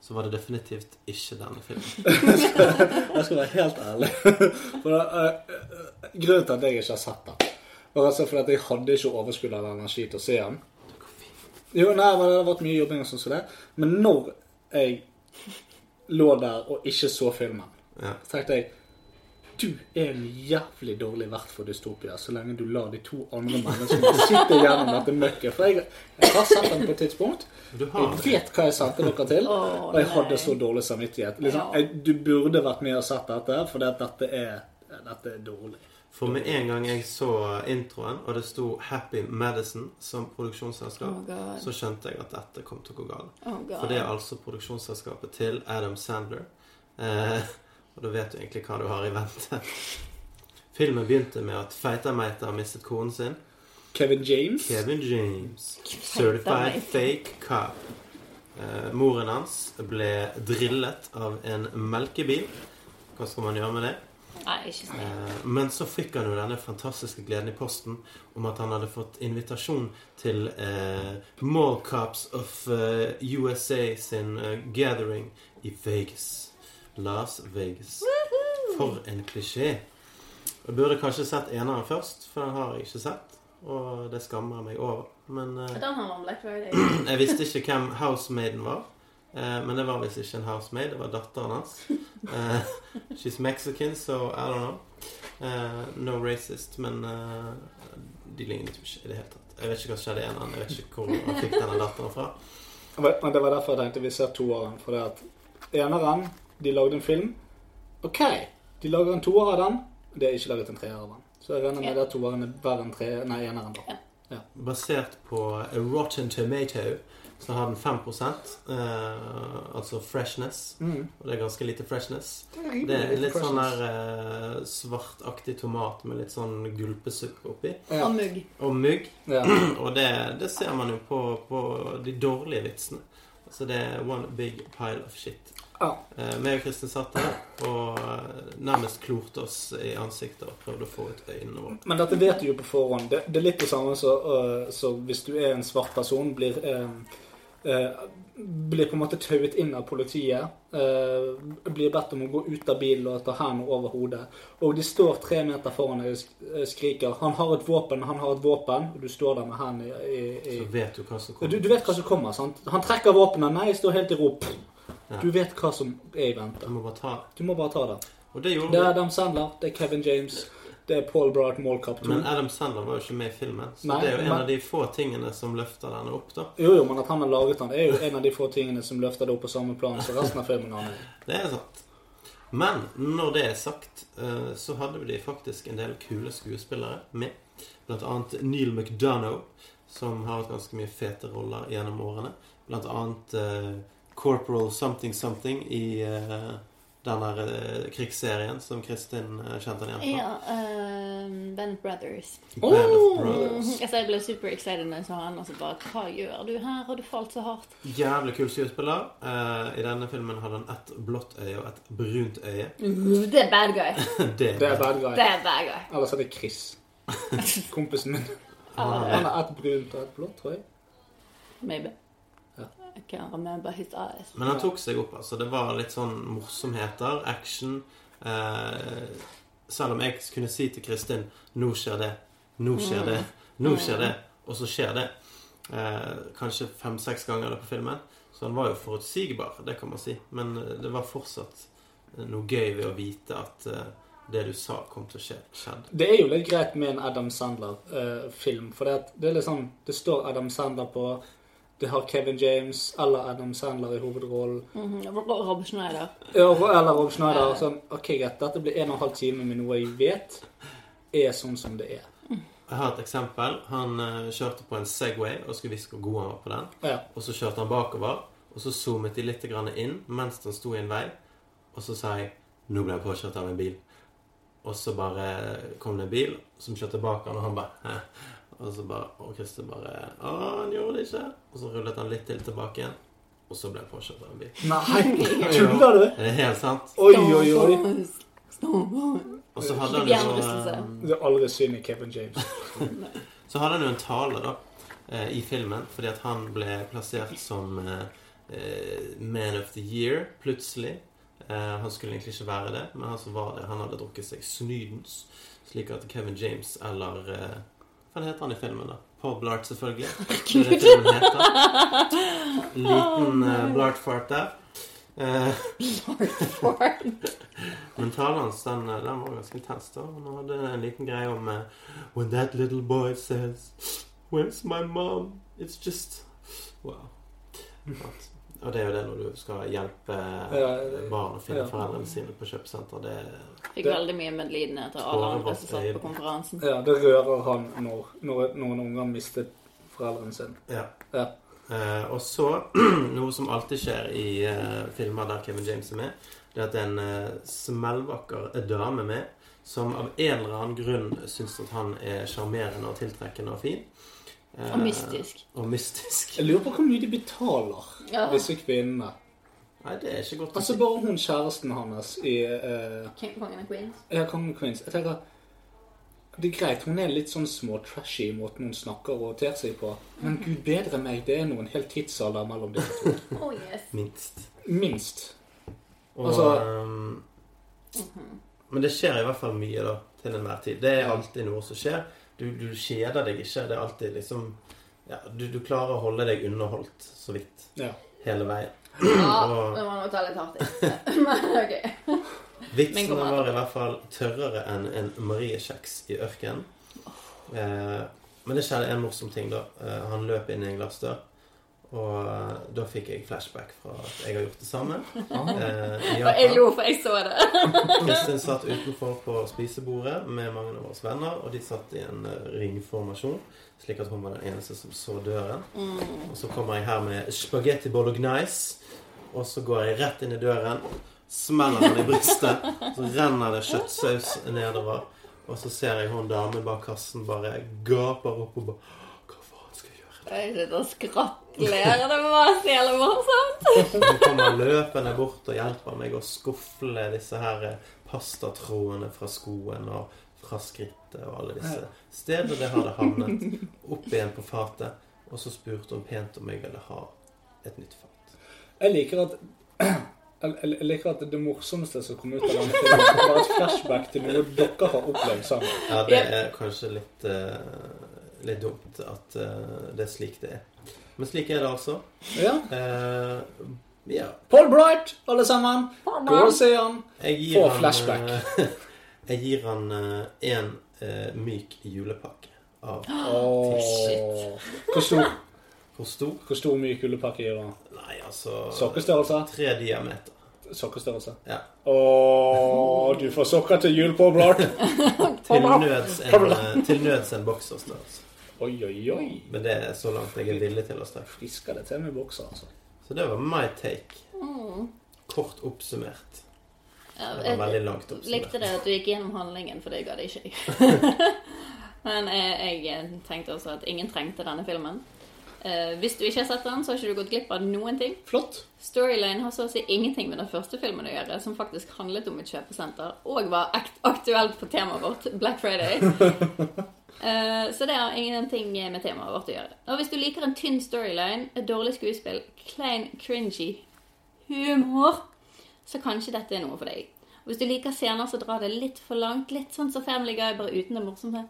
så var det definitivt ikke denne filmen.
Jeg skal være helt ærlig. For, eh, eh, grunnen til at jeg ikke har sett den, var altså fordi at jeg hadde ikke overskudd eller energi til å se den. Jo, nei, men Det har vært mye jobbing og sånn som det. Men når jeg lå der og ikke så filmen,
Ja.
så tenkte jeg du er en jævlig dårlig vert for dystopia så lenge du lar de to andre menneskene sitte gjennom dette møkket. For jeg, jeg har sett den på et tidspunkt.
Du har
Jeg
det.
vet hva jeg sendte dere til,
Ah. Åh,
og jeg hadde
nei.
så dårlig samvittighet. Liksom,
Ja.
jeg, du burde vært med og sett dette, for det, dette, er, dette er dårlig.
For med en gang jeg så introen, og det sto Happy Madison som
Oh
produksjonsselskap,
God.
så skjønte jeg at dette kom til å gå galt.
Oh God.
For det er altså produksjonsselskapet til Adam Sandler. Eh, og da vet du egentlig hva du har i vente. Filmen begynte med at Feitermeiter har mistet konen sin.
Kevin James.
Kevin James, certified fake cop. Eh, moren hans ble drillet av en melkebil. Hva skal man gjøre med det?
Nei, ikke sånn.
Eh, Men så fikk han jo denne fantastiske gleden i posten om at han hadde fått invitasjon til eh, Mall Cops of eh, USA sin eh, gathering i Vegas. Las Vegas. For en klisjé. Jeg burde kanskje sett eneren først, for den har jeg ikke sett. Og det skammer jeg meg over. Men eh,
Den handler om Black Friday.
jeg visste ikke hvem housemaiden var. Eh, men det var visst ikke en housemaid, det var datteren hans. Eh, she's Mexican, so I don't know. Eh, no racist, men eh, de lignet jo ikke i det hele tatt. Jeg vet ikke hva som skjedde i en annen. Jeg vet ikke hvor han fikk denne datteren fra.
Men men det var derfor jeg tenkte vi ser toeren. For det at eneren, de lagde en film. OK, de lager en toer av den. Det er ikke laget en treer av den. Så jeg regner med
Ja.
at toeren er verre enn tre- nei, eneren. da.
Basert på eh, Rotten Tomato så har den 5 eh, altså freshness.
Mm.
Og det er ganske lite freshness. Det er litt sånn der eh, svartaktig tomat med litt sånn gulpesuppe oppi.
Ja.
Og mugg.
Og mugg.
Ja.
Og det, det ser man jo på, på de dårlige vitsene. Altså det er one big pile of shit.
Ja.
Eh, meg og Kristin satt der og eh, nærmest klorte oss i ansiktet og prøvde å få ut øynene våre.
Men dette vet du jo på forhånd. Det, det er litt det samme som øh, så hvis du er en svart person, blir, eh, eh, blir på en måte tauet inn av politiet. eh, blir bedt om å gå ut av bilen og ta hendene over hodet. Og de står tre meter foran deg og sk- eh, skriker 'Han har et våpen! Han har et våpen!' Og du står der med hendene i,
Så
i, i
vet du hva som
du,
kommer.
du vet hva som kommer, sant? Han trekker våpenet. Nei, står helt i ro. Pff. Du vet hva som er i
Du
vente.
må bare ta det.
Du må bare ta det.
Og det
Det er
gjorde vi.
Adam Sandler, det er Kevin James. Det er Paul Bright Mallcap 2.
Men Adam Sandler var jo ikke med i filmen, så
Nei,
det er jo en
men-
av de få tingene som løfter denne opp. da
Jo, jo, men at han har laget den, er jo en av de få tingene som løfter det opp på samme plan som resten av filmen. han er.
Det er sant. Men når det er sagt, eh, så hadde de faktisk en del kule skuespillere med. Blant annet Neil McDonough, som har hatt ganske mye fete roller gjennom årene. Blant annet eh, Corporal Something Something i eh, den der eh, krigsserien som Kristin eh, kjente han igjen fra.
Ja, ehm, Band of Brothers.
Band of
Mm,
Brothers.
altså, jeg ble super excited når jeg så han, og så bare Hva gjør du her? Har du falt så hardt?
Jævlig kul skuespiller. Eh, I denne filmen hadde han ett blått øye og ett brunt øye.
Uh, Det er bad guy.
Det
Det er bad guy.
Det er bad guy.
Ellers er det Chris. Kompisen min.
Ah,
Han har ett brunt og ett blått, tror jeg.
maybe.
Ja.
I can't remember his eyes.
Men han tok seg opp, altså. Det var litt sånn morsomheter, action. Eh, selv om jeg kunne si til Kristin 'Nå skjer det. Nå skjer det. Nå skjer det.' Og så skjer det. Eh, kanskje fem-seks ganger det på filmen. Så han var jo forutsigbar, det kan man si. Men eh, det var fortsatt eh, noe gøy ved å vite at eh, det du sa, kom til å skje. Skjedde.
Det er jo litt greit med en Adam Sandler-film, for det, at det er litt sånn Det står Adam Sandler på. Det har Kevin James eller Adam Sandler i hovedrollen.
Mhm, Rob Rob Schneider.
Ja, Eller Rob Schneider. Sånn, OK, greit, dette blir en og en halv time med noe jeg vet er sånn som det er.
Jeg har et eksempel. Han eh, kjørte på en Segway og skulle vise hvor god han var på den.
Ja.
Og så kjørte han bakover, og så zoomet de litt grann inn mens han sto i en vei. Og så sa jeg 'Nå ble jeg påkjørt av en bil'. Og så bare kom det en bil som kjørte bak han, og han bare Hæ? Og så bare, og Christer bare 'Å, han gjorde det ikke'. Og så rullet han litt til tilbake igjen, og så ble jeg påkjørt av en bil.
Nei, tuller du?
Det er helt sant.
Oi, oi, oi.
Og så hadde han
Hjernerystelse.
jo
Det er aldri synd i Kevin James.
Så hadde han jo en tale da eh, i filmen fordi at han ble plassert som eh, eh, Man of the Year plutselig. Eh, han skulle egentlig ikke være det, men han som var det, han hadde drukket seg snydens. Slik at Kevin James eller eh, Hva heter han i filmen, da? Paul Blart, selvfølgelig. Det er det filmen heter. Liten eh, Blart-fart der. Eh, men talen hans den, eh, den var ganske intens. da Han hadde en liten greie om eh, When that little boy says Where's my mom? It's just Wow. At, og det er jo det når du skal hjelpe eh,
Ja,
barn å finne
ja.
foreldrene sine på kjøpesenter. Det
Fikk veldig mye medlidenhet av alle andre som satt på konferansen.
Ja, det rører han når, når noen unger mister foreldrene sine.
Ja.
Ja.
Eh, og så, noe som alltid skjer i eh, filmer der Kevin James er med, det er at det er en eh, smellvakker eh, dame med som av en eller annen grunn syns at han er sjarmerende og tiltrekkende og fin. Eh,
Og mystisk.
Og mystisk.
Jeg lurer på hvor mye de betaler
Ja.
disse kvinnene.
Nei, det er ikke godt å
Altså
si.
bare hun kjæresten hans i uh,
King- Kongen av Queens.
Ja, Kongen av Queens. Jeg tenker Det er greit, hun er litt sånn småtrashy i måten hun snakker og roterer seg på, men gud bedre meg, det er noen hel tidsalder mellom disse to.
Oh yes.
Minst.
Minst.
Og,
Altså-
ehm, Men det skjer i hvert fall mye da, til enhver tid. Det er alltid noe som skjer. Du, du kjeder deg ikke. Det er alltid liksom ja, du, du klarer å holde deg underholdt så vidt
Ja.
hele veien.
Ja,
Og-
det var noe å ta litt hardt i. Men ok. Men
Vitsene
kom an.
var i hvert fall tørrere enn en Marie-kjeks i ørkenen. Eh, men det skjedde en morsom ting, da. Eh, han løp inn i en glassdør. Og eh, da fikk jeg flashback fra at jeg har gjort det samme. Eh, i
Og jeg
Japan.
lo, for jeg så det.
Kristin satt utenfor på spisebordet med mange av oss venner, og de satt i en eh, ringformasjon, slik at hun var den eneste som så døren. Og så kommer jeg her med spagetti bolognese, og så går jeg rett inn i døren, smeller den i brystet, så renner det kjøttsaus nedover, og så ser jeg hun dame bak kassen bare gaper opp og bare Hva faen skal jeg gjøre?
Jeg sitter og skrattler. Det var så jævla morsomt.
Hun kommer løpende bort og hjelper meg å skufle disse her eh, pastatrådene fra skoen og fra skrittet og alle disse stedene det hadde havnet. Opp igjen på fatet. Og så spurte hun pent om jeg ville ha et nytt fat.
Jeg liker at jeg jeg liker at det morsomste som kom ut av denne filmen, var et flashback til noe dere har opplevd sammen.
Ja, det er kanskje litt, eh, litt dumt at eh, det er slik det er. Men slik er det altså.
Ja.
Eh, ja.
Paul Bright, alle sammen. Gå og se han.
Jeg gir
Få
han,
flashback.
eh, Jeg gir han eh, en eh, myk julepakke av
Hvor stor,
Hvor stor?
hvor stor myk julepakke gir du?
Nei, altså
Sokkestørrelse?
Tre diameter.
Sokkestørrelse.
Ja.
Åh, du får sokker til jul på Blart.
Til nøds en, eh, til nøds en bokserstørrelse.
Oi, oi, oi.
Men det er så langt jeg er villig til å strekke.
Frisker det til med bokser, altså.
Så det var my take.
Mm.
Kort oppsummert.
Ja,
Det var
jeg
veldig langt oppsummert.
Eh, likte det at du gikk gjennom handlingen, for det ga det ikke jeg. Men eh, jeg tenkte også at ingen trengte denne filmen. Eh, hvis du ikke har sett den, så har ikke du gått glipp av noen ting.
Flott.
Storyline har så å si ingenting med den første filmen å gjøre, som faktisk handlet om et kjøpesenter, og var akt aktuelt på temaet vårt, Black Friday. Eh, så det har ingenting med temaet vårt å gjøre. Og hvis du liker en tynn storyline, et dårlig skuespill, klein, cringy humor, så kanskje dette er noe for deg. Og hvis du liker scener som drar det litt for langt, litt sånn som Family Guy, bare uten det morsomme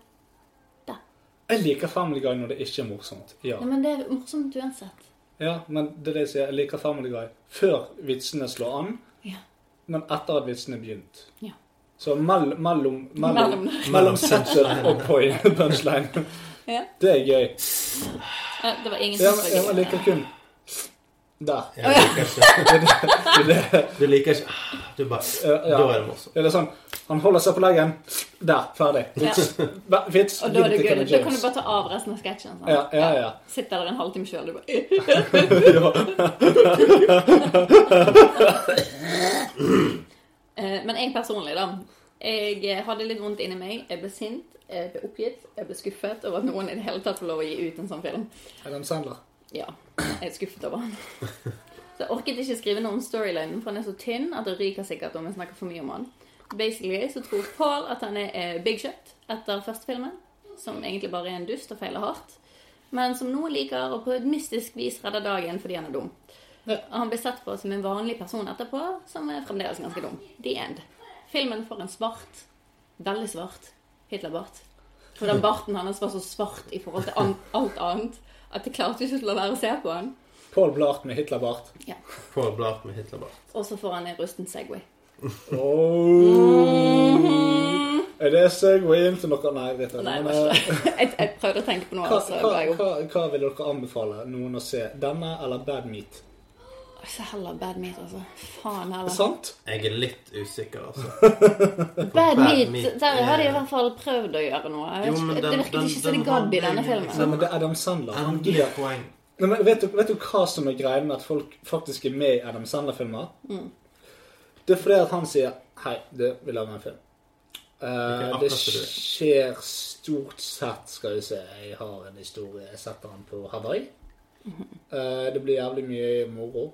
Jeg liker Family Guy når det ikke er morsomt. Ja,
Nei, men det er morsomt uansett.
ja men det er det jeg sier. Jeg liker Family Guy før vitsene slår an,
Ja.
men etter at vitsene er begynt.
Ja.
Så mell, mellom, mellom,
Mellom.
mellom setset og point punchline.
Ja.
Det er gøy.
Eh, det var ingen
Ja,
som
men
så
jeg
gøy.
liker kun Der.
Jeg liker ikke.
Det er det-
Du liker ikke Ah, Du bare
ja.
Da er det morsomt.
det er sånn Han holder seg på leggen. Der. Ferdig.
Ja.
Hva- Vits.
Og da er det
Gi
gøy.
til Kevin
Da kan du
James.
bare ta av resten av sketsjen. sant?
Ja, ja, ja.
Sitter der en halvtime sjøl, du bare Eh, Men jeg personlig, da. Jeg eh, hadde litt vondt inni meg. Jeg ble sint, eh, jeg ble oppgitt, jeg ble skuffet over at noen i det hele tatt får lov å gi ut en sånn film.
Adam Sandler.
Ja, jeg er skuffet over han. Så jeg orket ikke skrive noe om storylinen, for han er så tynn at det ryker sikkert om jeg snakker for mye om han. Basically så tror Paul at han er eh, big shot etter første filmen, som egentlig bare er en dust og feiler hardt, men som noen liker og på et mystisk vis redder dagen fordi han er dum. Og han blir sett på som en vanlig person etterpå, som er fremdeles ganske dum. The end. Filmen får en svart, veldig svart, Hitlerbart. For den barten hans var så svart i forhold til an- alt annet at jeg klarte ikke å la være å se på han.
Paul Blart med Hitlerbart.
Ja.
Paul Blart med Hitlerbart.
Og så får han en rusten Segway.
Oh. Er det Segwayen til noe? Nei, vet jeg
Nei,
men, eh,
det var ikke det. Jeg, jeg prøvde å tenke på noe,
hva,
og så
hva,
ble jeg opp.
hva, hva vil dere anbefale noen å se? Denne eller Bad Meat?
Så heller Bad Meat, altså. Faen
Sånn.
heller.
Sant?
Jeg er litt usikker, altså.
Bad
Bad
Meat,
Meat,
der har de i
eh,
hvert fall prøvd å gjøre noe. Jeg
Jo,
vet ikke-
men
det
den-
virket
den-
ikke som
den
det gadd i
handlingen-
denne
Nei,
filmen.
men det er Adam Sandler.
Han
Han
gir
blir-
poeng.
Nei, men vet, du, vet du hva som er greia med at folk faktisk er med i Adam Sandler-filmer?
Mm.
Det er fordi at han sier 'Hei, du, vi lager en film'. Eh,
akkurat det du er.
det skjer stort sett Skal vi se, jeg har en historie. Jeg setter han på Hawaii. Eh, det blir jævlig mye moro.
Mhm.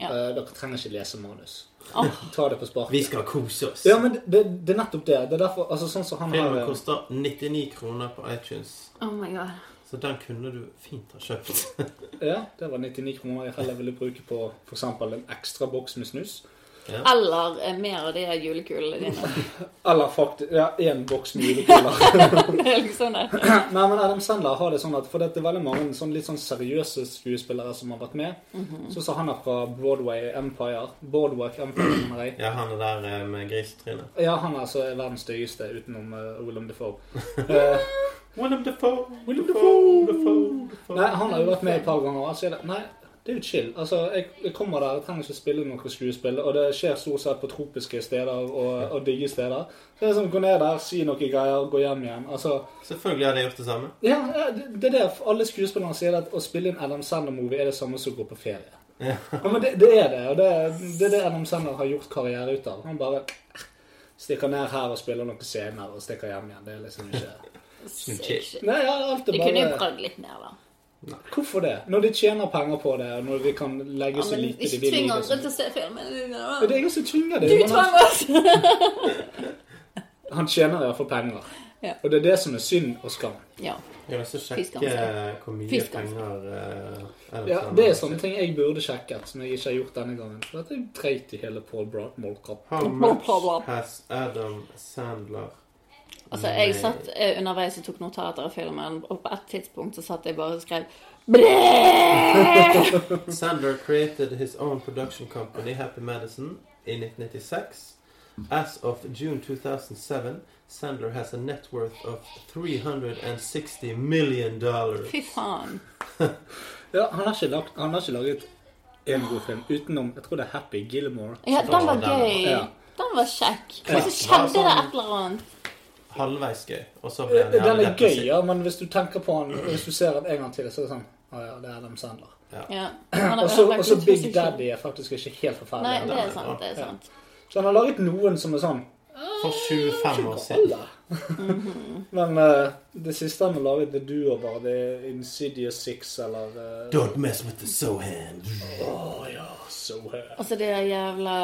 Ja.
Eh, dere trenger ikke lese manus.
Åh.
Ta det på sparket.
Vi skal kose oss.
Ja, men det, det, det er nettopp det. Det er derfor, altså sånn som han
Filmen
har
koster 99 kroner på iTunes,
Oh my god.
så den kunne du fint ha kjøpt.
Ja, det var 99 kroner jeg heller ville bruke på f.eks. en ekstra boks med snus.
Eller eh, mer av de her julekulene dine.
Eller faktisk Ja, én boks med julekuler.
Det er liksom det.
Nei, men Adam Sandler har det sånn at For det er veldig mange sånn litt sånn seriøse skuespillere som har vært med. Så sa han er fra Broadway Empire. Boardwalk Empire, mener jeg.
Ja, han er der eh, med grisetrynet.
Ja, han er altså verdens styggeste utenom uh, Willem Defoe. Eh,
Willem Dafoe, Willem
Dafoe,
Dafoe,
nei, han har jo vært med et par ganger. Altså, jeg, nei, det er jo chill. Altså, jeg, jeg kommer der, jeg trenger ikke spille noe skuespill. Og det skjer stort sett på tropiske steder og, og digge steder. Så det er sånn, gå ned der, si noe greier, gå hjem igjen. Altså
Selvfølgelig hadde jeg gjort det samme.
Ja, ja, det det er det. For Alle skuespillerne sier at å spille en Adam Sandler-movie er det samme som å gå på ferie. Ja. men det, det er det, og det, det er det Adam Sandler har gjort karriere ut av. Han bare stikker ned her og spiller noen scener og stikker hjem igjen. Det er liksom ikke
Sykt.
Nei, ja, alt
De
er
kunne jo
bare
prøvd litt mer, da.
Hvorfor det? Når de tjener penger på det, og når de kan legge
Ja,
så
men
lite
ikke
de vil i
tving
det,
andre
så-
til å se filmen.
Men Det er ingen som tvinger det.
Du
men han-
tvang oss!
Han tjener i hvert fall penger.
Ja.
Og det er det som er synd og skam.
Ja.
Jeg vil også sjekke eh,
Fiskehansker.
hvor mye
Fiskehansker.
penger eh, Adam Sandler
Ja, Det er sånn.
har
sånne
tjent.
ting jeg burde sjekket, som jeg ikke har gjort denne gangen. For at jeg dreit i hele Paul Bratmore-kappen.
How much has Adam Sandler
Altså, jeg satt eh, underveis og tok notater av filmen, og på et tidspunkt så satt jeg bare og skrev Blææææ!
Sandler created his own production company, Happy Madison, i 1996. As of June 2007, Sandler has a net worth of 360 million dollars.
Fy faen.
Ja, han har ikke, lagt, han har ikke laget en god film utenom Jeg tror det er Happy Gilmore.
Ja, den var
den var-
gøy.
ja.
Den var kjekk.
Ja.
Og så skjedde det et eller annet.
Halvveis gøy. Og så ble han
Den
jævlig
er gøy,
depressiv.
ja, men hvis du tenker på han Hvis du ser den en gang til, så er det sånn Å ja, det er Adam Sandler.
Ja. Han har
Og så-
ødelagt
Og så
litt for
Big
seg
Daddy er faktisk ikke helt
selv.
forferdelig.
Nei, det
heller.
er sant. det er sant.
Så han har laget noen som er sånn
For 25 år siden.
Men eh, det siste han har laget, det du og bare, det er Insidious Six eller eh,
Don't mess with the Sohan.
So Her.
Altså det der jævla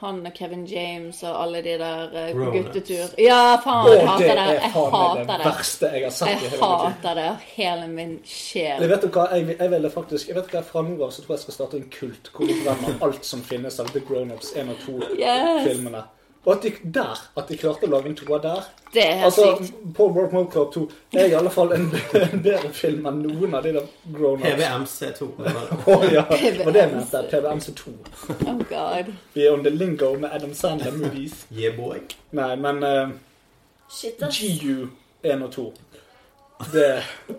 han og Kevin James og alle de der eh,
Grown-ups.
guttetur Ja, faen, jeg
Og det
hater det.
er
Jeg
faen meg
hater
det
det.
verste jeg har sett i
Jeg
hele mitt liv.
hater det av hele min
Jeg
sjel.
vet jo hva, jeg, vil- jeg ville faktisk, jeg vet hva, fra nå av så tror jeg jeg skal starte en kult hvor vi brenner alt som finnes av The Grownups 1 og 2-filmene. Og at de, der, at de klarte å lage en toer der
Det er helt
Altså,
sykt.
Paul World Mode Club 2 er i alle fall en, en bedre film enn noen av de der Grownups.
PVMC2.
Oh, ja. Og det mente jeg. PVMC2.
Oh god.
Vi er on the lingo med Adam Sandler movies.
Yeah, boy.
Nei, men eh,
Shit, ass.
GU 1 og 2 Det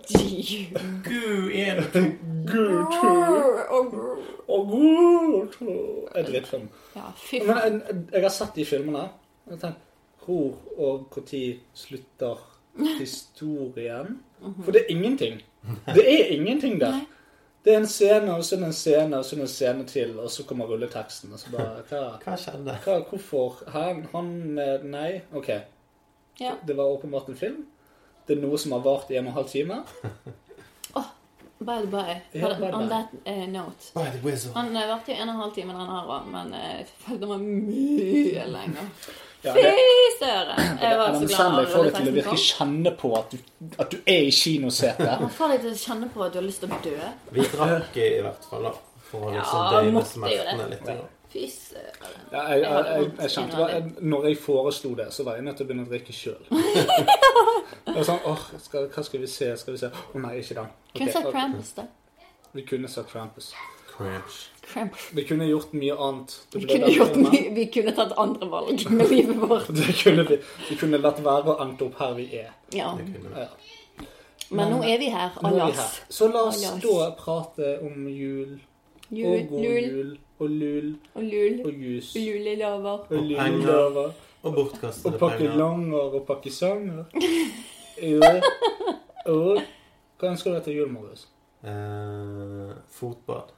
Gee.
Gud, en
Gud 2 og Gud 2 er drittfilm.
Ja, fy
Men jeg, jeg har sett de filmene. og Jeg tenker, Hvor og når slutter historien?
Mhm.
For det er ingenting. Det er ingenting der. Det er en scene, og så er det en scene, og så er det en scene til, og så kommer rulleteksten. Og så bare Hva,
Hva skjedde?
hva hvorfor? Han, han med Nei. OK.
Ja.
Det var åpenbart en film. Det er noe som har vart i en og en halv time.
By the by,
Ja, by the by.
on that eh, note
By the wizard.
Han eh, varte jo en og en halv time, den her òg, men eh, jeg følte meg mye lenger.
Ja,
Fy
det,
søren! Jeg var
Adam
så glad
Sandler
når
får det til å
rulleteksten
virkelig
kom.
kjenne på at du, at du er i kinosetet.
Han får deg til å kjenne på at du har lyst til å dø.
Vi drakk i hvert fall, da. For å liksom
Ja,
døyne
måtte jo
smertene
det.
litt. Da.
Fy søren.
Ja, jeg, jeg,
hadde
jeg,
vondt
jeg kjente bare,
innvendig.
Når jeg foreslo det, så var jeg nødt til å begynne å drikke sjøl. Sånn, åh, skal, hva skal vi se? Skal vi se? Å nei, ikke den. Ok,
Kunne sett
og-
Krampus, da.
Vi kunne sett Krampus.
Crash.
Krampus.
Vi kunne gjort mye annet. Det
Vi
ble
kunne,
den
gjort
filmen.
mye, vi kunne tatt andre valg med livet vårt.
Det kunne vi, vi kunne latt være å endte opp her vi er.
Ja.
Ja.
Men nå er vi her,
Nå er vi
alas.
her. Så la oss
Alas.
da prate om jul
Jul,
og god
lul
jul og lul
og lul.
og jus
og Julelover.
og
penger.
lullover
Og
og
bortkastede penger.
pakkelonger og pakkisanger. Jo. Og hva ønsker du deg til jul, Marius?
Eh, fotbad.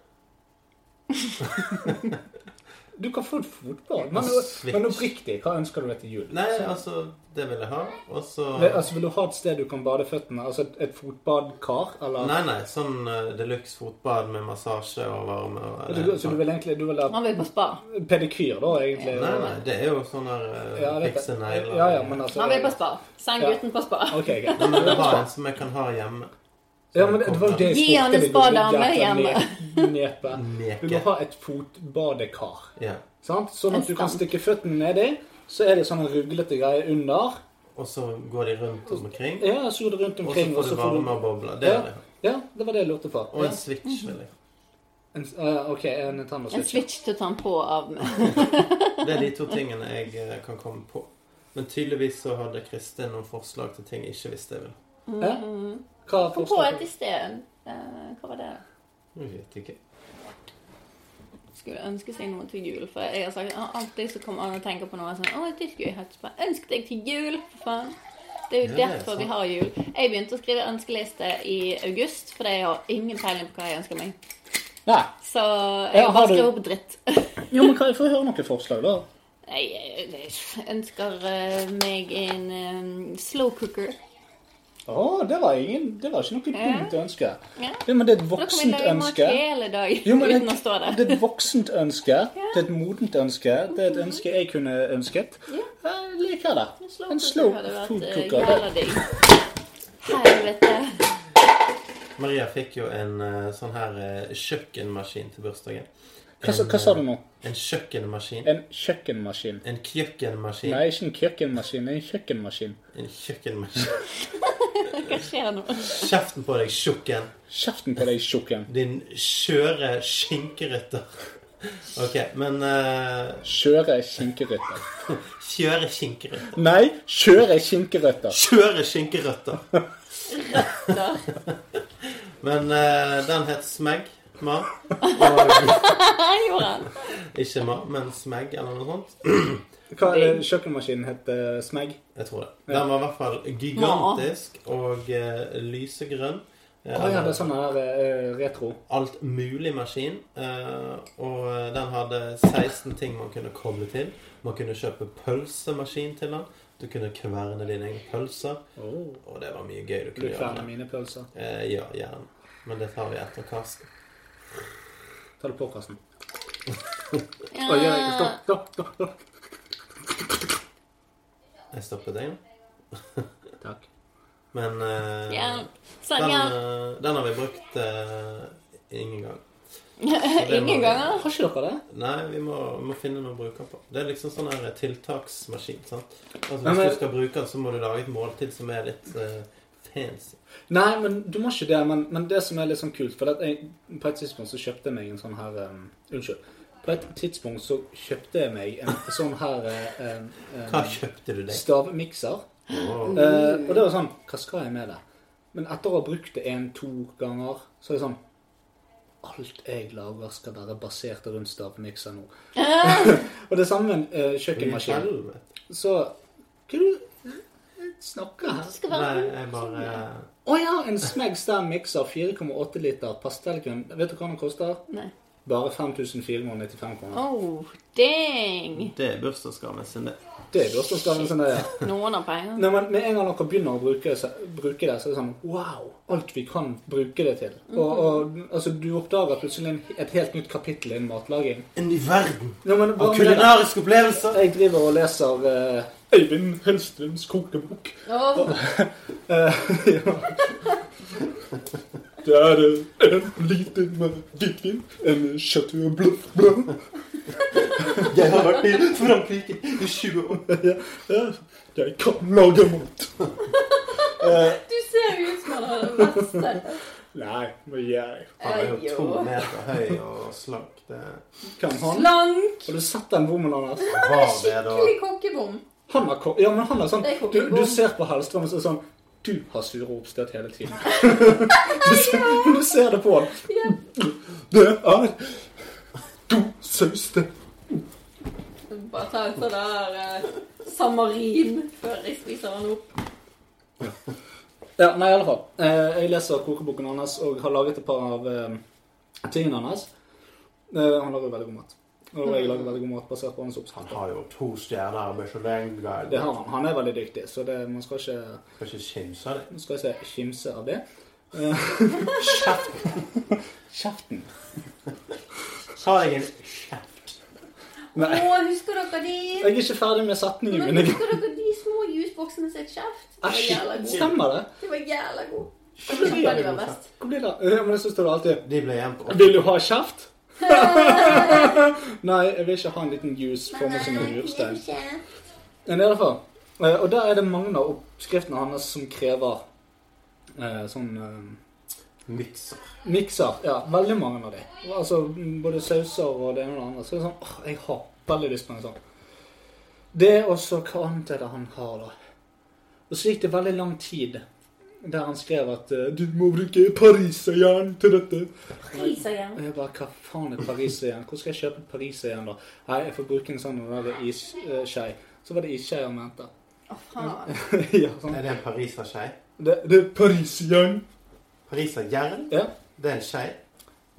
Du kan få et fotball, men,
Switch.
men oppriktig, hva ønsker du deg til jul?
Nei, altså, det vil jeg ha. Og så
Vil- Altså, Vil du ha et sted du kan bade føttene? Altså et, et fotbadkar? Eller?
Nei, nei, sånn uh, deluxe fotbad med massasje og varme og
Altså, du, så du vil egentlig du vil ha
Han vil på spa.
pedikyr, da, egentlig?
Nei, nei, det er jo sånn der eh,
Ja, jeg vet
fikse
det.
negler.
Ja, ja, men altså
Han vil på spa. Send
Ja.
gutten på spa.
Ok, greit.
Nei, men jeg har en som jeg kan ha hjemme.
Ja, men det det var jo det jeg
Gi
spurte
han en
deg om,
spadame
det jævla
hjemme.
ne- Nepet.
Neke.
Du må ha et fotbadekar,
Ja.
sant? Sånn at
En
du kan
stamp.
stikke føttene nedi. Så er det sånne ruglete greier under.
Og så går de rundt omkring,
Ja, så går det rundt
og så
omkring.
får du varme og bobler. Det
Ja.
er det.
Ja, det var det jeg lurte på.
Og
Ja.
en switch, vil jeg.
En, eh, ok, en Nintendo
En
Switch.
switch til å ta han på og av med.
Det er de to tingene jeg eh, kan komme på. Men tydeligvis så hadde Kristin noen forslag til ting jeg ikke visste jeg ville.
Ja. Hva er
Kom på
forslaget?
et i sted. Eh, hva var det?
Jeg vet ikke.
Skulle ønske seg noe til jul. For jeg har sagt ah, alltid så kommer han og tenker på noe sånn Å, det skulle jeg hatt. Bare, Ønsk deg til jul, for faen. Det er jo
Ja, det er
derfor
sant.
vi har jul. Jeg begynte å skrive ønskeliste i august, for jeg har ingen peiling på hva jeg ønsker meg.
Nei.
Så jeg
Ja, har
bare
du-
skriver opp dritt.
Jo, men kan jeg få høre noen forslag, da?
Nei, Jeg, jeg ønsker eh, meg en eh, slow cooker.
Å, det var ingen Det var ikke noe
Ja.
dumt ønske.
Ja.
Ja, men det er et
Da kan vi
voksent
lage mat
ønske.
hele dag
Jo, men
uten å stå der.
det er et voksent ønske. Det er et modent ønske. Det er et ønske jeg kunne ønsket. Eh, Jeg liker det.
Mhm. Slow
En slow
cooker hadde
food
vært eh,
cooker.
jævla digg. Helvete.
Maria fikk jo en eh, sånn her eh, kjøkkenmaskin til bursdagen.
Hva, sa- hva sa du nå?
En kjøkkenmaskin.
En kjøkkenmaskin?
En kjøkkenmaskin.
Nei, ikke en kjøkkenmaskin. det er En kjøkkenmaskin.
En kjøkkenmaskin.
Hva skjer nå?
Kjeften på deg, tjukken.
Kjeften på deg, tjukken.
Din skjøre skinkerytter. OK, men eh,
Kjøre skinkerøtter.
kjøre skinkerøtter.
Nei, kjøre skinkerøtter.
Kjøre skinkerøtter! Men eh, den het Smeg. Ma. Og,
Jeg gjorde den.
ikke Ma, men Smeg eller noe sånt.
Hva er det kjøkkenmaskinen heter? Smeg?
Jeg tror det. Den var i hvert fall gigantisk og eh, lysegrønn. Eh,
Å ja, det er sånn her eh, retro.
Alt mulig maskin. eh, og den hadde 16 ting man kunne koble til. Man kunne kjøpe pølsemaskin til den. Du kunne kverne dine egne pølser.
Oh.
Og det var mye gøy du
Du
kunne gjøre.
kverner mine pølser.
Eh, ja, gjerne. Men det tar vi etter Karsten.
Ta det på, Karsten. Oi, oi, oi,
Ja.
stopp, stopp, stopp, stopp.
Jeg stoppet deg nå.
Takk.
Men eh,
Ja.
den,
Sånn, ja.
eh, den har vi brukt eh, ingen gang.
eh,
Ingen ganger.
Har ikke dere det?
Nei, vi må, vi må finne noe å bruke den på. Det er liksom sånn her tiltaksmaskin. sant? Altså
Men-
Hvis du skal bruke den, så må du lage et måltid som er litt eh, fancy.
Nei, men du må ikke det. Men, men det som er litt sånn kult For at jeg, på et tidspunkt så kjøpte jeg meg en sånn her um, Unnskyld. På et tidspunkt så kjøpte jeg meg en sånn her eh, em, em,
Hva kjøpte du deg?
stavmikser.
Åh,
Eh, og det var sånn Hva skal jeg med det? Men etter å ha brukt det én-to ganger, så er det sånn Alt jeg lager, skal være basert rundt stavmikser nå. og det samme med en eh, kjøkkenmaskin.
helvete.
Så Hva er det du snakker her?
Det skal
Nei,
være
jeg bare eh,
Å ja, en Smeg Stam mikser 4,8 liter pastellgrønn. Vet du hva den koster?
Nei.
Bare 5495 kroner.
Oh, dang!
Det er bursdagsgaven sin, det.
Det er bursdagsgaven sin, det. ja.
Noen har penger.
sånn Nei, men Med en gang dere begynner å bruke, så- bruke det, så er det sånn Wow! Alt vi kan bruke det til. Og, og altså, du oppdager plutselig en, et helt nytt kapittel innen matlaging.
En ny verden
Nei, men
av
bare med det.
kulinariske opplevelser!
Jeg driver og leser eh, Øyvind Hellstrøms kokebok.
Åh,
Det er eh, en liten eh, hvitvin, en chateau bluff blanc.
Jeg har vært i Frankrike i 20 år.
Ja, Jeg kan lage mat.
du ser jo ut som han har det verste.
Nei, men jeg
Han er jo to
Ajo.
meter høy og slank. Det
kan han.
Slank!
Har du sett den bommen hans?
var det, da.
Skikkelig kokkebom.
Han er ko ja, men han er sånn
Det er
Du,
kokkebom.
du ser på Hellstrøm og så er det sånn Du har sure oppstøt hele tiden. du, ser, du ser det på han. Det er god saus, det.
Bare ta ut sånn der eh, samarin før jeg spiser den opp.
Ja, nei, i alle fall. Eh, jeg leser kokeboken hans og har laget et par av eh, tingene hans. Eh, han lager jo veldig god mat. Og jeg lager veldig god mat basert på hans
Han
oppskrift.
har jo to stjerner og Michelin-guide.
Det har han. Han er veldig dyktig, så det, man skal ikke
Skal ikke kimse av det.
Nå skal jeg se kimse av det. Eh, Kjeften. Kjeften.
Sa jeg en kjeft?
Nei,
Å, husker dere de
jeg er ikke ferdig med setningen
Men
min. jeg-
Husker dere de små jusboksene sitt kjeft? Det var
Æsj,
jævla god.
stemmer det?
Det var jævla god.
Hva
Jeg husker
blir
de
det?
var best.
Hva blir det? Ja, Men så står det alltid
De ble igjen på
Vil du ha kjeft? Nei, jeg vil ikke ha en liten juice for meg som en murstein. Men i alle fall. eh, Og der er det mange av oppskriftene hans som krever eh, sånn eh,
mikser.
Mikser. Ja, veldig mange av de. Altså, m, både sauser og det ene og det andre. Så det er sånn, åh, jeg har veldig lyst på en sånn. Det er også hva annet er det han har, da. Og så gikk det veldig lang tid der han skrev at eh, du må bruke pariserjern til dette.
Priser igjen.
Og jeg bare, hva faen er pariserjern? Hvor skal jeg kjøpe pariserjern, da? Nei, jeg får bruke en sånn når det er isskei. Så var det isskei han mente.
Å, faen.
ja, sånn.
Er det en pariserskei?
Det, det er pariserjern.
Pariserjern?
Ja.
Det er en skei.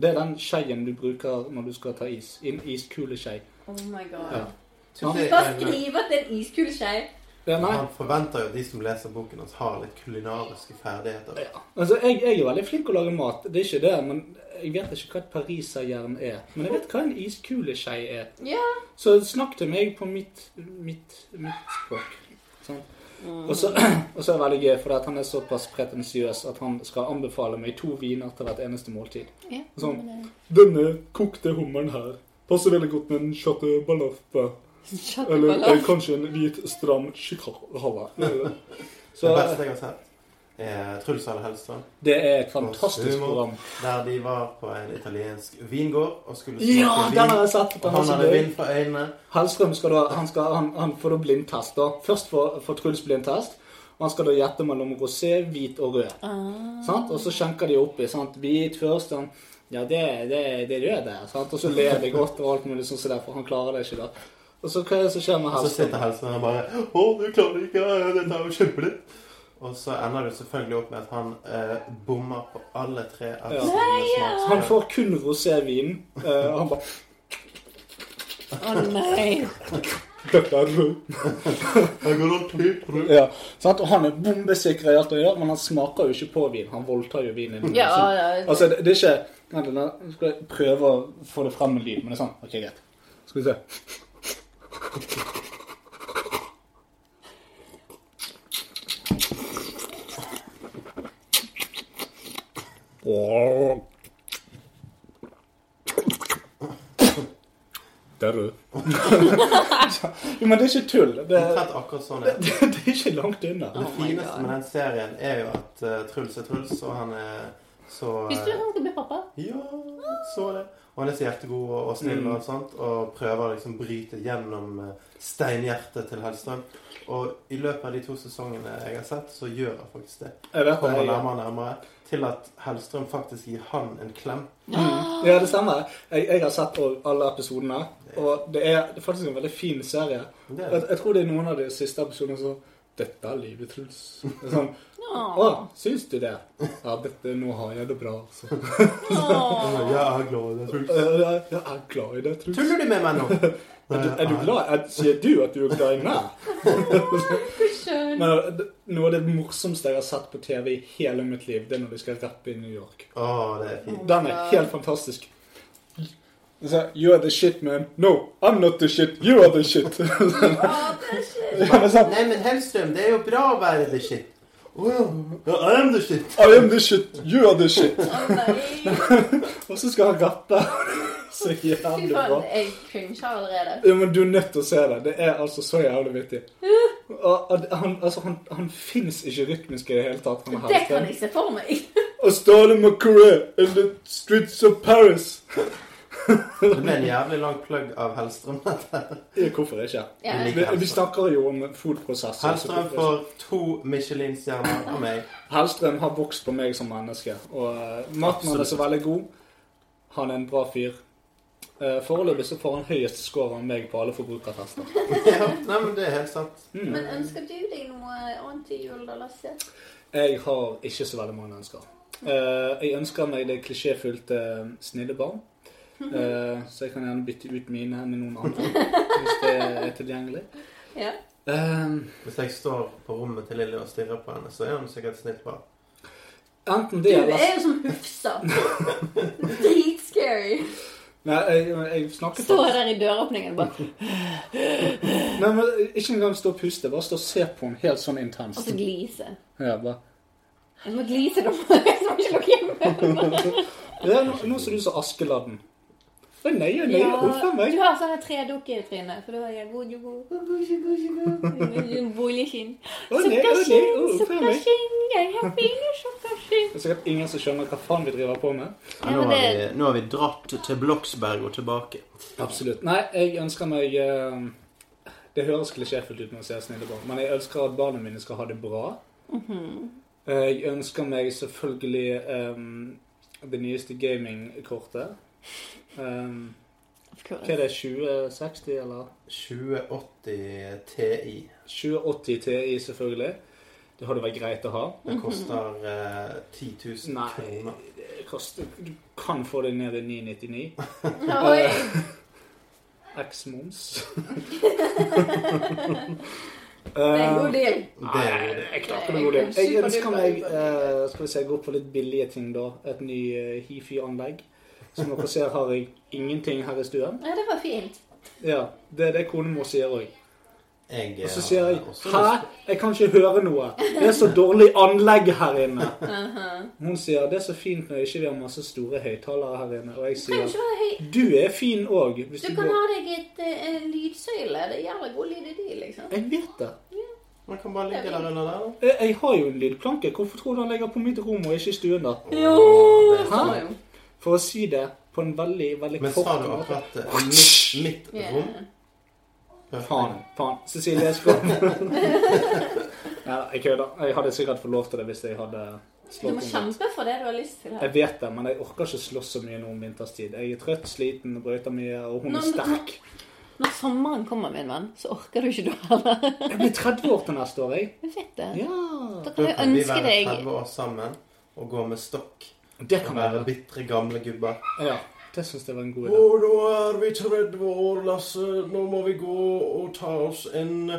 Det er den skeien du bruker når du skal ta is. En iskuleskei.
Oh my god.
Ja.
Du
Tydelig
skal
en-
skrive at det er en iskuleskei.
Ja, nei.
Han forventer jo at de som leser boken hans, har litt kulinariske ferdigheter.
Ja. Altså, jeg, jeg er veldig flink til å lage mat, det er ikke det, men jeg vet ikke hva et pariserjern er. Men jeg vet hva en iskuleskei er.
Ja.
Så snakk til meg på mitt, mitt, mitt språk. Sånn.
Mm.
Og så og så er det veldig gøy, for at han er såpass pretensiøs at han skal anbefale meg to viner til hvert eneste måltid.
Ja.
Sånn. Denne kokte hummeren her passer veldig godt med en chateau balaffe. Eller eh, kanskje en hvit, stram chihuahua. Så
Det beste jeg har sett, eh, Truls Hall Helstrand.
Det er et fantastisk program.
Der de var på en italiensk vingård og skulle smake
Ja,
vin.
den har jeg sett!
og
Den er
han
så
hadde
gøy.
vind fra øynene.
Hellstrøm skal da, han, skal, han, han får da blindtest. da. Først får, får Truls blindtest. Og han skal da gjette mellom rosé, hvit og rød. Sant? Og så skjenker de oppi. sant? Hvit først. sånn, ja, det, det, det er rød der. sant? Og så ler de godt og alt mulig sånn som det, for han klarer det ikke. da. Og så hva er det som skjer med
Og så
Hellstrøm?
sitter Helstrand og bare Å, du klarer det ikke! Dette er jo kjempelett! Og så ender det selvfølgelig opp med at han eh, bommer på alle tre. av
Ja.
sine
Så
smaksprøver.
Han får kun rosévin. eh, Og han bare
Å nei.
Dette er rød.
Jeg går og typer.
Ja, sant? Og han er bombesikker i alt han gjør, men han smaker jo ikke på vin. Han voldtar jo vinen.
Ja,
Så-
ja.
Altså, det, det er ikke Vent litt, nå skal jeg prøve å få det frem med lyd, men det er sånn. OK, greit. Skal vi se. Der er du. jo, men det er ikke tull. Det,
Omtrent akkurat sånn. er det.
det er ikke langt unna.
Det
Oh my
fineste
God.
med den serien er jo at eh, Truls er Truls, og han er så eh,
Visste du han skal bli pappa?
Ja, så det. Og han er så hjertegod og, og snill og sånt, og prøver å liksom bryte gjennom eh, steinhjertet til Hellstrøm. Og i løpet av de to sesongene jeg har sett, så gjør han faktisk det.
Jeg vet
Kommer
det. jeg-
nærmere og nærmere til at Hellstrøm faktisk gir han en klem.
Mm. Ja, det stemmer. Jeg, jeg har sett all- alle episodene, og det er, det er faktisk en veldig fin serie.
Det er
Jeg, jeg tror det er noen av de siste episodene som Dette er livet, Truls. Det er Sånn, Å, syns du det? Ja, dette, nå har jeg det bra, altså.
Ja, jeg er glad i deg, Truls.
Jeg, jeg, jeg er glad i deg, Truls.
Tuller du med meg nå?
Er du, er du glad? Er, sier du at du er glad i meg?
Skjønn.
Men eh, det- noe av det morsomste jeg har sett på TV i hele mitt liv, det er når de skal rappe i New York.
Å, det er fint.
Den er helt fantastisk. Så, you are the shit, man. No, I'm not the shit. You are the shit. Ja, men sånn,
Nei, men Hellstrøm, det er jo bra å være the shit. Å ja. ja. I am the shit.
I am the shit. You are the shit. Og så skal han rappe. Så
Fy
jævlig bra.
faen, jeg cringer allerede.
Ja, men Du er nødt til å se det. Det er altså så jævlig vittig. Og, og han, altså, han, han fins ikke rytmisk i det hele tatt. Han er
Det kan
helten.
jeg se for meg.
Og Ståle Macouré in the streets of Paris.
Det ble en jævlig lang plugg av Hellstrøm.
Ja, Hvorfor ikke?
Ja,
Du
Vi,
liker
vi
Hellstrøm.
snakker jo om foodprosesser.
Hellstrøm får to Michelin-stjerner av meg.
Hellstrøm har vokst på meg som menneske. Og eh, maten hans er så veldig god. Han er en bra fyr. Eh, Foreløpig så får han høyest score av meg på alle forbrukertester.
Ja, nei, men det er helt sant.
Men ønsker du deg noe annet til jul, da, Lasse?
Jeg har ikke så veldig mange ønsker. Eh, jeg ønsker meg det klisjéfylte snille barn. Eh, så jeg kan gjerne bytte ut mine med noen andre hvis det er tilgjengelig.
Ja.
Eh,
Hvis jeg står på rommet til Lilly og stirrer på henne, så er hun sikkert snilt bra.
enten
Du
det eller
er jo som Hufsa. Dritscary.
Nei, jeg, jeg snakker
Står der i døråpningen bare
Nei, men eh, Ikke engang stå og puste. Bare stå og se på henne helt sånn intenst.
Og så glise.
Ja, bare
Jeg må glise, da. Jeg må ikke lukke hjemme.
Det er no, noe som du sa Askeladden. Å nei, å nei,
Ja,
huff a meg.
du har sånne tre dukker i trynet. For da er jeg god, god, god, god, god, god. Boligskinn.
Å nei, å nei, å, huff a meg.
Sukkerskinn, jeg har fine sukkerskinn.
Det er sikkert ingen som skjønner hva faen vi driver på med.
Ja,
nå,
men
har vi,
det-
nå har vi dratt til Bloksberg og tilbake.
Absolutt. Nei, jeg ønsker meg eh, Det høres klisjéfullt ut når jeg sier snille barn, men jeg ønsker at barna mine skal ha det bra. Eh, Jeg ønsker meg selvfølgelig em, det nyeste gamingkortet. Um,
Of
hva
course.
er det, 2060 eller
2080 Ti.
2080 TI, selvfølgelig. Det hadde vært greit å ha.
Det koster eh, 10 000
Nei,
kroner.
det koster, eh, du kan få det ned i 999.
Oi.
X-moms.
Det er en god deal.
Det er jo det.
Jeg knakker det god del. Jeg ønsker meg eh, skal vi se, gå på litt billige ting, da. Et ny eh, hifi-anlegg. Som dere ser, har jeg ingenting her i stuen.
Ja, det var fint.
Ja, Det er det konemor sier òg.
Jeg,
Og så
eh,
sier
har
jeg
også
Hæ?
lyst-
Jeg kan ikke høre noe. Det er så dårlig anlegg her inne. Hun sier det er så fint når ikke vi har masse store høyttalere her inne. Og jeg
Kan jo
sier
ikke være høy.
du er fin òg.
Du kan ha deg et, eh, en lydsøyle. Det er jævla god lyd i de, liksom.
Jeg vet det.
Man kan bare ligge der under der.
Jeg, jeg har jo en lydplanke. Hvorfor tror du han ligger på mitt rom og ikke i stuen, da?
Jo! det står jo.
For å si det på en veldig, veldig
Men
kort
sa du
måte.
akkurat eh, mitt, mitt
Ja.
rom?
Faen. faen. Cecilie, jeg skal Nei, jeg kødder. Jeg hadde sikkert fått lov til det hvis jeg hadde
Du
slått
må
om.
kjempe for det du har lyst til. her.
Jeg vet det, men jeg orker ikke slåss så mye nå om vinterstid. Jeg er trøtt, sliten, brøyter mye, og hun
Nå,
er
men-
sterk.
Når sommeren kommer, min venn, så orker du ikke du heller.
Jeg blir 30 år til neste år, jeg.
Jeg vet det.
Ja.
Da
Da
kan jeg
kan vi
ønske
være
deg
30 år sammen og gå med stokk.
Det
Og
kan
være
være.
bitre gamle gubber.
Ja, det syns jeg var en
Å,
god idé.
nå er vi 30 år, Lasse. Nå må vi gå og ta oss en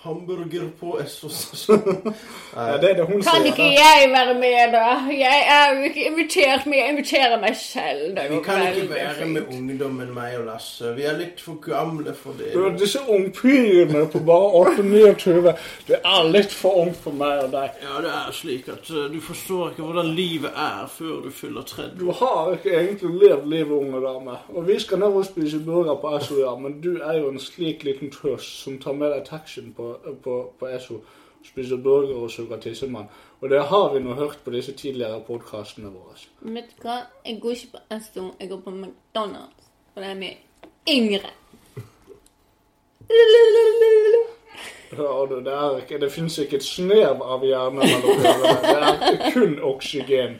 hamburger på Esso-stasjonen.
Ja, det er det hun
Kan ikke jeg være med, da? Jeg er jo ikke invitert, men jeg inviterer meg selv. Det er
Vi
jo
kan ikke
veldig
være
fint.
med ungdommen, meg og Lasse. Vi er litt for gamle for det.
Du er disse ungpirene på bare 8-29. Det er litt for ungt for meg og deg.
Ja, det er slik at eh, du forstår ikke hvordan livet er før du fyller 30.
Du har ikke egentlig levd livet, unge dame. Og vi skal ned og spise burger på Esso, ja, men du er jo en slik liten tøs som tar med deg taxien på, på, på Esso, spiser burger og suger tissemann. Og det har vi nå hørt på disse tidligere podkastene våre.
Vet du hva? Jeg går ikke på Eston, jeg går på McDonald's. For det er mye yngre.
Hører du, det, er ikke, det finnes ikke et snev av hjerne mellom ørene. Det er kun oksygen.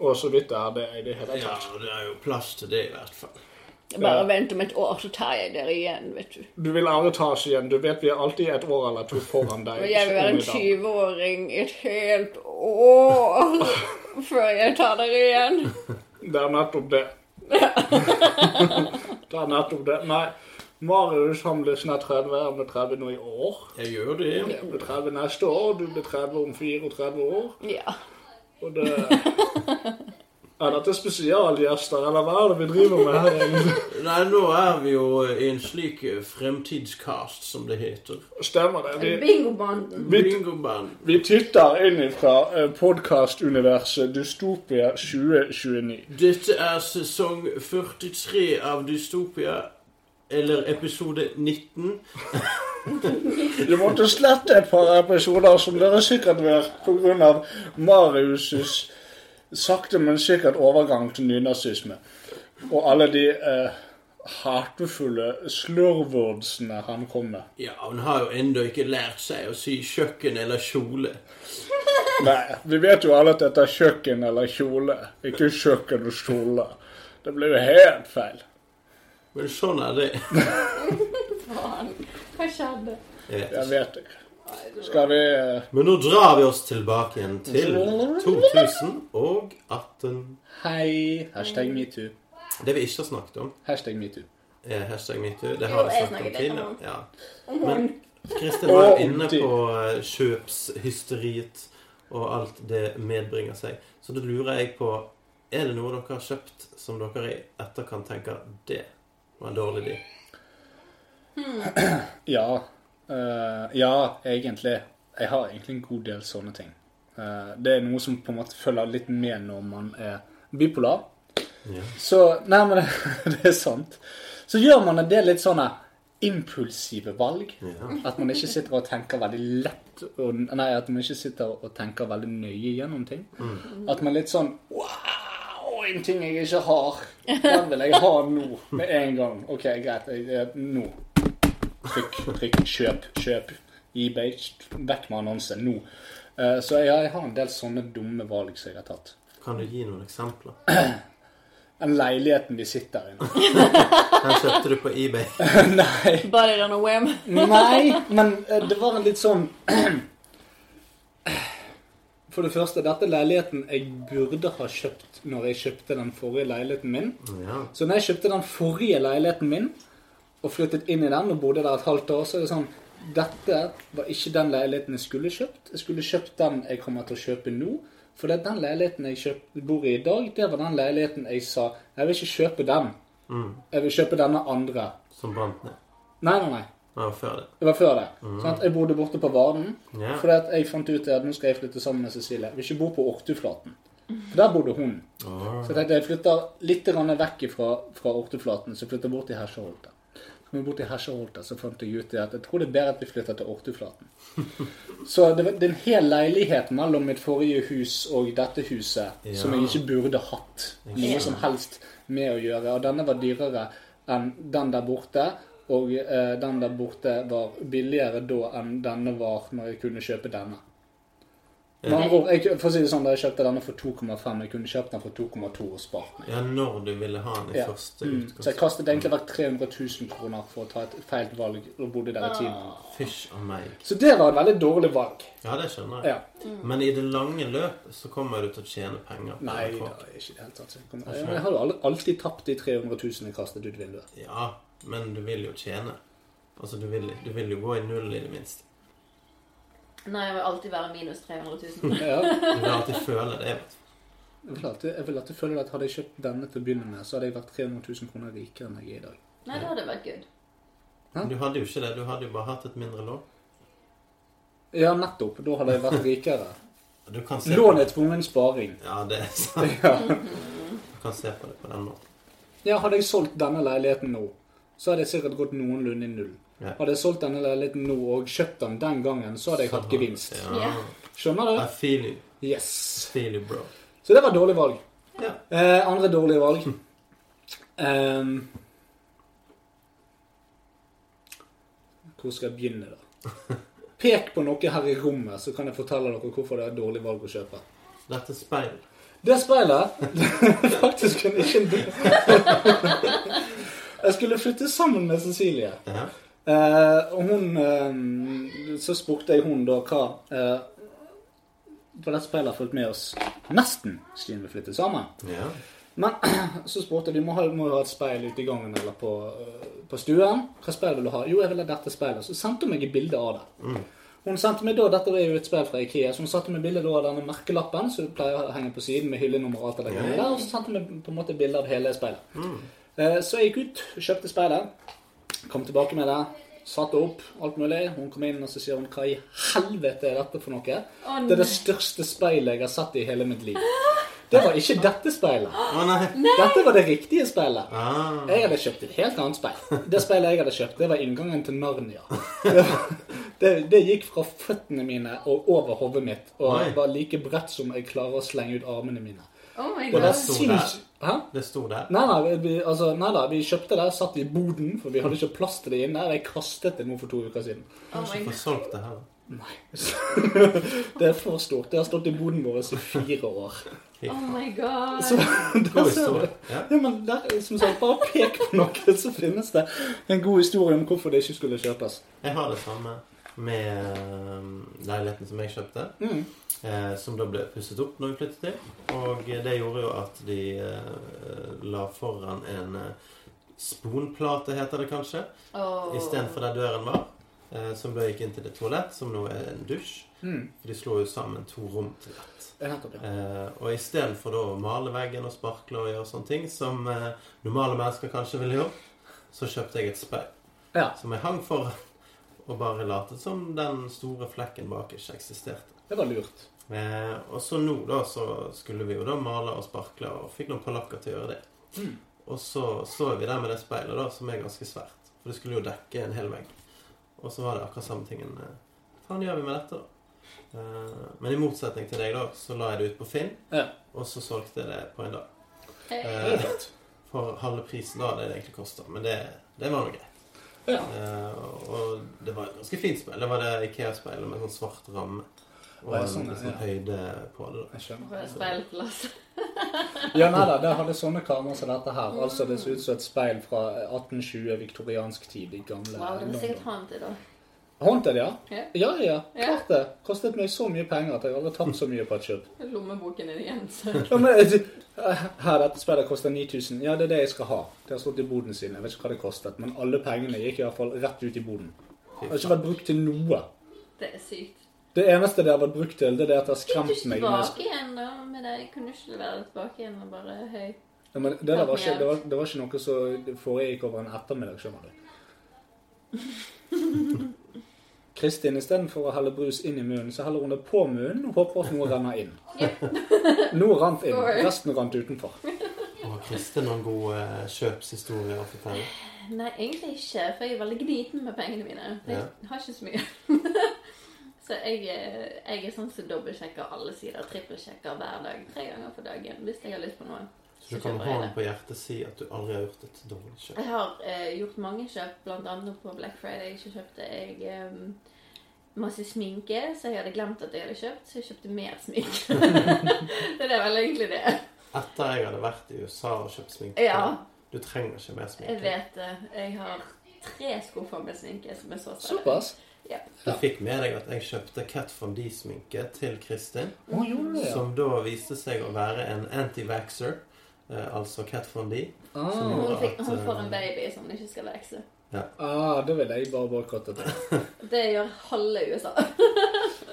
Og så vidt er det i det hele
Ja,
tatt.
det er jo plass til det, i hvert fall.
Bare vent om et år, så tar jeg dere igjen, vet du.
Du vil aldri ta oss igjen. Du vet vi er alltid et år eller to foran deg.
Og jeg vil være en
unge dame.
20-åring i et helt år før jeg tar dere igjen.
Det er nettopp det. det er nettopp det. Nei, Marius han blir snart 30. Han blir 30 nå i år.
Jeg gjør det.
Han blir 30 neste år. Du blir 30 om 34 år.
Ja.
Og det Er dette spesialgjester, eller hva er det vi driver med her? egentlig?
Nei, nå er vi jo i en slik eh, fremtidskast, som det heter.
Stemmer det? Vi,
Bingobanden.
vi,
Bingoband.
Vi titter inn fra podkastuniverset Dystopia 2029.
Dette er sesong 43 av Dystopia, eller episode 19.
Vi måtte slette et par episoder som dere sikkert vet pga. Marius' sakte, men sikkert overgang til nynazisme. Og alle de eh, hatefulle slurvordsene han kom med.
Ja, hun har jo ennå ikke lært seg å si kjøkken eller kjole.
Nei, vi vet jo alle at dette er kjøkken eller kjole, ikke kjøkken og kjole. Det ble jo helt feil.
Men sånn er det.
Hva skjedde?
Ja.
Jeg vet ikke. Skal vi eh,
Men nå drar vi oss tilbake igjen til 2018.
Hei. Hashtag metoo.
Det vi ikke har snakket om,
Hashtag metoo.
er hashtag metoo. Det
Jo,
har vi
jeg
snakket om
snakket litt om
tidligere.
det.
Ja.
Om
Men
morgenen.
Kristin var
Og om
inne
tid.
på eh, kjøpshysteriet og alt det medbringer seg. Så da lurer jeg på Er det noe dere har kjøpt som dere i etterkant tenker det var en dårlig idé?
Ja. eh, ja, egentlig. Jeg har egentlig en god del sånne ting. Eh, det er noe som på en måte følger litt med når man er bipolar.
Ja.
Så Nei, men det er sant. Så gjør man en del litt sånne impulsive valg. At man ikke sitter og tenker veldig lett og, Nei, at man ikke sitter og tenker veldig nøye gjennom ting. At man litt sånn Wow, en ting jeg ikke har. Den vil jeg ha nå. Med en gang. OK, greit. Jeg, jeg, nå. Trykk, trykk, kjøp, kjøp. eBay, vekk med annonsen nå. Eh, Så jeg har, jeg har en del sånne dumme valg som jeg har tatt.
Kan du gi noen eksempler?
Den leiligheten vi sitter i nå.
Den kjøpte du på eBay.
Nei,
Body on a whim.
nei, men eh, det var en litt sånn For det første, dette er leiligheten jeg burde ha kjøpt når jeg kjøpte den forrige leiligheten min.
Ja.
Så når jeg kjøpte den forrige leiligheten min, og flyttet inn i den og bodde der et halvt år, så er det sånn Dette var ikke den leiligheten jeg skulle kjøpt. Jeg skulle kjøpt den jeg kommer til å kjøpe nå. For det er den leiligheten jeg kjøp, bor i i dag, det var den leiligheten jeg sa Jeg vil ikke kjøpe den. Jeg vil kjøpe denne andre.
Som brant ned.
Nei, nei, nei.
Ja, før det.
Det var før det. Sånn at jeg bodde borte på Varden.
Ja.
Fordi at jeg fant ut at nå skal jeg flytte sammen med Cecilie. Jeg vil ikke bo på Ortuflaten. For der bodde hun. Så jeg tenkte jeg flytter litt grann vekk fra, fra Ortuflaten, så jeg flytter bort til Hesjeholte. Men borti Hesjeholta så fant jeg ut det at jeg tror det er bedre at vi flytter til Ortuflaten. Så det var- det er en hel leilighet mellom mitt forrige hus og dette huset som jeg ikke burde hatt noe som helst med å gjøre. Og denne var dyrere enn den der borte. Og eh, den der borte var billigere da enn denne var når jeg kunne kjøpe denne. Med andre ord, jeg, for å si det sånn, da jeg kjøpte denne for 2,5, jeg kunne kjøpt den for 2,2 og spart meg.
Ja, når du ville ha den i
Ja. Mm.
første
Så jeg
utgangspunkt.
kastet egentlig vekk 300 000 kroner for å ta et feil valg og bodde der i ti måneder.
Fysj og meg.
Så det var et veldig dårlig valg.
Ja, det skjønner jeg.
Ja.
Mm.
Men i det lange løp så kommer du til å tjene penger. på
Nei,
NRK.
da, ikke i det hele tatt. Jeg kommer- Ja, men Jeg har jo aldri- alltid tapt de 300 000 jeg kastet ut vinduet.
Ja, men du vil jo tjene. Altså, du vil, du vil jo gå i null, i det minste.
Nei, jeg vil alltid være minus 300 000.
Ja,
Du vil alltid føle det. vet du.
jeg vil alltid, jeg vil alltid føle at hadde jeg kjøpt denne til å begynne med, så hadde jeg vært 300 000 kroner rikere enn jeg er i dag.
Nei, det hadde vært good.
Men Du hadde jo ikke det. Du hadde jo bare hatt et mindre lån.
Ja, nettopp. Da hadde jeg vært rikere.
Du kan se
Lån er tvungen sparing.
på Ja, det er sant.
Ja.
Du kan se på det på den måten.
Ja, hadde jeg solgt denne leiligheten nå, så hadde jeg sikkert gått noenlunde i null.
Ja.
Hadde jeg solgt denne leiligheten nå og kjøpt den den gangen, så hadde jeg hatt gevinst.
Ja.
Skjønner
I
du?
feel you.
Yes.
Feel you, bro.
Så det var et dårlig valg.
Ja.
Eh, andre dårlige valg Ehm, Hvor skal jeg begynne, da? Pek på noe her i rommet, så kan jeg fortelle dere hvorfor det er et dårlig valg å kjøpe.
Dette speil.
Det speilet Faktisk kunne ikke Jeg skulle flytte sammen med Cecilie.
Ja.
Eh, og hun eh, Så spurte jeg hun da hva eh, For det speilet har fulgt med oss nesten siden vi flyttet sammen.
ja.
Men så spurte de må ha, må jo ha et speil ute i gangen eller på, øh, på stuen. Hva speil vil du ha? Jo, jeg vil ha dette speilet. Så sendte hun meg et bilde av det. Hun sendte meg da, Dette er jo et speil fra Ikea, så hun satte meg bilde da av denne merkelappen som pleier å henge på siden med hyllenummer og alt det der. Og så sendte hun meg på en måte bilde av hele speilet. Eh, Så jeg gikk ut, kjøpte speilet, kom tilbake med det, satte opp alt mulig. Hun kom inn og så sier hun, hva i helvete er dette for noe?
Å,
det er det største speilet jeg har sett i hele mitt liv. Det var ikke dette speilet.
Å nei!
Dette var det riktige spillet.
Ah,
Jeg hadde kjøpt et helt annet spill. Det spillet jeg hadde kjøpt, det var inngangen til Narnia. Det, var- det, det gikk fra føttene mine og over hodet mitt, og
Oi.
var like bredt som jeg klarer å slenge ut armene mine.
Oh my
Og det
god.
sto
sinns... Hæ?
det sto der.
Nei, nei, vi, altså, nei da, vi kjøpte det, satt i boden, for vi hadde ikke plass til det inne. og Jeg kastet det nå for to uker siden.
Oh my
Få
god.
solgt det her.
Det er for stort. Det har stått i boden vår i fire år.
Oh my god.
Så
God
der ser du.
historie. Ja.
Ja, men der, som sagt, bare pek på noe, så finnes det en god historie om hvorfor det ikke skulle kjøpes.
Jeg har det samme med ehm, leiligheten som jeg kjøpte. Eh, som da ble pusset opp når vi flyttet til. Og eh, det gjorde jo at de eh, la foran en eh, sponplate, heter det kanskje.
Oh.
Istedenfor der døren var. Eh, som da gikk inn til et toalett, som nå er en dusj. For de slo jo sammen to rom til ett.
Ja, nettopp, ja.
Eh, og istedenfor da å male veggen og sparkle og gjøre sånne ting som eh, normale mennesker kanskje ville gjort, så kjøpte jeg et speil
Ja.
som jeg hang foran, og bare latet som den store flekken bak ikke eksisterte.
Det var lurt.
Eh, og så nå, da, så skulle vi jo da male og sparkle, og fikk noen polakker til å gjøre det.
Mm.
Og så står vi der med det speilet, da, som er ganske svært. For det skulle jo dekke en hel vegg. Og så var det akkurat samme tingen. eh, Hva faen gjør vi med dette, da? Eh, men i motsetning til deg, da, så la jeg det ut på Finn,
Ja.
og så solgte jeg det på en dag.
Hey.
Eh, for halve prisen da det det egentlig koster. Men det, det var nå greit.
Ja.
Eh, og det var et ganske fint speil. Det var det Ikea-speilet med sånn svart ramme. Og
Ja,
en
sånn,
sånn,
ja.
høyde på det. da.
Jeg skjønner.
For et speilplass.
Ja, nei da, det hadde sånne kammer som dette her. Altså, det ser ut som et speil fra 1820 viktoriansk tid, de gamle
Wow, det er sikkert
London.
haunted da.
Haunted, ja?
Ja.
Ja, ja,
Ja.
klart det. Kostet meg så mye penger at jeg aldri har tapt så mye på et kjøp.
Lommeboken din igjen. Så.
Ja, men, eh, her, dette spillet koster 9000. Ja, det er det jeg skal ha. Det har stått i boden siden. Jeg vet ikke hva det kostet, men alle pengene gikk i hvert fall rett ut i boden. Det har ikke vært brukt til noe.
Det er sykt.
Det eneste det har vært brukt til, det er det at det har
Fikk du
skremt
ikke
meg. med-
tilbake igjen da med det? Kunne du ikke levere det tilbake igjen og bare høy?
Ja, men det, der var ikke, det, var, det var ikke noe som foregikk over en ettermiddag, skjønner du. Kristin, istedenfor å helle brus inn i munnen, så heller hun det på munnen og håper at noe renner inn. Noe rant inn, resten rant utenfor.
Og har Kristin noen gode eh, kjøpshistorier å fortelle?
Nei, egentlig ikke, for jeg er veldig gniten med pengene mine. Jeg har ikke så mye. så jeg, er- jeg er sånn som dobbeltsjekker alle sider. Trippelsjekker hver dag. Tre ganger på dagen hvis jeg har lyst på noe.
Så du kan med hånden på hjertet si at du aldri har gjort et dårlig kjøp.
Jeg har eh, gjort mange kjøp, bl.a. på Black Friday. Så kjøpte jeg eh, masse sminke, så jeg hadde glemt at jeg hadde kjøpt, så jeg kjøpte mer sminke. så det er vel egentlig det.
Etter jeg hadde vært i USA og kjøpt sminke
Ja.
Du trenger ikke mer
Jeg
sminke.
vet det. Jeg har tre skuffer med sminke som er så større.
Såpass.
Du fikk med deg at jeg kjøpte Kat Von D-sminke til Kristin,
Å, gjorde du det?
som da viste seg å være en anti-vaxxer, eh, altså Kat Von D.
Ah,
Hun, fikk,
At,
hun får
eh,
en baby som hun ikke skal vokse.
ah, det vil jeg bare boikotte til.
Det gjør halve USA.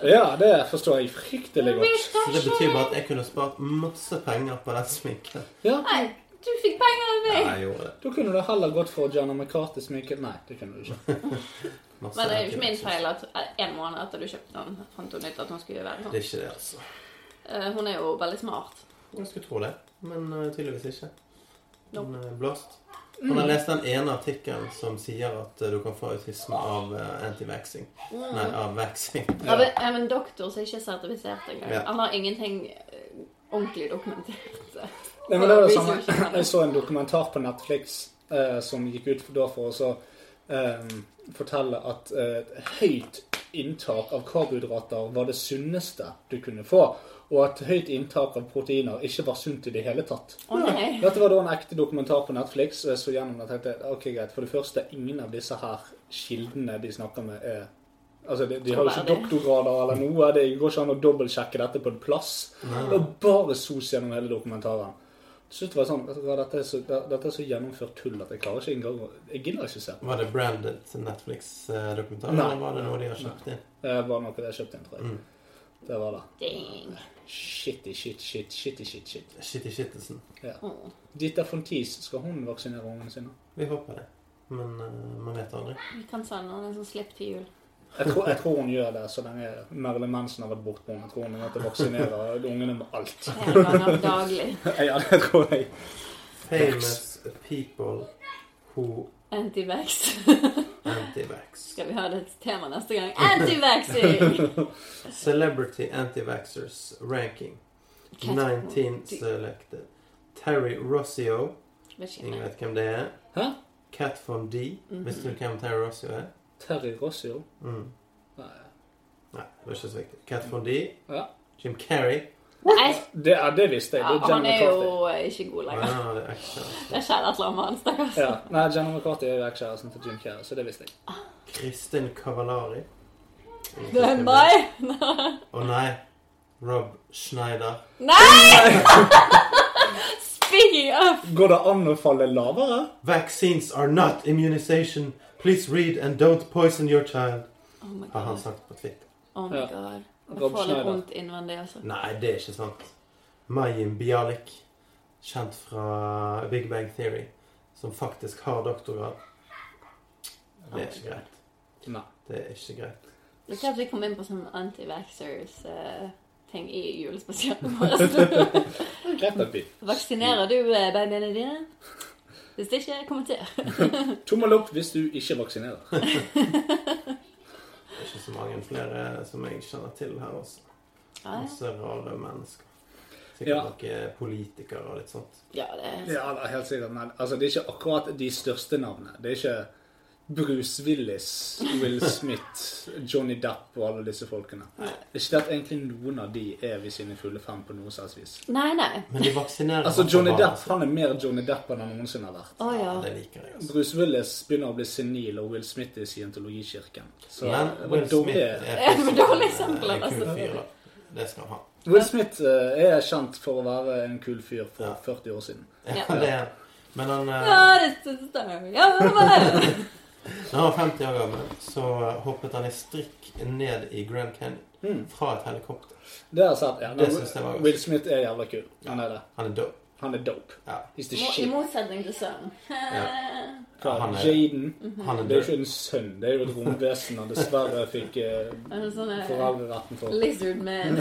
Ja, det forstår jeg fryktelig godt.
Så det betyr bare at jeg kunne spart masse penger på den sminken.
Ja,
Nei, du fikk penger av
Ja,
meg!
jeg gjorde det.
Da kunne du heller gått for Gianna McCarthy-sminke. Nei, det kunne du ikke.
Masse
Men det er jo ikke min
anti-vaxxers.
feil at eh, en måned etter du kjøpte den, fant hun ut at hun skulle være sånn.
Det er ikke det, altså.
Eh, Hun er jo veldig smart.
Jeg skulle tro det, men eh, tydeligvis ikke.
Nope. Mm.
Han er blåst. Han har lest den ene artikkelen som sier at eh, du kan få autisme av eh, anti-vaxing. Nei, av vaxing.
Mm. Av en, av en doktor som ikke er sertifisert engang.
Ja.
Han har ingenting eh, ordentlig dokumentert.
Nei, men det var det samme. Jeg så en dokumentar på Netflix eh, som gikk ut for, da for å så, eh, fortelle at eh, et høyt inntak av karbohydrater var det sunneste du kunne få, og at høyt inntak av proteiner ikke var sunt i det hele tatt.
Å nei.
Dette var da en ekte dokumentar på Netflix, og jeg så gjennom det og tenkte ok, greit. For det første, ingen av disse her kildene de snakker med, er Altså, de, de har jo ikke
Troverdig.
doktorgrader eller noe. Det går ikke an å dobbeltsjekke dette på en plass. Det var bare sos gjennom hele dokumentaren. Til slutt var det sånn vet du hva, dette, er så, det- dette er så gjennomført tull at jeg klarer ikke engang å Jeg gidder ikke se.
Var det branded Netflix-dokumentar,
Nei.
eller var det noe de har kjøpt inn?
Det var noe jeg kjøpte inn, tror jeg. Det var det.
Dang.
Shitty, shit, shit, shitty, shit, shit.
Shitty shittesen.
Dita Fontis, skal hun vaksinere ungene sine?
Vi håper det. Men eh, man vet aldri.
Vi kan sende henne en sånn slipp til jul.
Jeg tror, jeg tror hun gjør det så lenge Marilyn Manson har vært bortpå. Jeg tror hun at vaksinerer ungene med alt.
Hele dagen daglig.
Ja, det tror jeg.
Famous people who
Antivax.
anti-vax.
Skal vi ha det til tema neste gang? Antivaxing!
Celebrity anti-vaxxers ranking.
Cat-
19 selected. Terry Rossio.
Vet ikke
Ingen
hvem det er.
vet hvem det er.
Hæ?
Cat von D. Visste du hvem Terry Rossio er?
Terry Rossio?
Mm.
Nei.
Nei, det var ikke så viktig. Cat von D.
Ja.
Jim Carrey.
Nei,
Det, ja, det visste jeg.
ja,
Det er
han
Jenna
er
McCarthy.
jo eh, ikke god lenger.
Ah, det er action.
Det er kjærlighetslammet hans, stakkars.
Ja. Nei, Jenna McCarthy er jo ekskjæresten til Jim Carrey, så det visste jeg.
Kristin Cavallari.
Det er meg!
Å nei. Rob Schneider.
Nei! Speaking of!
Går det an å falle lavere?
Vaccines are not immunization. Please read and don't poison your child.
Oh my
Har han
god.
sagt på Twitter.
Oh my
Ja.
god. Jeg
Rob
får litt
Schneider.
vondt innvendig, altså.
Nei, det er ikke sant. Mayim Bialik, kjent fra Big Bang Theory, som faktisk har doktorgrad. Det er ikke greit.
Nei.
Det er ikke greit.
Det er klart vi kom inn på sånn antivaxers eh, ting i julespesialen vår.
Greit at vi
Vaksinerer du eh, babyene dine? Hvis ikke, kommenter.
Tommel opp hvis du ikke vaksinerer.
Det er ikke så mange flere som jeg kjenner til her også.
Ja, ja.
Masse rare mennesker.
Ja.
Sikkert noen politikere og litt sånt.
ja det er
Ja, det er helt sikkert. Men altså, det er ikke akkurat de største navnene. Det er ikke Bruce Willis, Will Smith, Johnny Depp og alle disse folkene. Det er ikke det at egentlig noen av de er ved sine fulle fem på noe slags vis.
Nei, nei.
Men de vaksinerer
Altså,
han for
Johnny
barn,
Depp
altså.
han er mer Johnny Depp enn han noensinne har vært.
Å ja.
Det liker jeg. altså.
Bruce Willis begynner å bli senil, og Will Smith er i scientologikirken. Så eh,
Men
det var
Will Smith
dårlig.
er
Ja, men dårlig
faktisk en,
eksempel,
eh, en kul
altså.
fyr. da. Det skal han ha.
Will Smith eh, er kjent for å være en kul fyr for
Ja.
40 år siden.
Ja,
Ja.
det er. Men han eh,
Ja, det stemmer. Ja, vel.
Når han var 50 år gammel, så hoppet han i strikk ned i Grand
Hmm.
Canyon fra et helikopter.
Det har jeg sett. Ja,
Det synes jeg var godt.
Will Smith er jævla kul. Han er det.
Han er dope.
Han er dope.
Ja.
He's the
I
shit.
motsetning til sønnen.
Han er-
Jaden.
Han er
Det er jo ikke
dope.
en sønn, det er jo et romvesen han dessverre fikk eh,
En sånn eh,
foreldreretten for.
lizard man.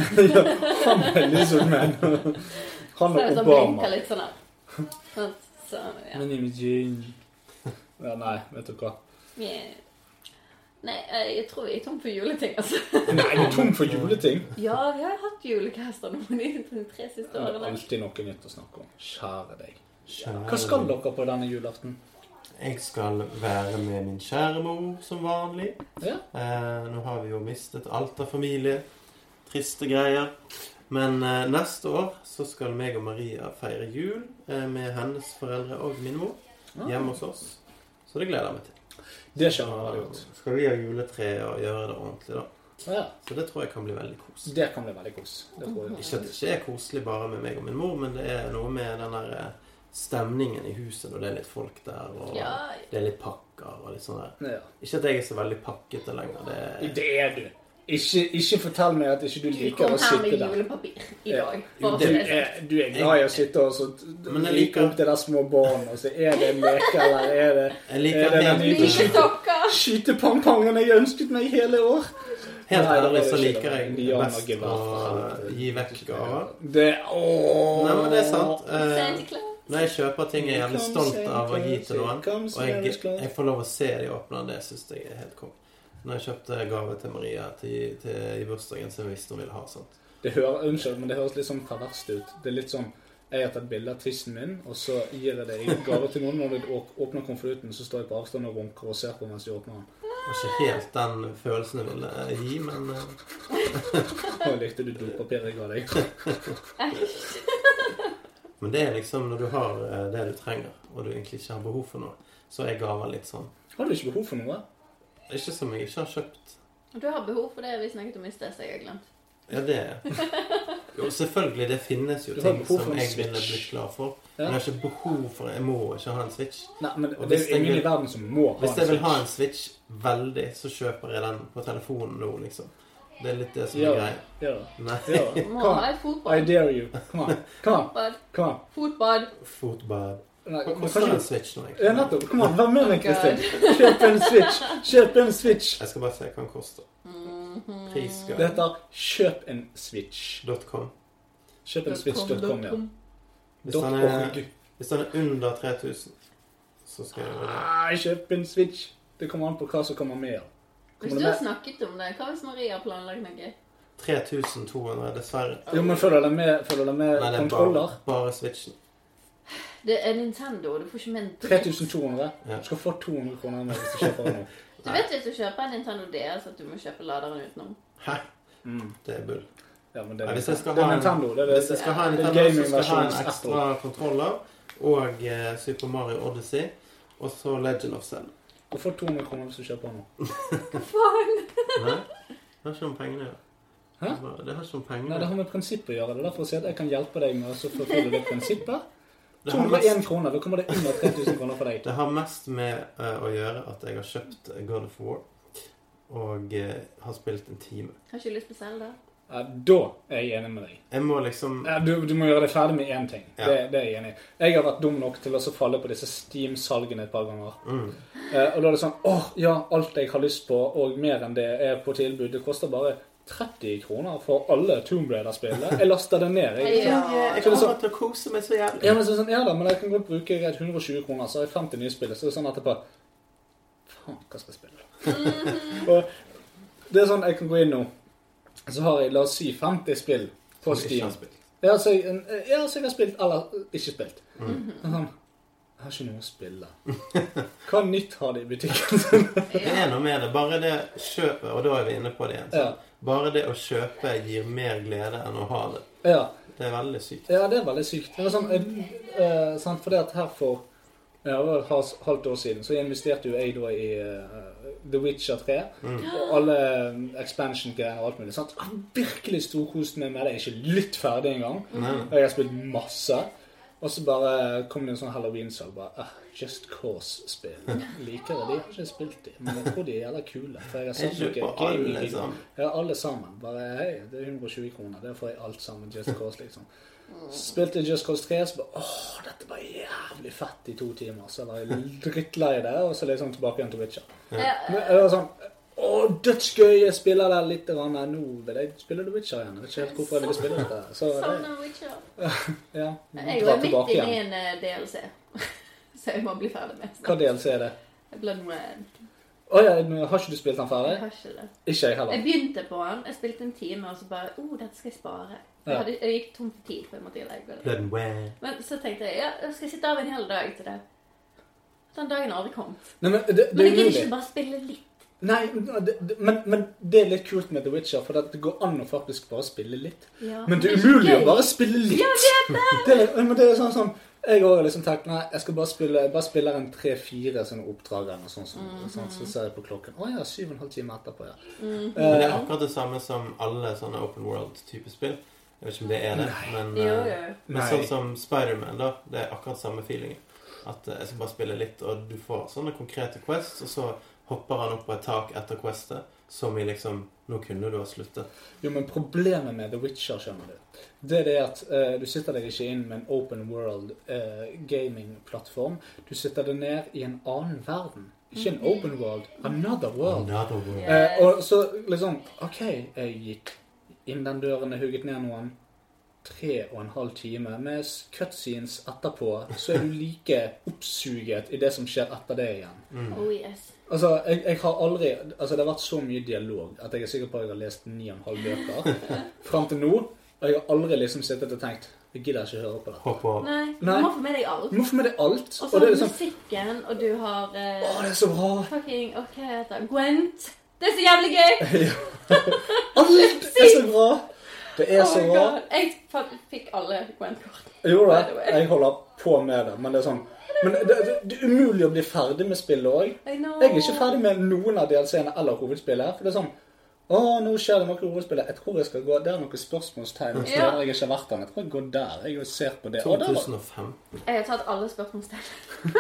Han er lizard man.
Så er
Han og
det sånn
Obama.
blinker litt sånn her. Så, ja.
My name is Jane. Ja, nei, vet du hva.
Yeah. Nei, eh, jeg tror vi er tom for juleting, altså.
Nei, du er tom for juleting.
Ja, vi har jo hatt julekaster nå de tre siste
Det er
årene.
alltid noe nytt å snakke om. Kjære deg. Hva skal dere på denne julaften?
Jeg skal være med min kjære mor som vanlig.
Ja.
Eh, nå har vi jo mistet alt av familie. Triste greier. Men eh, neste år så skal meg og Maria feire jul eh, med hennes foreldre og min mor
Ah.
hjemme hos oss. Så det gleder jeg meg til.
Det skjønner jeg veldig godt.
Skal vi ha juletre og gjøre det ordentlig, da.
Ja,
Så det tror jeg kan bli veldig koselig.
det kan bli veldig kos. Det tror jeg.
Ikke at det ikke er koselig bare med meg og min mor, men det er noe med den der eh, stemningen i huset når det er litt folk der, og
Ja.
det er litt pakker og litt sånn der.
Ja.
Ikke at jeg er så veldig pakkete lenger. Det er,
Det er du. Ikke, ikke fortell meg at ikke du
Du
liker
kom
å
her med
sitte der.
julepapir i dag.
Jo,
for å
det
si sånn.
Du er, du er glad i å sitte og så
Men jeg
like
liker-
opp til de små barna, og så er det en leke, eller er det
jeg liker
er det
helt,
den
Mye
nye
helt,
sokker!
skytepangpangen jeg ønsket meg hele år? Nei, det
ærlig
er
så
ikke
liker
det.
jeg
Ja,
best
Norge,
å
hva faen.
gi vekk gaver.
Det Ååå.
Nei, men det er sant.
Santa
Eh,
Claus.
når jeg kjøper ting jeg er jævlig stolt av å gi til noen, og jeg, jeg får lov å se de åpne, det syns jeg er helt konge. Når jeg kjøpte gave til Maria til, til, i bursdagen, så jeg visste hun ville ha sånn. sånt.
Det hører, unnskyld, men det høres litt sånn perverst ut. Det er litt sånn jeg har tatt bilde av tissen min, og så gir jeg det i gave til noen. Når du å- åpner konvolutten, så står jeg på avstand og runker og ser på mens de åpner den.
Det var ikke helt den følelsen jeg ville eh, gi, men eh,
Og jeg likte du dopapiret jeg ga deg.
Men det er liksom når du har eh, det du trenger, og du egentlig ikke har behov for noe, så er gaver litt sånn.
Har du ikke behov for noe?
Ikke som jeg ikke har kjøpt.
Du har behov for det vi snakket om i sted, så jeg har glemt.
Ja, det Jo, selvfølgelig, det finnes jo
Du har
ting
behov for
som
en
jeg ville
Switch.
blitt glad for.
Ja.
Men jeg har ikke behov for Jeg må ikke ha en Switch.
Nei, men
Og
det
hvis
er jo
jeg
ingen
vil-
i verden som må ha
Hvis jeg vil ha
Switch.
en Switch veldig, så kjøper jeg den på telefonen nå, liksom. Det er litt det som
Ja.
er greia.
Ja,
Nei,
ja.
Må
Kom,
ha et
I
fotbad.
dare you. Kom an. Kom an.
Fotbad.
Kom an.
Fotbad.
fotbad.
Nei,
Hva
men
koster
kanskje
en
du-
Switch nå,
Ja,
egentlig?
nettopp. Kom an, vær med meg, Kristin. Kjøp en Switch. Kjøp en Switch.
Jeg skal bare se hva den koster. Pris
Det heter Kjøp en Switch.
.com.
Kjøp en Switch.com, ja.
Hvis den er, hvis den er under 3000, så skal jeg gjøre det.
Nei, kjøp en Switch. Det kommer an på hva som kommer med. ja.
Hvis
Kommer
du
det
har
med?
snakket om det, hva hvis Maria har planlagt noe?
3200, dessverre.
Jo, men følger det med, følger det med
Nei, det er bare,
kontroller?
bare Switchen.
Det er Nintendo, du får ikke med en dritt.
3200.
Ja.
Du skal få 200 kroner mer hvis du kjøper den nå.
Du vet hvis du kjøper en Nintendo DS at du må kjøpe laderen utenom?
Hæ? Det er bull.
Ja, men det
Nei,
er,
hvis jeg skal
det
ha
er
en-
Nintendo. Det er
Hvis jeg skal ha en
det er
Nintendo, så skal jeg ha en
gamingversjons
ekstra kontroller og eh, Super Mario Odyssey. Og så Legend of Zelda.
Du får 200 kroner hvis du kjøper den nå.
Nei, det har ikke noe om pengene å gjøre.
Hæ?
Det bare- Det har ikke noe om
Nei, Det
pengene
har med prinsippet å gjøre. Det er derfor jeg sier at jeg kan hjelpe deg med å så forfølge det prinsippet.
Det har mest,
201 kroner. Da kommer det under 3000 kroner for deg.
det har mest med eh, å gjøre at jeg har kjøpt God of War og eh, har spilt en time.
Har ikke lyst på Zelda?
Ja, da er jeg enig med deg.
Jeg må liksom
Ja, du, du må gjøre deg ferdig med én ting.
Ja.
Det, det er jeg enig i. Jeg har vært dum nok til å så falle på disse Steam-salgene et par ganger.
mm.
Eh, og da er det sånn åh, ja, alt jeg har lyst på, og mer enn det, er på tilbud. Det koster bare 30 kroner for alle Tomb Raider-spillene. Jeg laster det ned. Jeg,
Jeg
Så det er
kommer
sånn,
til å kose meg så jævlig.
ja, men så er det sånn, ja da, men jeg kan godt bruke rett 120 kroner, så har jeg 50 nye spill. Så er det sånn etterpå Faen, hva skal jeg spille? og det er sånn, jeg kan gå inn nå, så har jeg, la oss si, 50 spill
Som jeg ikke
på
har
Steam.
spilt.
Ja, så jeg, eh, ja, så jeg har spilt, eller eh, ikke spilt. Det er Sånn, jeg har ikke noe å spille. Hva nytt har de i butikken?
Det er noe med det. Bare det kjøpet, og da er vi inne på det igjen.
ja.
sant? Bare det å kjøpe gir mer glede enn å ha det.
ja.
Det er veldig sykt.
Ja, det er veldig sykt. Det er sånn, eh, eh, sant, fordi at her for ja, det var et hals- halvt år siden så investerte jo jeg da i eh, The Witcher 3. Og alle eh, expansion-greier og alt mulig. Sant? Jeg har virkelig storkost meg med det. Jeg er ikke litt ferdig engang. Og jeg har spilt masse. Og så bare kom det en sånn halloween-salg. bare, ah, Just Cause-spill. Liker det. De har ikke spilt de, men jeg tror de er jævla kule. For jeg har
Jeg
sett noe
kjøper alle,
gaming-
liksom.
ja, alle sammen. Bare hei, det er 120 kroner. Der får jeg alt sammen. Just Cause, liksom. Spilte Just Cause 3, så bare åh, dette var jævlig fett i to timer. Så var jeg drittlei det, og så liksom tilbake igjen til Witcher.
Ja.
Men, jeg var sånn, Å, dødsgøy! Jeg spiller der litt. grann. Nei, Nå vil jeg spille The Witcher igjen. Jeg vet ikke helt hvorfor jeg ville spille dette. Så det,
Savner Sånn Witcher.
ja,
Jeg
dra
er jo midt
tilbake
inne i
igjen.
en eh, DLC, så jeg må bli ferdig med
Hva
det.
DLC er det?
Blood and Red.
Å ja, men har ikke du spilt den
Jeg
ferdig?
har ikke det.
Ikke jeg
Jeg
heller.
begynte på den, jeg spilte en time, og så bare Å, oh, dette skal jeg spare. Jeg,
Ja.
hadde, jeg gikk tom for tid, for jeg måtte jo legge det. Men så tenkte jeg ja, jeg skal sitte av en hel dag til det. Den dagen har aldri kommet.
Nei, men
Men
det, det
jeg
er
gidder
umulig.
ikke bare spille litt.
Nei, det, det, men, men det er litt kult med The Witcher, for det går an å faktisk bare spille litt.
Ja,
Men det er
ikke
umulig å
gøy.
bare spille litt.
Ja, jeg vet det!
Det er, men det er sånn som Jeg òg har liksom tenkt nei, jeg skal bare spille jeg bare spiller en tre-fire sånne oppdrag eller noe sånt. som- sånn, så ser jeg på klokken. Å ja, syv og en halv time etterpå, ja.
Men det er akkurat det samme som alle sånne open world-type spill. Jeg vet ikke om det er det, men,
Jo,
eh,
jo.
men
Nei.
sånn som Spiderman, da. Det er akkurat samme feelingen. At eh, jeg skal bare spille litt, og du får sånne konkrete quests, og så hopper han opp på et tak etter questet, som i liksom Nå kunne du ha sluttet.
Jo, men problemet med The Witcher, skjønner du, det er det at eh, du sitter deg ikke inn med en open world eh, gaming-plattform. Du sitter deg ned i en annen verden. Ikke en open world, another world.
Another world.
Eh, og så liksom OK, jeg gikk inn den døren, jeg hugget ned noen. Tre og en halv time med s- cutscenes etterpå, så er du like oppsuget i det som skjer etter det igjen.
Oh yes.
Altså, jeg, jeg har aldri Altså, det har vært så mye dialog at jeg er sikker på at jeg har lest ni og en halv bøker fram til nå. Og jeg har aldri liksom sittet og tenkt Jeg gidder ikke høre på det.
Hopp over.
Nei, du
Nei.
må få med deg alt.
Du må få med deg alt.
Og så
Og det
har
er
du
liksom
musikken, og du har eh,
Å, det er så bra!
fucking OK, hva heter det? Gwent. Det er så jævlig gøy!
Alt er så bra! Det er
Oh
så
my
bra.
God. Jeg fa- fikk alle Gwent-kort.
Jo da,
By the way.
jeg holder på med det, men det er sånn Men det, det, det er umulig å bli ferdig med spillet òg.
I know.
Jeg er ikke ferdig med noen av DLC-ene eller hovedspillet. For det er sånn Å, nå skjer det noe i hovedspillet. Jeg tror jeg skal gå Det er noen spørsmålstegn. Så
Ja.
der jeg ikke har vært der. Jeg tror jeg går der. Jeg ser på det. Å, der var
2005.
Jeg har tatt alle spørsmålstegn.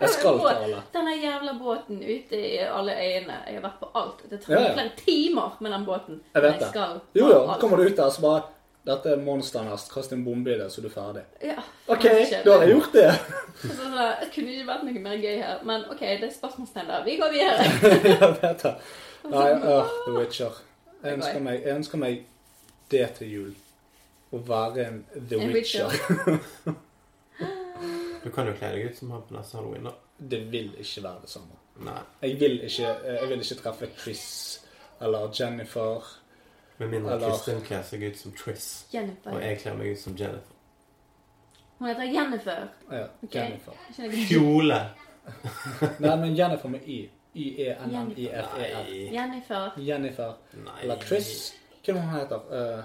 Jeg skal ta alle.
Denne jævla båten ute i alle øyene. Jeg har vært på alt. Det tar
Ja, ja.
flere timer med den båten.
Jeg
Men
vet det.
skal
Jo,
ha
jo.
alt.
Kommer du ut der, så bare Dette er monsteren hans. Kast en bombe i det, så du er ferdig.
Ja,
OK,
faen,
da har jeg gjort det.
Så, så, det kunne ikke vært noe mer gøy her. Men OK, det er spørsmålstegn der. Vi går videre.
Jeg vet det. Nei, øh, The Witcher. Jeg ønsker meg, jeg ønsker meg det til jul. Å være en The
En Witcher.
Witcher.
Du kan jo kle deg ut som han på neste halloween, da.
Det vil ikke være det samme.
Nei.
Jeg vil ikke, eh, jeg vil ikke treffe Chris eller Jennifer.
Med mindre
Eller-
Kristin kler seg ut som Triss, og
Jennifer.
jeg kler meg ut som Jennifer.
Hun heter Jennifer.
Ja, Jennifer.
Skjønner ikke.
Kjole!
Nei, men Jennifer med E Y. Y-E-N-N-I-F-E-R.
Nei.
Jennifer.
Jennifer
Nei.
eller Chris. Hva er det hun heter? Eh,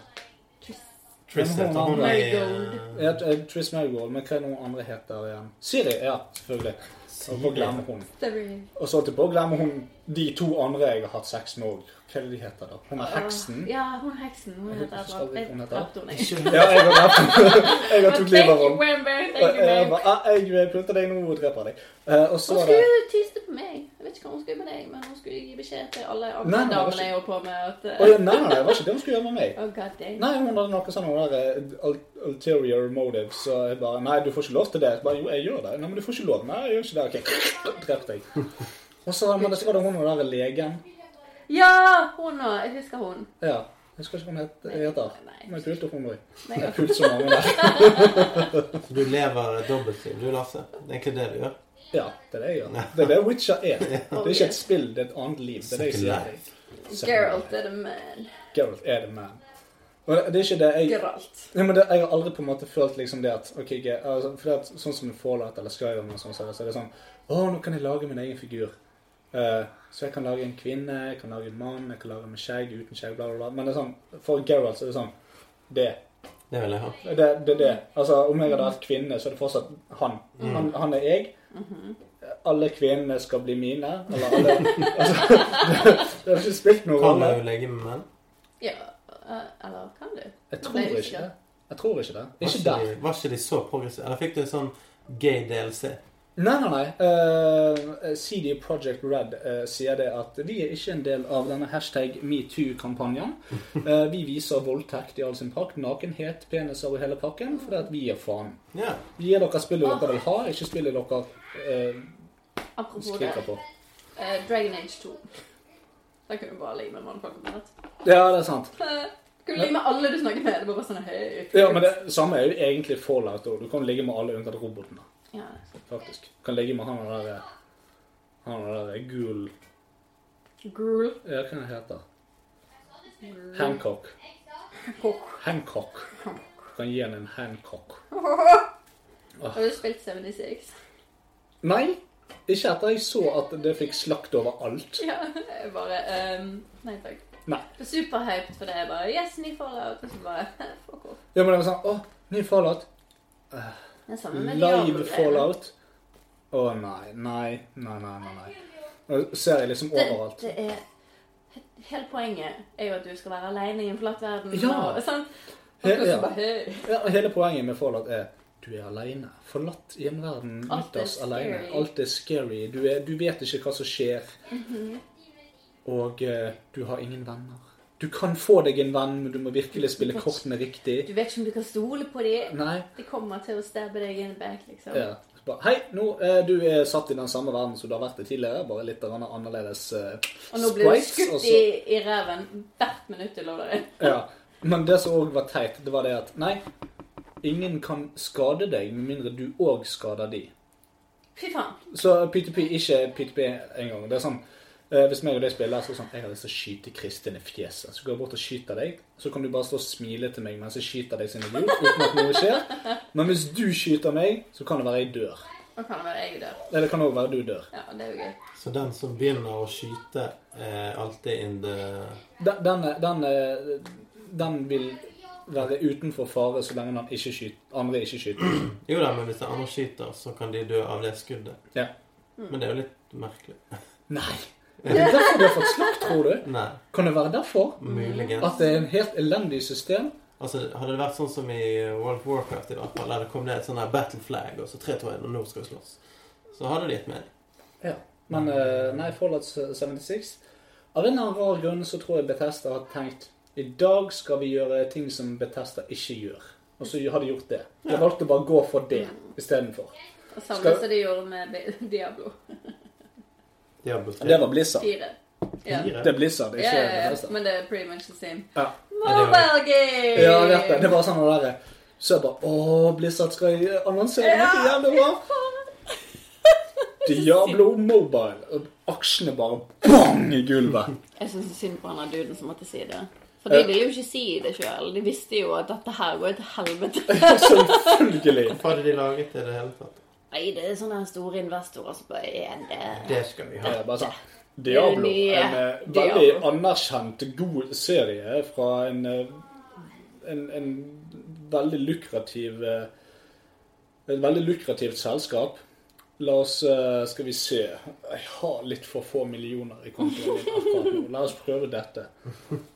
Triss
Men hun
heter hun
andre-
i
Marigold.
ja, eh, Triss Marigold, men hva er det noen andre heter igjen? Siri, ja, selvfølgelig. Og så glemmer hun.
Sorry.
Og så holdt jeg på å glemme hun, de to andre jeg har hatt sex med òg. Hva er det de heter da? Hun er heksen.
Ja, hun er heksen. Hun
Jeg
heter et
husker
eller
ikke
annet. Jeg
hva hun
drepte henne. ikke.
Ja, jeg har drept Jeg har tok livet av
Thank you,
henne.
Wember.
Og
Thank you,
Jeg
babe.
bare ah, Jeg pynter deg nå og dreper deg. Eh, Og så
Hun
var det
skulle tyste på meg. Jeg vet ikke hva hun skulle med deg, men hun skulle gi beskjed til alle andre
Nei, nei, det var
damene jeg holdt på med at
Å, ja, Nei, nei, det var ikke det hun skulle gjøre med meg.
Oh, god dang.
Nei, hun hadde noe sånn noen der eh, ul- ulterior motive, så jeg bare Nei, du får ikke lov til det. Jeg bare, jo, jeg gjør det. Nei, men du får ikke lov. Nei, jeg gjør ikke det. OK. Drept deg. Og så men så var det hun og den der legen.
Ja! Hun òg. Jeg husker hun.
Ja. Jeg husker ikke hva hun het- heter.
Nei,
Men jeg pulte hun òg.
Nei,
Jeg pulte så mange der.
Så du lever et dobbeltliv, du, Lasse. Det er egentlig det du gjør.
Ja, det er det jeg gjør. Det er det Witcher er. Det er ikke et spill, det er et annet liv. Det er det jeg sier.
Second life.
Geralt er the man.
Geralt er the man. Og det det er ikke det jeg
Geralt.
ja, men det, Jeg har aldri på en måte følt liksom det at ok, Ge- altså, for det at, Sånn som med Fallout eller Skyrim og sånn, så er det- så er det sånn Å, nå kan jeg lage min egen figur. Eh, så jeg kan lage en kvinne, jeg kan lage en mann, jeg kan lage med skjegg, uten skjegg, bla, bla, bla. Men det er sånn, for Geralt så er det sånn Det.
Det vil jeg ha.
Det er det, det. Altså, om jeg hadde vært kvinne, så er det fortsatt han. Han, han er jeg. Alle kvinnene skal bli mine. Eller alle altså, det, det har ikke spilt noen
Kan
rolle.
du legge med menn?
Ja eh, Eller kan du?
Jeg
Nei,
tror
ikke.
ikke det. Jeg tror ikke det.
Var
Ikke
ikke,
der.
de, var ikke de så progressive? Eller fikk du en sånn gay DLC?
Nei, nei, nei. Eh, CD Project Red eh, sier det at vi er ikke en del av denne hashtag metoo-kampanjen. Eh, vi viser voldtekt i all sin prakt, nakenhet, peniser og hele pakken, fordi at vi er faen.
Ja.
Vi gir dere spillet dere vil ha, ikke spillet dere eh,
Apropos det.
skriker på.
eh, Dragon Age 2. Da kunne du bare lime mange folk med det.
Ja, det er sant.
Kunne du lime alle du snakker med? Det var bare sånn hei.
Ja, men det samme er jo egentlig Fallout òg. Du kan ligge med alle unntatt robotene,
Ja.
faktisk. Du kan ligge med han og der Han og der gul
Gruel.
Ja, hva han heter Hancock.
Kokk.
Hancock. Du kan gi han en Hancock.
Har du spilt 76?
Nei, ikke etter jeg så at det fikk slakt overalt.
Ja, jeg bare ehm, Nei takk.
Nei.
Jeg er Superhyped for det. Jeg bare Yes, ny Fallout. Og så bare Fuck off.
Ja, men det var sånn Å, ny Fallout.
Det er samme med
Live
Diablo-greiene.
Fallout. Å nei, nei, nei, nei. nei, nei. Nå ser jeg liksom overalt.
Det, det er Hele poenget er jo at du skal være alene i en flat verden.
Ja.
Og, sant? Og
He-
så
ja.
bare, «Hey,
Ja, og hele poenget med Fallout er du er aleine. Forlatt i en verden
Alt er
ytterst aleine.
scary.
Alt er scary. Du, er, du vet ikke hva som skjer.
Mhm.
Og eh, du har ingen venner. Du kan få deg en venn, men du må virkelig spille kortene
Du
riktig.
vet ikke om du kan stole på dem.
Nei.
De kommer til å stabbe deg in the back, liksom.
Ja. Så Bare, Hei, nå eh, du er satt i den samme verden som du har vært i tidligere, bare litt grann annerledes eh,
Og nå blir du
sprites,
skutt
og så-
i, i ræven hvert minutt du lover deg.
Ja, men det som òg var teit, det var det at nei, ingen kan skade deg med mindre du òg skader de.
Fy faen.
Så P2P ikke er P2P engang. Det er sånn eh, Hvis meg og deg spiller, så er det sånn Jeg har lyst til å skyte Kristin i fjeset. Så går jeg bort og skyter deg. Så kan du bare stå og smile til meg mens jeg skyter deg sin idiot uten at noe skjer. Men hvis du skyter meg, så kan det være jeg dør.
Nå kan det være jeg dør.
Eller det kan òg være du dør.
Ja, det er jo gøy.
Så den som begynner å skyte, er alltid in the
Den, den, er- den, er- den vil være utenfor fare så lenge den ikke skyter, andre ikke skyter.
Jo da, men hvis den andre skyter, så kan de dø av det skuddet.
Ja.
Mm.
Men det er jo litt merkelig.
Nei! Er det derfor du har fått slakt, tror du?
Nei,
Kan det være derfor? At
Mm.
muligens.
det er en helt elendig system?
Altså, Hadde det vært sånn som i World of Warcraft, i hvert fall, der det kom ned et sånn her battle flag, og så tre, to, en, og nå skal vi slåss, så hadde de gitt med.
Ja. Men eh, nei, Fallout 76 Av en eller annen rar grunn så tror jeg Bethesda har tenkt i dag skal vi gjøre ting som Bethesda ikke gjør. Og så har de gjort det. De valgte å bare å gå for det istedenfor.
Og samme
Skal-
som de gjorde med Bi- Diablo
Diablo
Det
3.
var Blizzard.
4. Ja.
Fire.
Det er Blizzard,
Ja,
ikke
ja, ja.
Bethesda.
Men det er pretty much the same.
Ja.
Mobile game!
Ja, jeg vet det. Det var sånn det derre Så jeg bare Å, Blizzard skal annonsere noe
Ja.
jævlig bra! Diablo Mobile. Og aksjene bare bang i gulvet.
Jeg syns synd på han der duden som måtte si det. For de
Eh.
ville jo ikke si det sjøl. De visste jo at dette her går til helvete.
Selvfølgelig.
Hva hadde de laget i det hele tatt?
Nei, det er sånne store investorer som bare er det.
Det skal vi ha.
Eh, bare sånn Diablo.
Nye
En eh,
Diablo.
veldig anerkjent, god serie fra en, eh, en, en veldig lukrativ eh, Et veldig lukrativt selskap. La oss eh, Skal vi se Jeg har litt for få millioner i kontoen min akkurat nå. La oss prøve dette.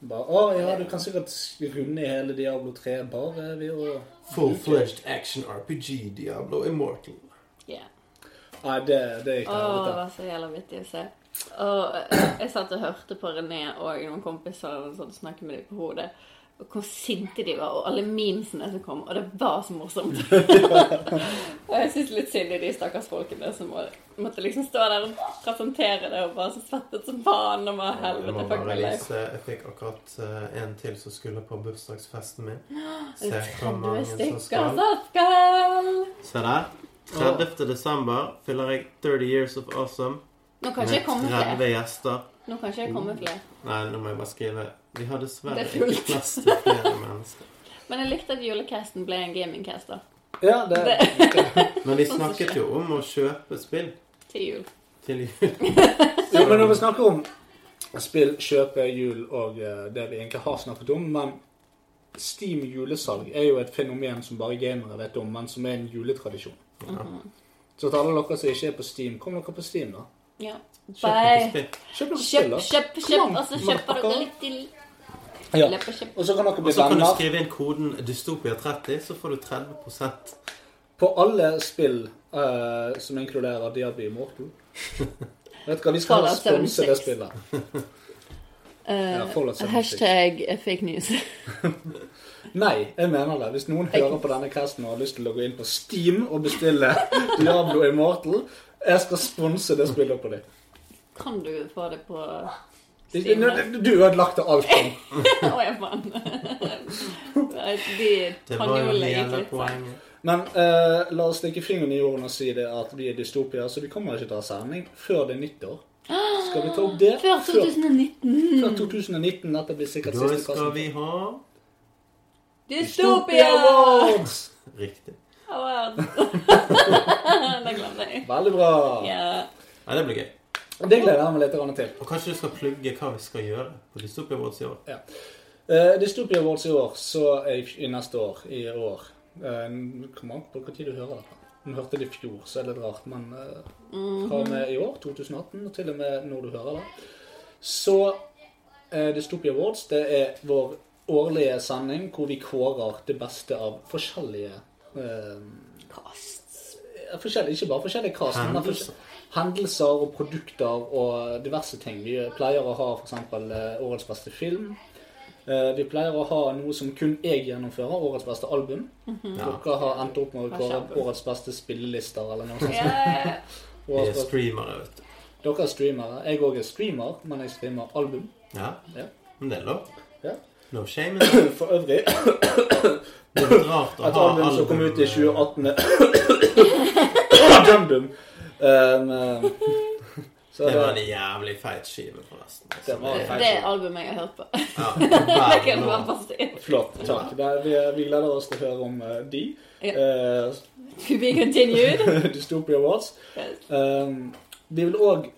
Bare, Å ja, du kan sikkert runde hele Diablo 3 bare ved å
Full-fledged action RPG Diablo Immortal.
Ja.
Nei, det, det er ikke
Åh, det
helvete.
var så jævla vittig å se. Og eh, jeg satt og hørte på René og noen kompiser og sånn, snakke med dem på hodet. Og hvor sinte de var, og alle memesene som kom. Og det var så morsomt. og jeg syns litt synd i de stakkars folkene som må, måtte liksom stå der og presentere det, og bare så svettet som faen. Og bare
Jeg må
helvete, fuck
bare
my life.
vise Jeg fikk akkurat eh, en til som skulle på bursdagsfesten min. Se hvor
30
mange som
stykker
skal.
som skal
Se der. 30. desember fyller jeg 30 Years of Awesome
Nå kan ikke
med
jeg komme flere.
30 gjester.
Nå kan ikke jeg komme flere.
Nei, nå må jeg bare skrive Vi har dessverre
Det er fullt.
ikke plass til flere mennesker.
Men jeg likte at julecasten ble en gamingcast da.
Ja, det,
Men vi snakket jo om å kjøpe spill
Til jul.
til jul.
Ja, men
Ehm.
når vi snakker om spill, kjøpe, jul og eh, det vi egentlig har snakket om, men Steam julesalg er jo et fenomen som bare gamere vet om, men som er en juletradisjon.
Mhm.
Så til alle dere som ikke er på Steam, kom dere på Steam, da.
Ja.
Kjøp noen
Bye.
spill.
Kjøp noen spill,
Kjøp,
da.
kjøp, kjøp, og så kjøper dere litt til.
Ja.
Løp og kjøp.
Og så kan dere
Og
bli
så kan du
venner
skrive inn koden Dystopia30, så får du 30
på alle spill eh, som inkluderer Diaby Mortal. Vet du hva, vi skal
Fallout
sponse
76.
det spillet.
Eh,
Fallout 76.
hashtag eh, fake news.
Nei, jeg mener det. Hvis noen hører på denne casten og har lyst til å gå inn på Steam og bestille Diablo Immortal, jeg skal sponse det spillet på dem.
Kan du få det på
Det- det- Du ødelagte alt. Tom.
Å, jeg faen. De
Det
kan
var
jo
jo det
legge
jævla
litt sånn.
poenget.
Men eh, la oss stikke fingeren i jorden og si det at vi er dystopier, så vi kommer ikke til å ha sending før det er nyttår. Skal vi ta opp det?
Før 2019.
før 2019. Dette blir sikkert
Da
siste
skal
kassen.
vi ha
Dystopia!
Awards!
Riktig.
Award. Det glemte jeg.
Veldig bra.
Ja.
Nei, det blir gøy.
Det gleder jeg meg litt grann til.
Og kanskje du skal plugge hva vi skal gjøre på Dystopia Awards i år.
Uh, Dystopia Awards i år, så er i, i neste år. I år. Uh, kom an på når du hører dette. Om du hørte det i fjor, så er det litt rart, men eh, fra og med i år, 2018, og til og med når du hører det, så eh, Dystopia Awards det er vår årlige sending hvor vi kårer det beste av forskjellige eh,
Kast.
forskjellige, ikke bare forskjellige cast, men
Hendelser.
forskjell- hendelser og produkter og diverse ting. Vi pleier å ha f.eks. årets beste film. Eh, Vi pleier å ha noe som kun jeg gjennomfører, årets beste album.
Mm.
Ja.
Dere har endt opp med å
Hva
kåre
skjer?
årets beste spillelister eller noe sånt.
Ja.
Vi er
Årets beste-
streamere, vet du.
Dere er streamere. Jeg òg er streamer, men jeg streamer album.
Ja.
Ja.
Men det er lov.
Ja.
No shame. in it.
For øvrig et
Det er litt rart å ha
album som kom ut i 2018 Jumdum. Um, så
Det var en jævlig feit skive, forresten. Altså,
Det var
det-
Det er albumet jeg har hørt på.
Ja,
Det kan
verden
jeg bare
over.
fastslå.
Flott. Takk. Det er, vi, vi gleder oss til å høre om eh, de.
Ja.
eh,
To be continued.
Dystopia Awards. Um, vi vil òg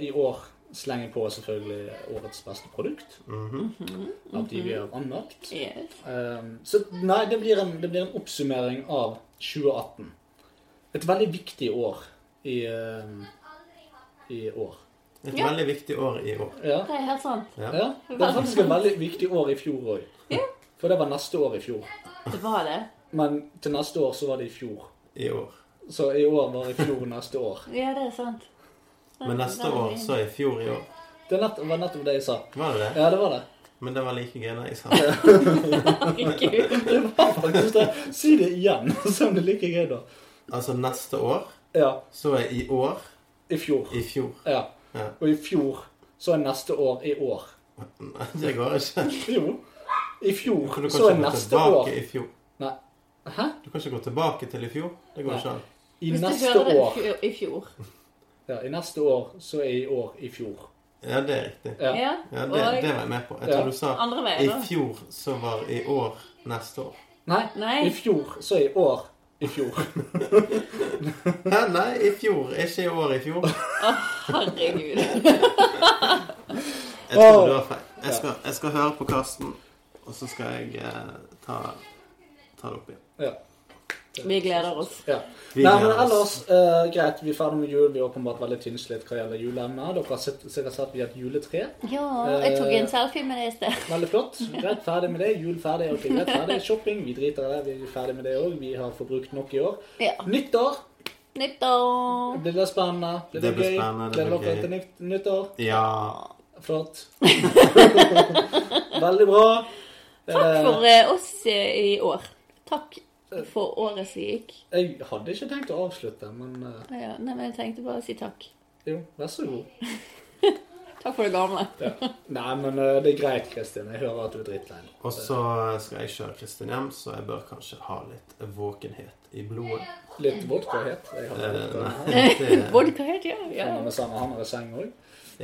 i år slenge på selvfølgelig årets beste produkt.
Mhm.
Av de vi har anmeldt.
Yes.
Um, så nei, det blir, en, det blir en oppsummering av 2018. Et veldig viktig år i, um, i år.
Et
Ja.
veldig viktig år i år.
Ja.
Det er helt sant.
Ja.
ja. Det var faktisk et veldig viktig år i fjor òg. For det var neste år i fjor.
Det var det.
Men til neste år så var det i fjor.
I år.
Så i år var i fjor neste år.
Ja, det er sant.
Men neste år så er fjor i år.
Det er nett- var nettopp det jeg sa.
Var det det?
Ja, det var det.
Men det var like gøy da jeg sa
Herregud.
Det var faktisk det. Si det igjen, så om det er like gøy, da.
Altså neste år,
Ja.
så er i år
I fjor.
i fjor.
Ja.
Ja.
Og i fjor så er neste år i år.
Nei, det går ikke.
Jo. I
Du kan
fjor så
ikke
er
gå
neste år
tilbake i fjor.
Nei. Hæ?
Du kan ikke gå tilbake til i fjor. Det går
Nei.
ikke an.
I
Hvis du
neste
hører det i
år.
fjor- i fjor.
Ja, I neste år så er i år i fjor.
Ja, det er riktig.
Ja.
Ja.
Ja, det,
Og
det var jeg med på. Jeg
Ja.
tror du sa
andre
i
veien, da.
fjor så var i år neste år.
Nei.
Nei.
I fjor så er i år i fjor.
Hæ, nei, i fjor. er Ikke i år i fjor.
Herregud.
Jeg tror
Åh.
du har feil. Jeg skal, jeg skal høre på Karsten, og så skal jeg eh, ta, ta det opp igjen.
Ja.
Vi gleder oss.
ja.
Vi
Nei, men
gleder oss.
ellers, eh, greit, vi er ferdig med jul. Vi er åpenbart veldig tynnslitt hva gjelder juleemner. Dere har sett- sikkert sett vi har et juletre.
Ja, jeg tok en selfie med deg i sted.
Veldig flott. Greit, ferdig med det. Jul ferdig. ok, greit, ferdig. Shopping, vi driter i det. Vi er ferdig med det òg. Vi har forbrukt nok i år.
Ja.
Nyttår.
Nyttår.
Blir det spennende? Blir det,
Det blir
gøy?
spennende, det
Gleder
blir
dere
gøy.
til nytt, nyttår?
Ja.
Flott. Veldig bra.
Takk for eh, oss eh, i år. Takk for året som gikk.
Jeg hadde ikke tenkt å avslutte, men eh,
Ja, nei, men jeg tenkte bare å si takk.
jo, vær så god.
Takk for det gamle.
Nei, men eh, det er greit, Kristin. Jeg hører at du er drittlei. nå.
Og så skal jeg kjøre Kristin hjem, så jeg bør kanskje ha litt våkenhet i blodet.
Litt vodkahet. Jeg har
Eh,
vodka her.
nei, det,
Vodka helt, ja. ja.
Han er sammen, han er i seng òg.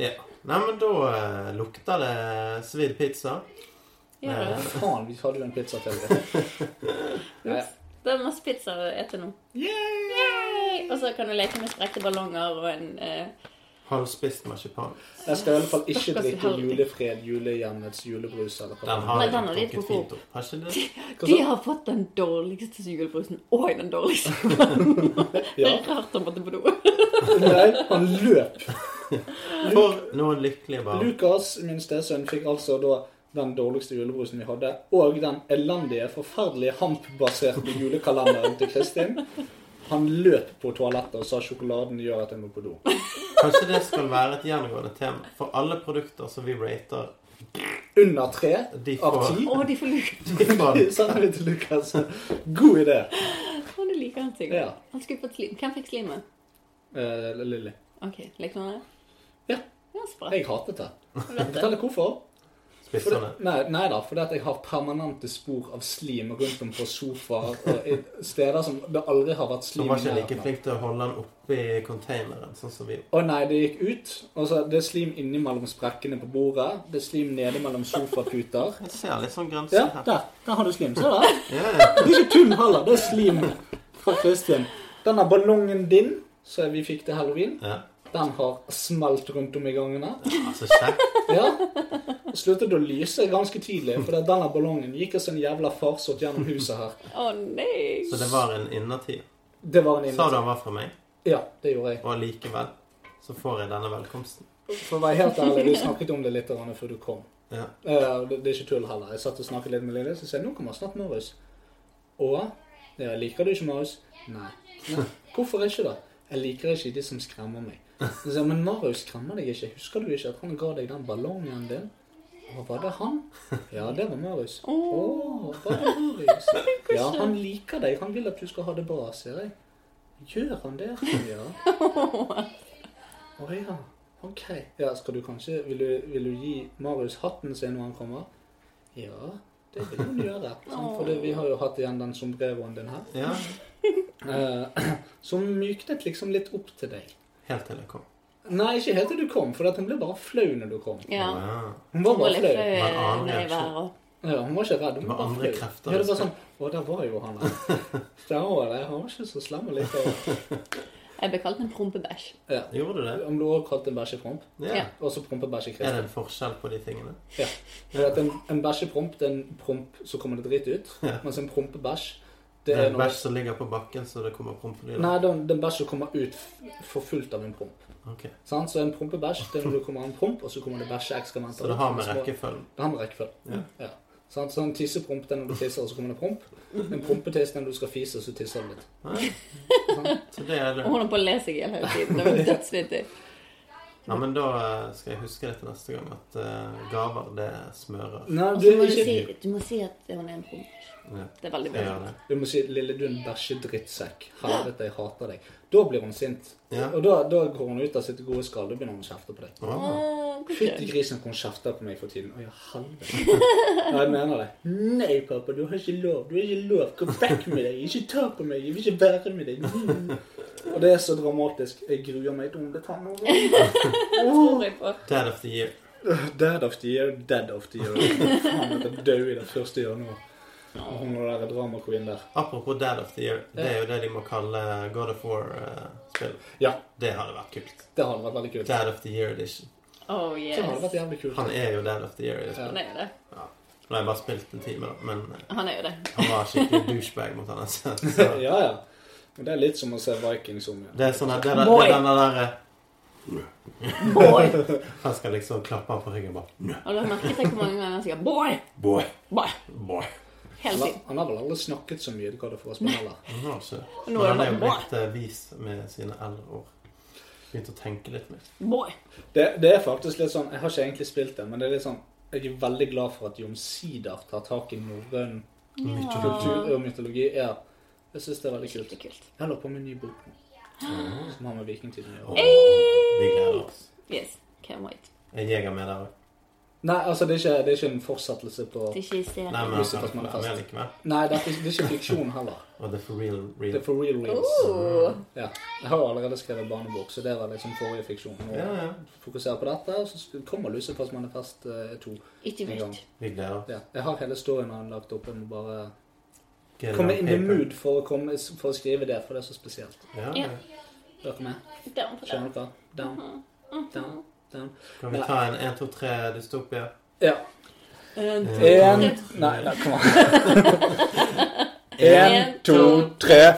ja. nei, men da eh, lukter det svidd pizza.
ja.
Eh,
Faen, vi hadde jo en pizza til. Ja, ja.
Det er masse pizza å ete nå. Yay! Og så kan du leke med sprekte ballonger og en eh,
Halvspist marsipan.
Jeg skal i alle fall ikke
Stakkars
drikke
helvete.
julefred, julehjemmets julebrus eller
Den
hva det er.
har
Nei,
jeg
den har de
drukket
på
fint opp. Har ikke det?
Hva
De
så?
har fått den dårligste julebrusen og den dårligste. Det
Ja.
er rart han måtte på do.
Nei, han løp.
For noen lykkelige barn.
Lukas, min stesønn, fikk altså da den dårligste julebrusen vi hadde, og den elendige, forferdelige hampbaserte julekalenderen til Kristin. Han løp på toalettet og sa sjokoladen gjør at jeg må på do.
Kanskje det skal være et gjennomgående tema for alle produkter som vi rater.
Under tre
De
av
får-
ti.
Å, de får lurt.
Sender vi til Lukas. God idé.
Å, du liker han sikkert.
Ja.
Han skulle fått slim. Hvem fikk slimet?
Eh, Lilly.
Ok, likte han det?
Ja.
Ja, sprøtt.
Jeg hatet det. Fortell deg hvorfor. For
Spissene.
det, nei, nei da, fordi at jeg har permanente spor av slim rundt om på sofaer og i steder som det aldri har vært
Han
slim
var
i
ikke
nærheten
like
av.
flink til å holde den oppe i containeren, sånn som vi
Å nei, det gikk ut. Og så det er slim inni mellom sprekkene på bordet. Det er slim nede mellom sofaputer.
Jeg ser litt sånn grønn
Ja,
her.
der. Der har du slim. Se der.
Ja, ja.
Det er ikke tull heller. Det er slim fra Kristin. Denne ballongen din som vi fikk til halloween,
ja.
den har smelt rundt om i gangene.
Altså, kjekt.
Ja. Og Sluttet å lyse ganske tidlig, for denne ballongen gikk som en jævla farsott gjennom huset her.
Å nei.
Så det var en innertid.
Det var en
Sa
innertid.
du han var fra meg?
Ja, det gjorde jeg.
Og likevel så får jeg denne velkomsten.
For å være helt ærlig, vi snakket om det litt grann før du kom.
Ja.
Eh, og det, det er ikke tull heller. Jeg satt og snakket litt med Lille, så sa jeg nå kommer snart Marius. Og ja, liker du ikke Marius? Nei. Nei. Hvorfor ikke det? Jeg liker ikke de som skremmer meg. Så sier jeg, men Marius skremmer deg ikke. Husker du ikke at han ga deg den ballongen din? Å, var det han? Ja, det var Marius. Å, var det Marius? Ja, han liker deg. Han vil at du skal ha det bra, sier jeg. Gjør han det? Ja. Å ja. Ok. Ja, skal du kanskje Vil du, vil du gi Marius hatten sin når han kommer? Ja, det vil hun gjøre. sant? For det, vi har jo hatt igjen den sombreroen din her.
ja.
Eh, som myknet liksom litt opp til deg.
Helt til jeg kom.
Nei, ikke helt til du kom, for at hun ble bare flau når du kom.
Ja.
Ja.
Hun var
Hun var
bare
litt flau
flau.
eh,
Men annen
nedi
reaksjon.
været.
Ja, hun var ikke redd. Hun
Det var
var bare
andre
flau.
krefter
Ja, det var
som-
sånn Å, der var jo han der. Der var det. Han var ikke så slem og likevel.
Jeg ble kalt en prompebæsj.
Ja.
Ah, Gjorde du det?
Om du også kalte en bæsjepromp,
Ja.
Ja.
og så prompebæsje
Er
Kristin.
det en forskjell på de tingene?
Ja. For at en, en bæsjepromp det er en promp så kommer det dritt ut, mens en prompebæsj det
Det er
er
en
når
bæsj som ligger på bakken, så det kommer prompelyder?
Nei, den, den bæsjen kommer ut f- for fullt av en promp.
Ok.
Sant? Så en prompebæsj det er når det kommer en promp, og så kommer det bæsjeekskrementer.
Så det har med
Små-
rekkefølgen
Det har med rekkefølge. Ja. Sant? Så en tissepromp det er når du tisser, og så kommer det promp. En prompetiss det er når du skal fise, og så tisser du litt.
Så det er
Hun
det.
holder på å le seg i hjel hele tiden. Det var dødsvittig.
Ja, men da eh, skal jeg huske det til neste gang, at eh, gaver, det smører.
Nei,
Og
du,
så må du,
ikke,
si, du må si at hun er en promp.
Ja.
Det er veldig
Jeg gjør
bra.
det.
du må si 'lille, du er en bæsjedrittsekk'. Helvete, jeg hater deg. Da blir hun sint.
Ja.
Og da, da går hun ut av sitt gode skall. Da begynner hun å kjefte på deg.
Åh,
Eh,
Fytti grisen hun kjefter på meg for tiden. Å, ja, helvete. Nei, jeg mener det. Nei, pappa, du har ikke lov. Du har ikke lov. Kom vekk med deg. Ikke ta på meg. Jeg vil ikke være med deg. Mm. Og det er så dramatisk. Jeg gruer meg til hun blir tenåring.
Tror jeg på.
Dead of the year.
Dead of the year, dead of the year. Faen, jeg skal dø i den første januar. Og Hun og den drama queen der.
Apropos Dead of the Year, det er jo det de må kalle God of War-spill.
Ja,
det hadde vært kult.
det hadde vært veldig kult.
Dead of the Year Edition.
Sånn
Oh
Det hadde
yes.
vært jævlig kult.
Han er jo Dead of the Year. i det spillet.
Han er jo det.
Nå har jeg bare spilt en time, da, men eh,
Han er jo det.
han var skikkelig douchebag mot han. Altså. Så
Ja, ja. Men det er litt som å se Vikings om igjen.
det er sånn at det, der, det
Boy.
er denne der eh,
Boy!
Han skal liksom klappe han på ryggen og bare
Og du har merket deg hvor mange ganger han sier 'boy',
Boy.
boy,
Boy.
hele
Han har-
tiden.
han har vel aldri snakket så mye hva det får å spille heller.
Han har ikke
Nå
Men
er
han er
han
jo
boy.
blitt eh, vis med sine eldre år. Begynt å tenke litt mer.
Boy.
Det, det er faktisk litt sånn Jeg har ikke egentlig spilt det, men det er litt sånn jeg er veldig glad for at de omsider tar tak i norrøn kultur og mytologi. Ja. Jeg syns det er veldig kult.
Skikkelig kult.
Jeg holder på med en ny bok nå, som har med vikingtiden å
Og
gjøre.
vi gleder oss.
Yes. Can't wait.
En jeger med der òg.
Nei, altså, det er ikke, det er ikke en fortsettelse på
Det er ikke i
Nei,
serien.
men han
Lyset
kan
fast, men
være med
fast.
likevel.
Nei, det er, ikke- det er ikke fiksjon heller.
Og det er for real,
Det
real.
er for real reels.
Oh.
Ja. Jeg har jo allerede skrevet barnebok, så det var liksom forrige fiksjon.
Ja,
Nå
ja.
fokuserer jeg på dette, og så kommer Lusefass manifest eh, 2. en
Ikke
gang.
vilt.
Vi gleder oss.
Ja. Jeg har hele storyen han lagt opp. Jeg må bare
Get it
Komme
on
in the
paper.
mood for å, komme, for å skrive det, for det er så spesielt.
Ja,
Ja.
Dere med?
Down på
Skjønner
down.
dere? Down,
Então,
down, down.
Kan vi ta en 1, 2, 3 dystopia?
Ja.
Uhum.
En, é então,
En Nei, nei kom an. En, to, tre.